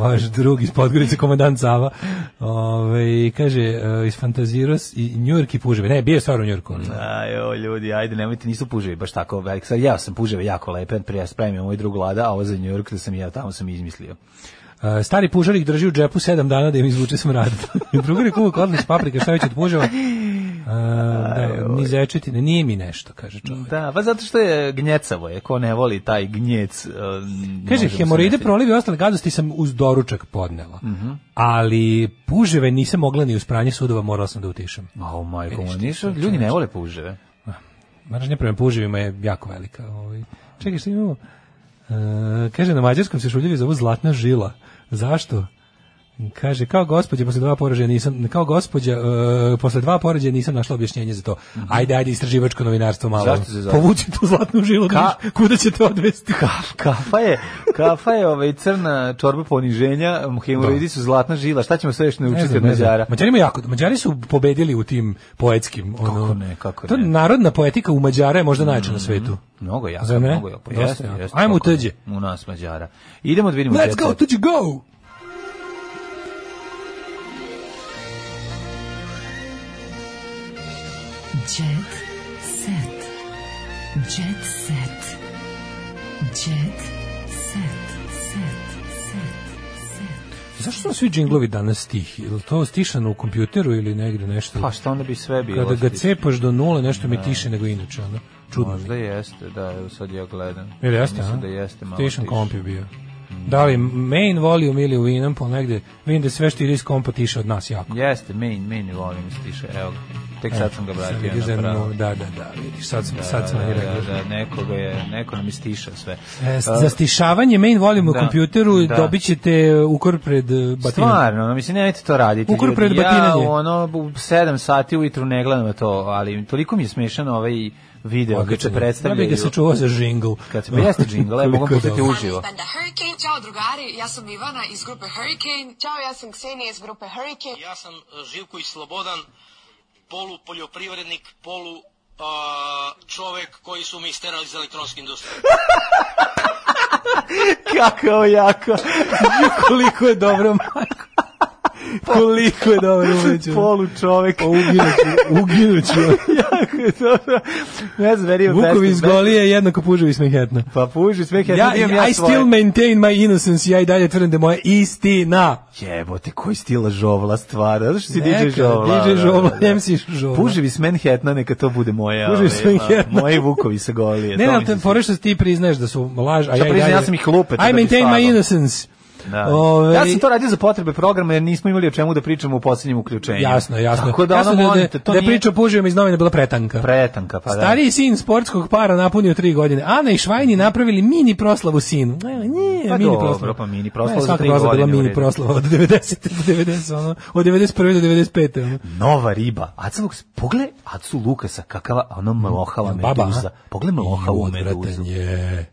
S5: Vaš drugi iz Podgorice, komandant Sava. Ove, kaže, e, isfantazirao s- i njurki puževi. Ne, bio je stvarno u njurku.
S6: Aj, o, ljudi, ajde, nemojte, nisu puževi baš tako veliki. Sad, ja sam puževe jako lepe, prije ja spremio moju drugu lada, a ovo za New York da sam ja tamo sam izmislio.
S5: E, stari pužarik drži u džepu sedam dana da im izvuče smrad. Drugari kuvak odlič paprika, šta već od puževa. E, da, ni zečetine, nije mi nešto, kaže čovjek.
S6: Da, pa zato što je gnjecavo je, ko ne voli taj gnjec. em,
S5: Kaže,
S6: možemo se
S5: hemoroide,
S6: desiti.
S5: prolivi i ostale gadosti sam uz doručak podnela. Ali puževe nisam mogla ni uz pranje sudova, morala sam da utišam.
S6: O, majko,
S5: Vidiš
S6: moja,
S5: ti,
S6: nisu,
S5: čoveče.
S6: ljudi ne vole puževe.
S5: Mržnja prema puževima je jako velika. Ovaj. Čekaj, šta imamo? E, kaže, na mađarskom se šuljevi zovu zlatna žila. Zašto? Kaže, kao gospođa, posle dva poražaja nisam, kao gospođa, e, posle dva poražaja nisam našla objašnjenje za to. Ajde, ajde, istraživačko novinarstvo malo.
S6: Zašto se zove?
S5: Povuci tu zlatnu žilu, da
S6: Ka-
S5: vidiš kuda će te odvesti.
S6: Kafa je, kafa je ovaj crna čorba poniženja, hemoroidi su zlatna žila, šta ćemo sve još
S5: Ne
S6: naučiti
S5: znam,
S6: od
S5: ne znam.
S6: Mađara?
S5: Mađarima jako, Mađari su pobedili u tim poetskim. Ono,
S6: Kako ne, kako
S5: To
S6: ne. Mm.
S5: narodna poetika u Mađara je možda najjača na svetu.
S6: Mnogo jako,
S5: Zar ne?
S6: mnogo jako.
S5: Dosta
S6: Jeste,
S5: jako.
S6: jeste,
S5: Ajmo u
S6: kako ne,
S5: tuđe.
S6: U nas Mađara. Idemo da vidimo.
S5: Let's
S6: jet
S5: go,
S6: set.
S5: to you go!
S4: Jet set. Jet set. Jet set. Set. Set.
S5: Zašto su svi džinglovi danas tih? Je li to stišano u kompjuteru ili negde nešto?
S6: Pa šta onda bi sve bilo?
S5: Kada ga
S6: stišno?
S5: cepaš do nule, nešto mi je tiše nego inače, ono. Čudno
S6: Možda
S5: mi.
S6: jeste, da, evo sad ja gledam.
S5: Ili jeste,
S6: Mislim
S5: a?
S6: da jeste malo
S5: Stišan
S6: tiše. Mm.
S5: komp je bio. Da li main volume ili Winamp, ali negde, vidim da je sve što ide iz kompa tiše od nas jako.
S6: Jeste, main, main volim stiše, evo ga. Tek sad sam ga
S5: Sad
S6: vratio
S5: vidiš da,
S6: na
S5: je
S6: pravo.
S5: nula, da, da, da, vidiš, sad sam,
S6: Da,
S5: sad sam i
S6: da,
S5: rekao.
S6: da, nekoga je, neko nam je stišao sve. Pa,
S5: E, za stišavanje main volume
S6: da,
S5: u kompjuteru
S6: da.
S5: dobit ćete ukor pred e, batinom.
S6: Stvarno, ono, mislim, nemojte to raditi.
S5: Ukor
S6: ljudi.
S5: pred
S6: ja,
S5: batinanje.
S6: ono, u 7 sati ujutru ne gledam na to, ali toliko mi je smešano ovaj video kad se
S5: Odlično.
S6: predstavljaju.
S5: Ja bih ga se čuvao za žingl.
S6: Kad se pa jeste jingle, evo, mogu
S5: Koliko je
S6: pustiti
S5: dobro.
S6: uživo.
S11: Banda Hurricane. Ćao drugari, ja sam Ivana iz grupe Hurricane. Ćao, ja sam Ksenija iz grupe Hurricane.
S9: Ja sam Živković Slobodan, polu poljoprivrednik, polu čovek koji su mi isterali iz elektronske industrije.
S6: Kako je ovo jako.
S5: Koliko je dobro, Marko. Koliko je dobro Pa umeđu.
S6: Polu čovek.
S5: Uginuću, uginuću.
S6: jako je dobro. Ne znam, verio
S5: Vukovi iz Golije jednako puževi iz Manhattana.
S6: Pa puži sve kad
S5: Ja,
S6: imam
S5: I
S6: svoje.
S5: still maintain my innocence, ja i dalje tvrdim da je moja istina.
S6: Jebote, koji stil žovla stvar, zato što si
S5: Neka,
S6: DJ žovla.
S5: DJ
S6: da,
S5: žovla,
S6: da, da.
S5: MC žovla.
S6: Puževi s Manhattana, neka to bude moja.
S5: Puževi s
S6: ovaj,
S5: Manhattana.
S6: a, Moji Vukovi sa Golije.
S5: Ne, ne,
S6: E, to mi
S5: ali
S6: se
S5: te
S6: sviđa.
S5: fore što ti priznaš da su laž, a ja i
S6: priznaj,
S5: dalje...
S6: ja sam ih lupetao da
S5: I
S6: bi
S5: maintain
S6: slagao.
S5: my innocence.
S6: Da.
S5: Ove-
S6: ja sam to radio za potrebe programa jer nismo imali o čemu da pričamo u posljednjem uključenju.
S5: Jasno, jasno.
S6: Tako da ono,
S5: jasno da, da,
S6: molite, to
S5: da je
S6: nije
S5: priča o puževima iz novina bila pretanka.
S6: pretanka, pa da.
S5: Stariji sin sportskog para napunio tri godine. Ana i Švajni napravili mini proslavu sinu. E, nije,
S6: Mhm. Pa
S5: mini
S6: dobro,
S5: proslava.
S6: pa mini proslava
S5: Ne,
S6: za
S5: svaka
S6: tri
S5: proslava
S6: godine u
S5: bila mini
S6: redu.
S5: proslava od 90. do 90, ono, od 91. do 95. Ono.
S6: Nova riba. Aca Lukas, pogled Acu Lukasa, kakava ono mlohala
S5: Baba,
S6: meduza. Pogled mloha u meduzu.
S5: Je.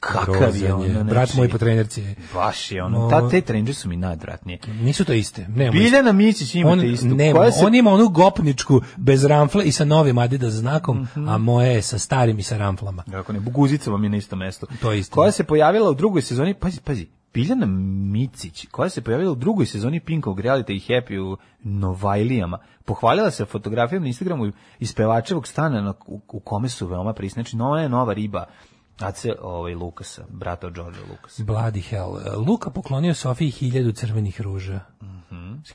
S6: Kakav je ono, znači,
S5: Brat moj po trenerci. je.
S6: Baš je ono,
S5: No.
S6: ta, te trenđe su mi najodvratnije.
S5: Nisu to iste. Nemamo iste.
S6: Biljana Mićić
S5: On,
S6: imate istu.
S5: nema,
S6: koja se
S5: on ima onu gopničku bez ramfla i sa novim Adidas znakom, a moje je sa starim i sa ramflama.
S6: Kako ne, Buguzica vam je na istom mestu.
S5: To je istina.
S6: Koja se pojavila u drugoj sezoni, pazi, pazi, Biljana Micić, koja se pojavila u drugoj sezoni Pinkovog realita i Happy u Novajlijama, pohvalila se fotografijom na Instagramu iz pevačevog stana na, u, u kome su veoma prisni. Znači, nova je nova riba. Ace ovaj, Lukasa, brata od Đorđa Lukasa.
S5: Bloody hell. Luka poklonio Sofiji hiljadu crvenih ruža.
S6: Mhm.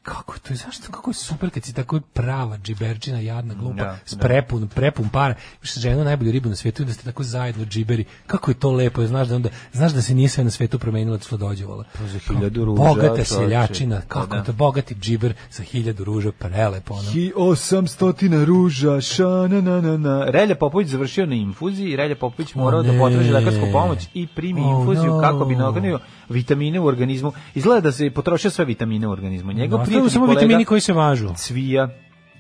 S5: Kako to je, zašto, kako je super kad si tako prava džiberčina, jadna, glupa,
S6: Da,
S5: s prepun, prepun para, imaš ženu najbolju ribu na svijetu i da ste tako zajedno džiberi, kako je to lepo, jer znaš da, onda, znaš da se nije sve na svijetu promenilo od slodođevala.
S6: Pa za hiljadu ruža,
S5: Bogata
S6: čoveče.
S5: seljačina, kako
S6: Pa da.
S5: je to, bogati džiber sa hiljadu ruža, prelepo ono.
S6: I 800 ruža, šana na na na. Relja Popović završio na infuziji, Relja Popović morao da
S5: Oh, ne.
S6: potraži lekarsku pomoć i primi
S5: Oh,
S6: infuziju
S5: no.
S6: kako bi nagonio vitamine u organizmu. Izgleda da se je potrošio sve vitamine u organizmu. Njegov
S5: Ostaju
S6: prijatelj
S5: mu
S6: i
S5: samo
S6: kolega
S5: vitamini koji se važu.
S6: cvija,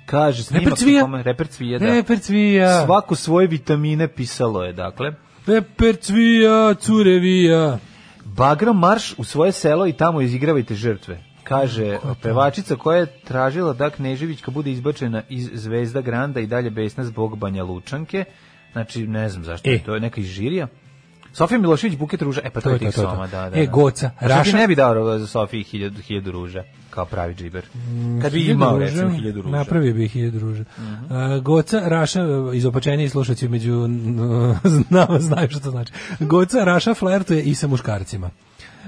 S6: kaže snimak
S5: Reper Cvija?
S6: u kome- reper cvija, da.
S5: Reper cvija,
S6: Svako svoje vitamine pisalo je, dakle.
S5: reper cvija, curevija.
S6: Bagram marš u svoje selo i tamo izigravajte žrtve. Kaže, pevačica koja je tražila da Kneževićka bude izbačena iz Zvezda Granda i dalje besna zbog Banja Lučanke. Znači, ne znam zašto
S5: E.
S6: je to, neka iz žirija. Sofija Milošević, buket ruža, e pa to, je
S5: to,
S6: tih
S5: to je to.
S6: soma, da, da.
S5: E,
S6: da.
S5: Goca,
S6: A što ti
S5: Raša-
S6: ne bi dao za Sofiji hiljadu, hiljadu ruža, kao pravi džiber? Kad bi
S5: Mm, Hiljadu
S6: imao,
S5: ruža,
S6: recimo, hiljadu ruža. Mhm.
S5: Napravio bi hiljadu ruža. A, Goca, Raša, izopačeniji slušaći među nama znaju što to znači. Goca, Raša flertuje i sa muškarcima.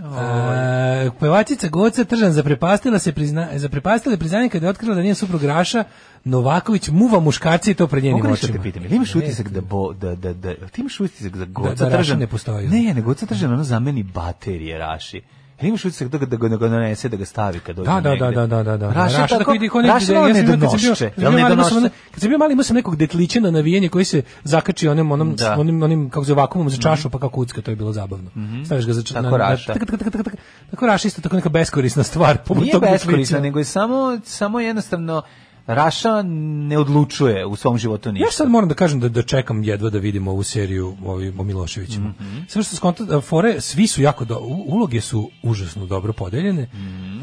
S5: A, pevačica Goca Tržan zaprepastila se prizna, zaprepastila je priznanje kada je otkrila da nije suprug Raša Novaković muva muškarci i to pred njenim
S6: Mogu nešto da
S5: očima.
S6: te pitam, ili imaš
S5: Ne.
S6: utisak da, bo, da, da, da, ti imaš utisak da
S5: Da-
S6: Goca
S5: da Raša
S6: Tržan...
S5: ne postoji.
S6: Ne, ne, Goca Tržan, ono zameni baterije Raši. Ili imaš utisak da ga, da ga, da ga donese, da ga stavi kad dođe
S5: Da, da,
S6: negde?
S5: da, da, da, da, da.
S6: Raša,
S5: Raša
S6: tako,
S5: tako ide ko negde
S6: Raša
S5: da-
S6: malo
S5: ja sam imao kad sam bio-
S6: nedonošče.
S5: kad sam
S6: Jel
S5: bio mali, imao sam
S6: nedonošče?
S5: one- Kad sam bio mali, imao sam nekog detlića na navijanje koji se zakači onim, onom,
S6: Da. Mhm.
S5: onim, onim, kako se vakumom za čašu, pa kako kucka, to je bilo zabavno. Staviš ga za čašu.
S6: Tako Raša.
S5: Tako, tako, tako, tako, tako Raša isto tako neka beskorisna stvar. poput
S6: Nije
S5: tog
S6: beskorisna,
S5: detlića.
S6: nego je samo, samo jednostavno Raša ne odlučuje u svom životu ništa.
S5: Ja sad moram da kažem da, da čekam jedva da vidim ovu seriju ovi, o Miloševićima. Sve što skontam, a, fore, svi su jako, do, u- uloge su užasno dobro podeljene.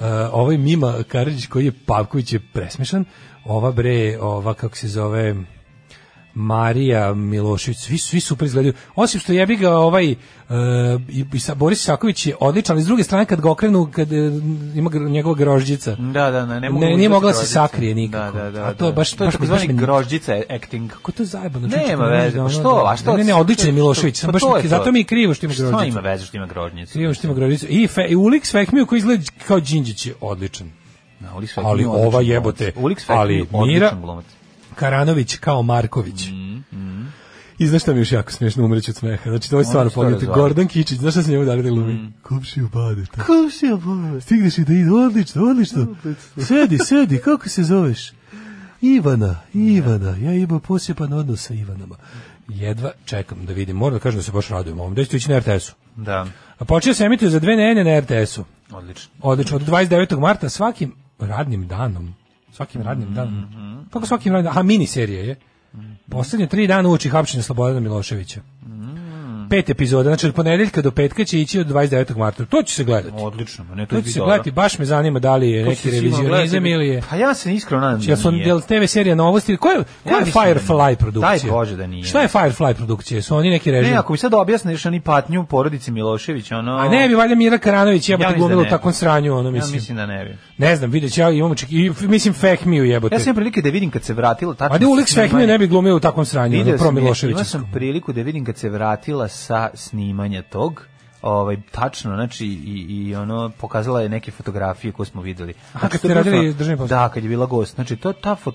S5: A, ovaj Mima Karadžić koji je Pavković je presmešan. Ova bre, ova kako se zove... Marija Milošević, svi, svi super izgledaju. Osim što jebi ga ovaj e, i, i sa, Boris Isaković je odličan, ali s druge strane kad ga okrenu, kad e, ima gr- njegova grožđica.
S6: Da, da, ne, ne, mogu
S5: Ne, nije
S6: uzeti
S5: mogla da se
S6: grožđice.
S5: sakrije nikako.
S6: Da, da, da.
S5: A to je
S6: da.
S5: baš-
S6: to je
S5: baš- baš
S6: takozvani
S5: me-
S6: grožđica acting.
S5: Kako to je zajebano?
S6: Nema
S5: čučka,
S6: veze,
S5: ono,
S6: pa što, a što?
S5: Ne, ne, odličan je
S6: što-
S5: Milošević, sam
S6: pa
S5: baš
S6: to je to.
S5: zato mi je krivo što ima
S6: Šta
S5: grožđicu.
S6: ima veze što ima grožnjicu?
S5: Krivo što ima grožđicu. I, fe, i Ulik s Fehmiju koji izgleda kao Đinđić je odličan.
S6: Na, Uliks Fekmiju
S5: Ali
S6: je odličan
S5: ova
S6: glumac.
S5: jebote,
S6: Uliks Fekmiju je
S5: ali Mira
S6: odličan glumac.
S5: Karanović kao Marković. I znaš šta mi je još jako smiješno umreći od smeha? Znači, to mm. je stvarno
S6: šta
S5: pognjete.
S6: razvali?
S5: Gordon Kičić, znaš šta se njemu dali da glumi? Kupši upade. Kupši upade. Stigneš i da ide, odlično, odlično. Sedi, sedi, kako se zoveš? Ivana, Ivana, ja imam poseban odnos sa Ivanama. Jedva čekam da vidim, moram da kažem da se baš radujem ovom. Da ću to ići na RTS-u.
S6: Da,
S5: A počeo se emituje za dve nedelje na RTS-u.
S6: odlično.
S5: Odlično, od 29. marta svakim radnim danom, svakim radnim danom,
S6: Mhm.
S5: kako svakim radnim danom, aha, miniserija je, poslednje tri dana uoči hapšenja Slobodana Miloševića.
S6: Mhm.
S5: Pet epizoda, znači od ponedeljka do petka će ići od 29. marta. To će se gledati.
S6: Odlično, ma ne, to
S5: To
S6: je
S5: će se
S6: dobro.
S5: gledati, baš me zanima da li je
S6: To će
S5: neki
S6: se sigurno
S5: revizionizam
S6: gledati.
S5: ili je...
S6: Pa ja se iskreno nadam
S5: Jel
S6: da
S5: su
S6: nije.
S5: jel TV serija novosti? Ko je, ko
S6: Ja
S5: je
S6: mislim da nije.
S5: Firefly produkcija?
S6: Daj Bože da nije.
S5: Šta je Firefly produkcija? Su oni neki režim?
S6: Ne, ako mi sad objasniš oni patnju porodici Milošević, ono...
S5: A ne bi valjda Mira Karanović jebote
S6: mislim da
S5: glumila u
S6: ne.
S5: takvom sranju, ono
S6: Ja
S5: mislim.
S6: mislim da ne bi.
S5: Ne znam, vidjet ću, ja imam oček... i f- mislim fake me jebote.
S6: Ja sam imao prilike da vidim kad se vratila tačno.
S5: A da Ulik
S6: snimanje.
S5: Svehmir ne bi glumio u takvom sranju, ono,
S6: Video
S5: pro
S6: sam, je- imao
S5: Miloševićevskom.
S6: sam priliku da vidim kad se vratila sa snimanja tog. Ovaj tačno, znači i, i ono pokazala je neke fotografije koje smo videli. Znači,
S5: kad
S6: to
S5: ste
S6: je prosto-
S5: radili državni posao.
S6: Da, kad je bila gost. Znači to ta fot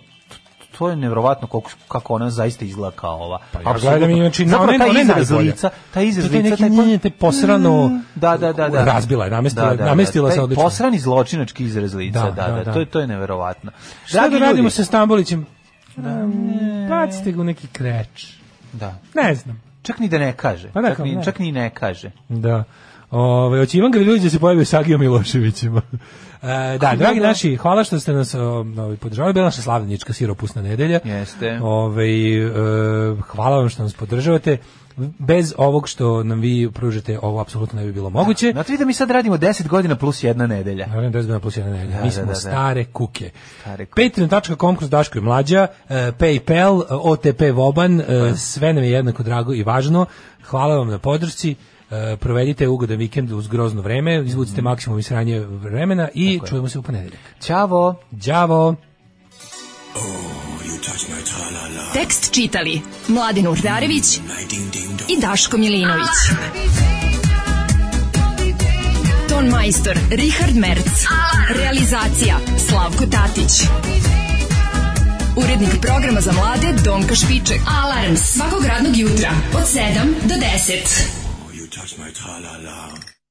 S6: to je neverovatno kako kako ona zaista izgleda kao ova.
S5: Pa ja gledam i znači na
S6: Zapravo,
S5: one,
S6: taj
S5: one
S6: izraz
S5: najbolje.
S6: lica, taj izraz
S5: To je
S6: lica,
S5: neki
S6: taj pon-
S5: njenje te posrano
S6: da, da, da, da.
S5: razbila je, namestila,
S6: Da, da, da.
S5: namestila se
S6: Taj
S5: odlično.
S6: Posrani zločinački izraz lica, da,
S5: Da,
S6: da,
S5: da, da.
S6: To je to je neverovatno.
S5: Šta da
S6: Dragi
S5: radimo
S6: ljudi-
S5: sa Stambolićem? Bacite ga u neki kreč.
S6: Da.
S5: Ne znam.
S6: Čak ni da ne kaže.
S5: Pa da,
S6: čak,
S5: kao
S6: ni,
S5: ne.
S6: čak ni ne kaže.
S5: Da. Ove, oći Ivan Griljulić da se pojavi u sagi o Miloševićima. E, da, dragi naši, hvala što ste nas o, ovaj, podržavali. Bila naša slavljenička siropusna nedelja.
S6: Jeste.
S5: Ove, e, hvala vam što nas podržavate. Bez ovog što nam vi pružite, ovo apsolutno ne bi bilo moguće.
S6: Znate vi da mi sad radimo 10 godina plus jedna nedelja.
S5: Naravno, 10 godina plus jedna nedelja.
S6: Da,
S5: Mi
S6: da,
S5: smo
S6: da, da.
S5: stare kuke.
S6: Stare kuke.
S5: Patreon.com kroz Daško i Mlađa, e, Paypal, e, OTP Voban, e, sve nam je jednako drago i važno. Hvala vam na podršci. e, provedite ugodan vikend uz grozno vreme, izvucite maksimum iz sranje vremena i čujemo se u ponedeljak.
S6: Ćavo!
S5: Đavo!
S12: Tekst čitali Mladin Urdarević i Daško Milinović. Ton majstor Richard Merc. Realizacija Slavko Tatić. Urednik programa za mlade Donka Špiček. Alarms svakog radnog jutra od 7 do 10.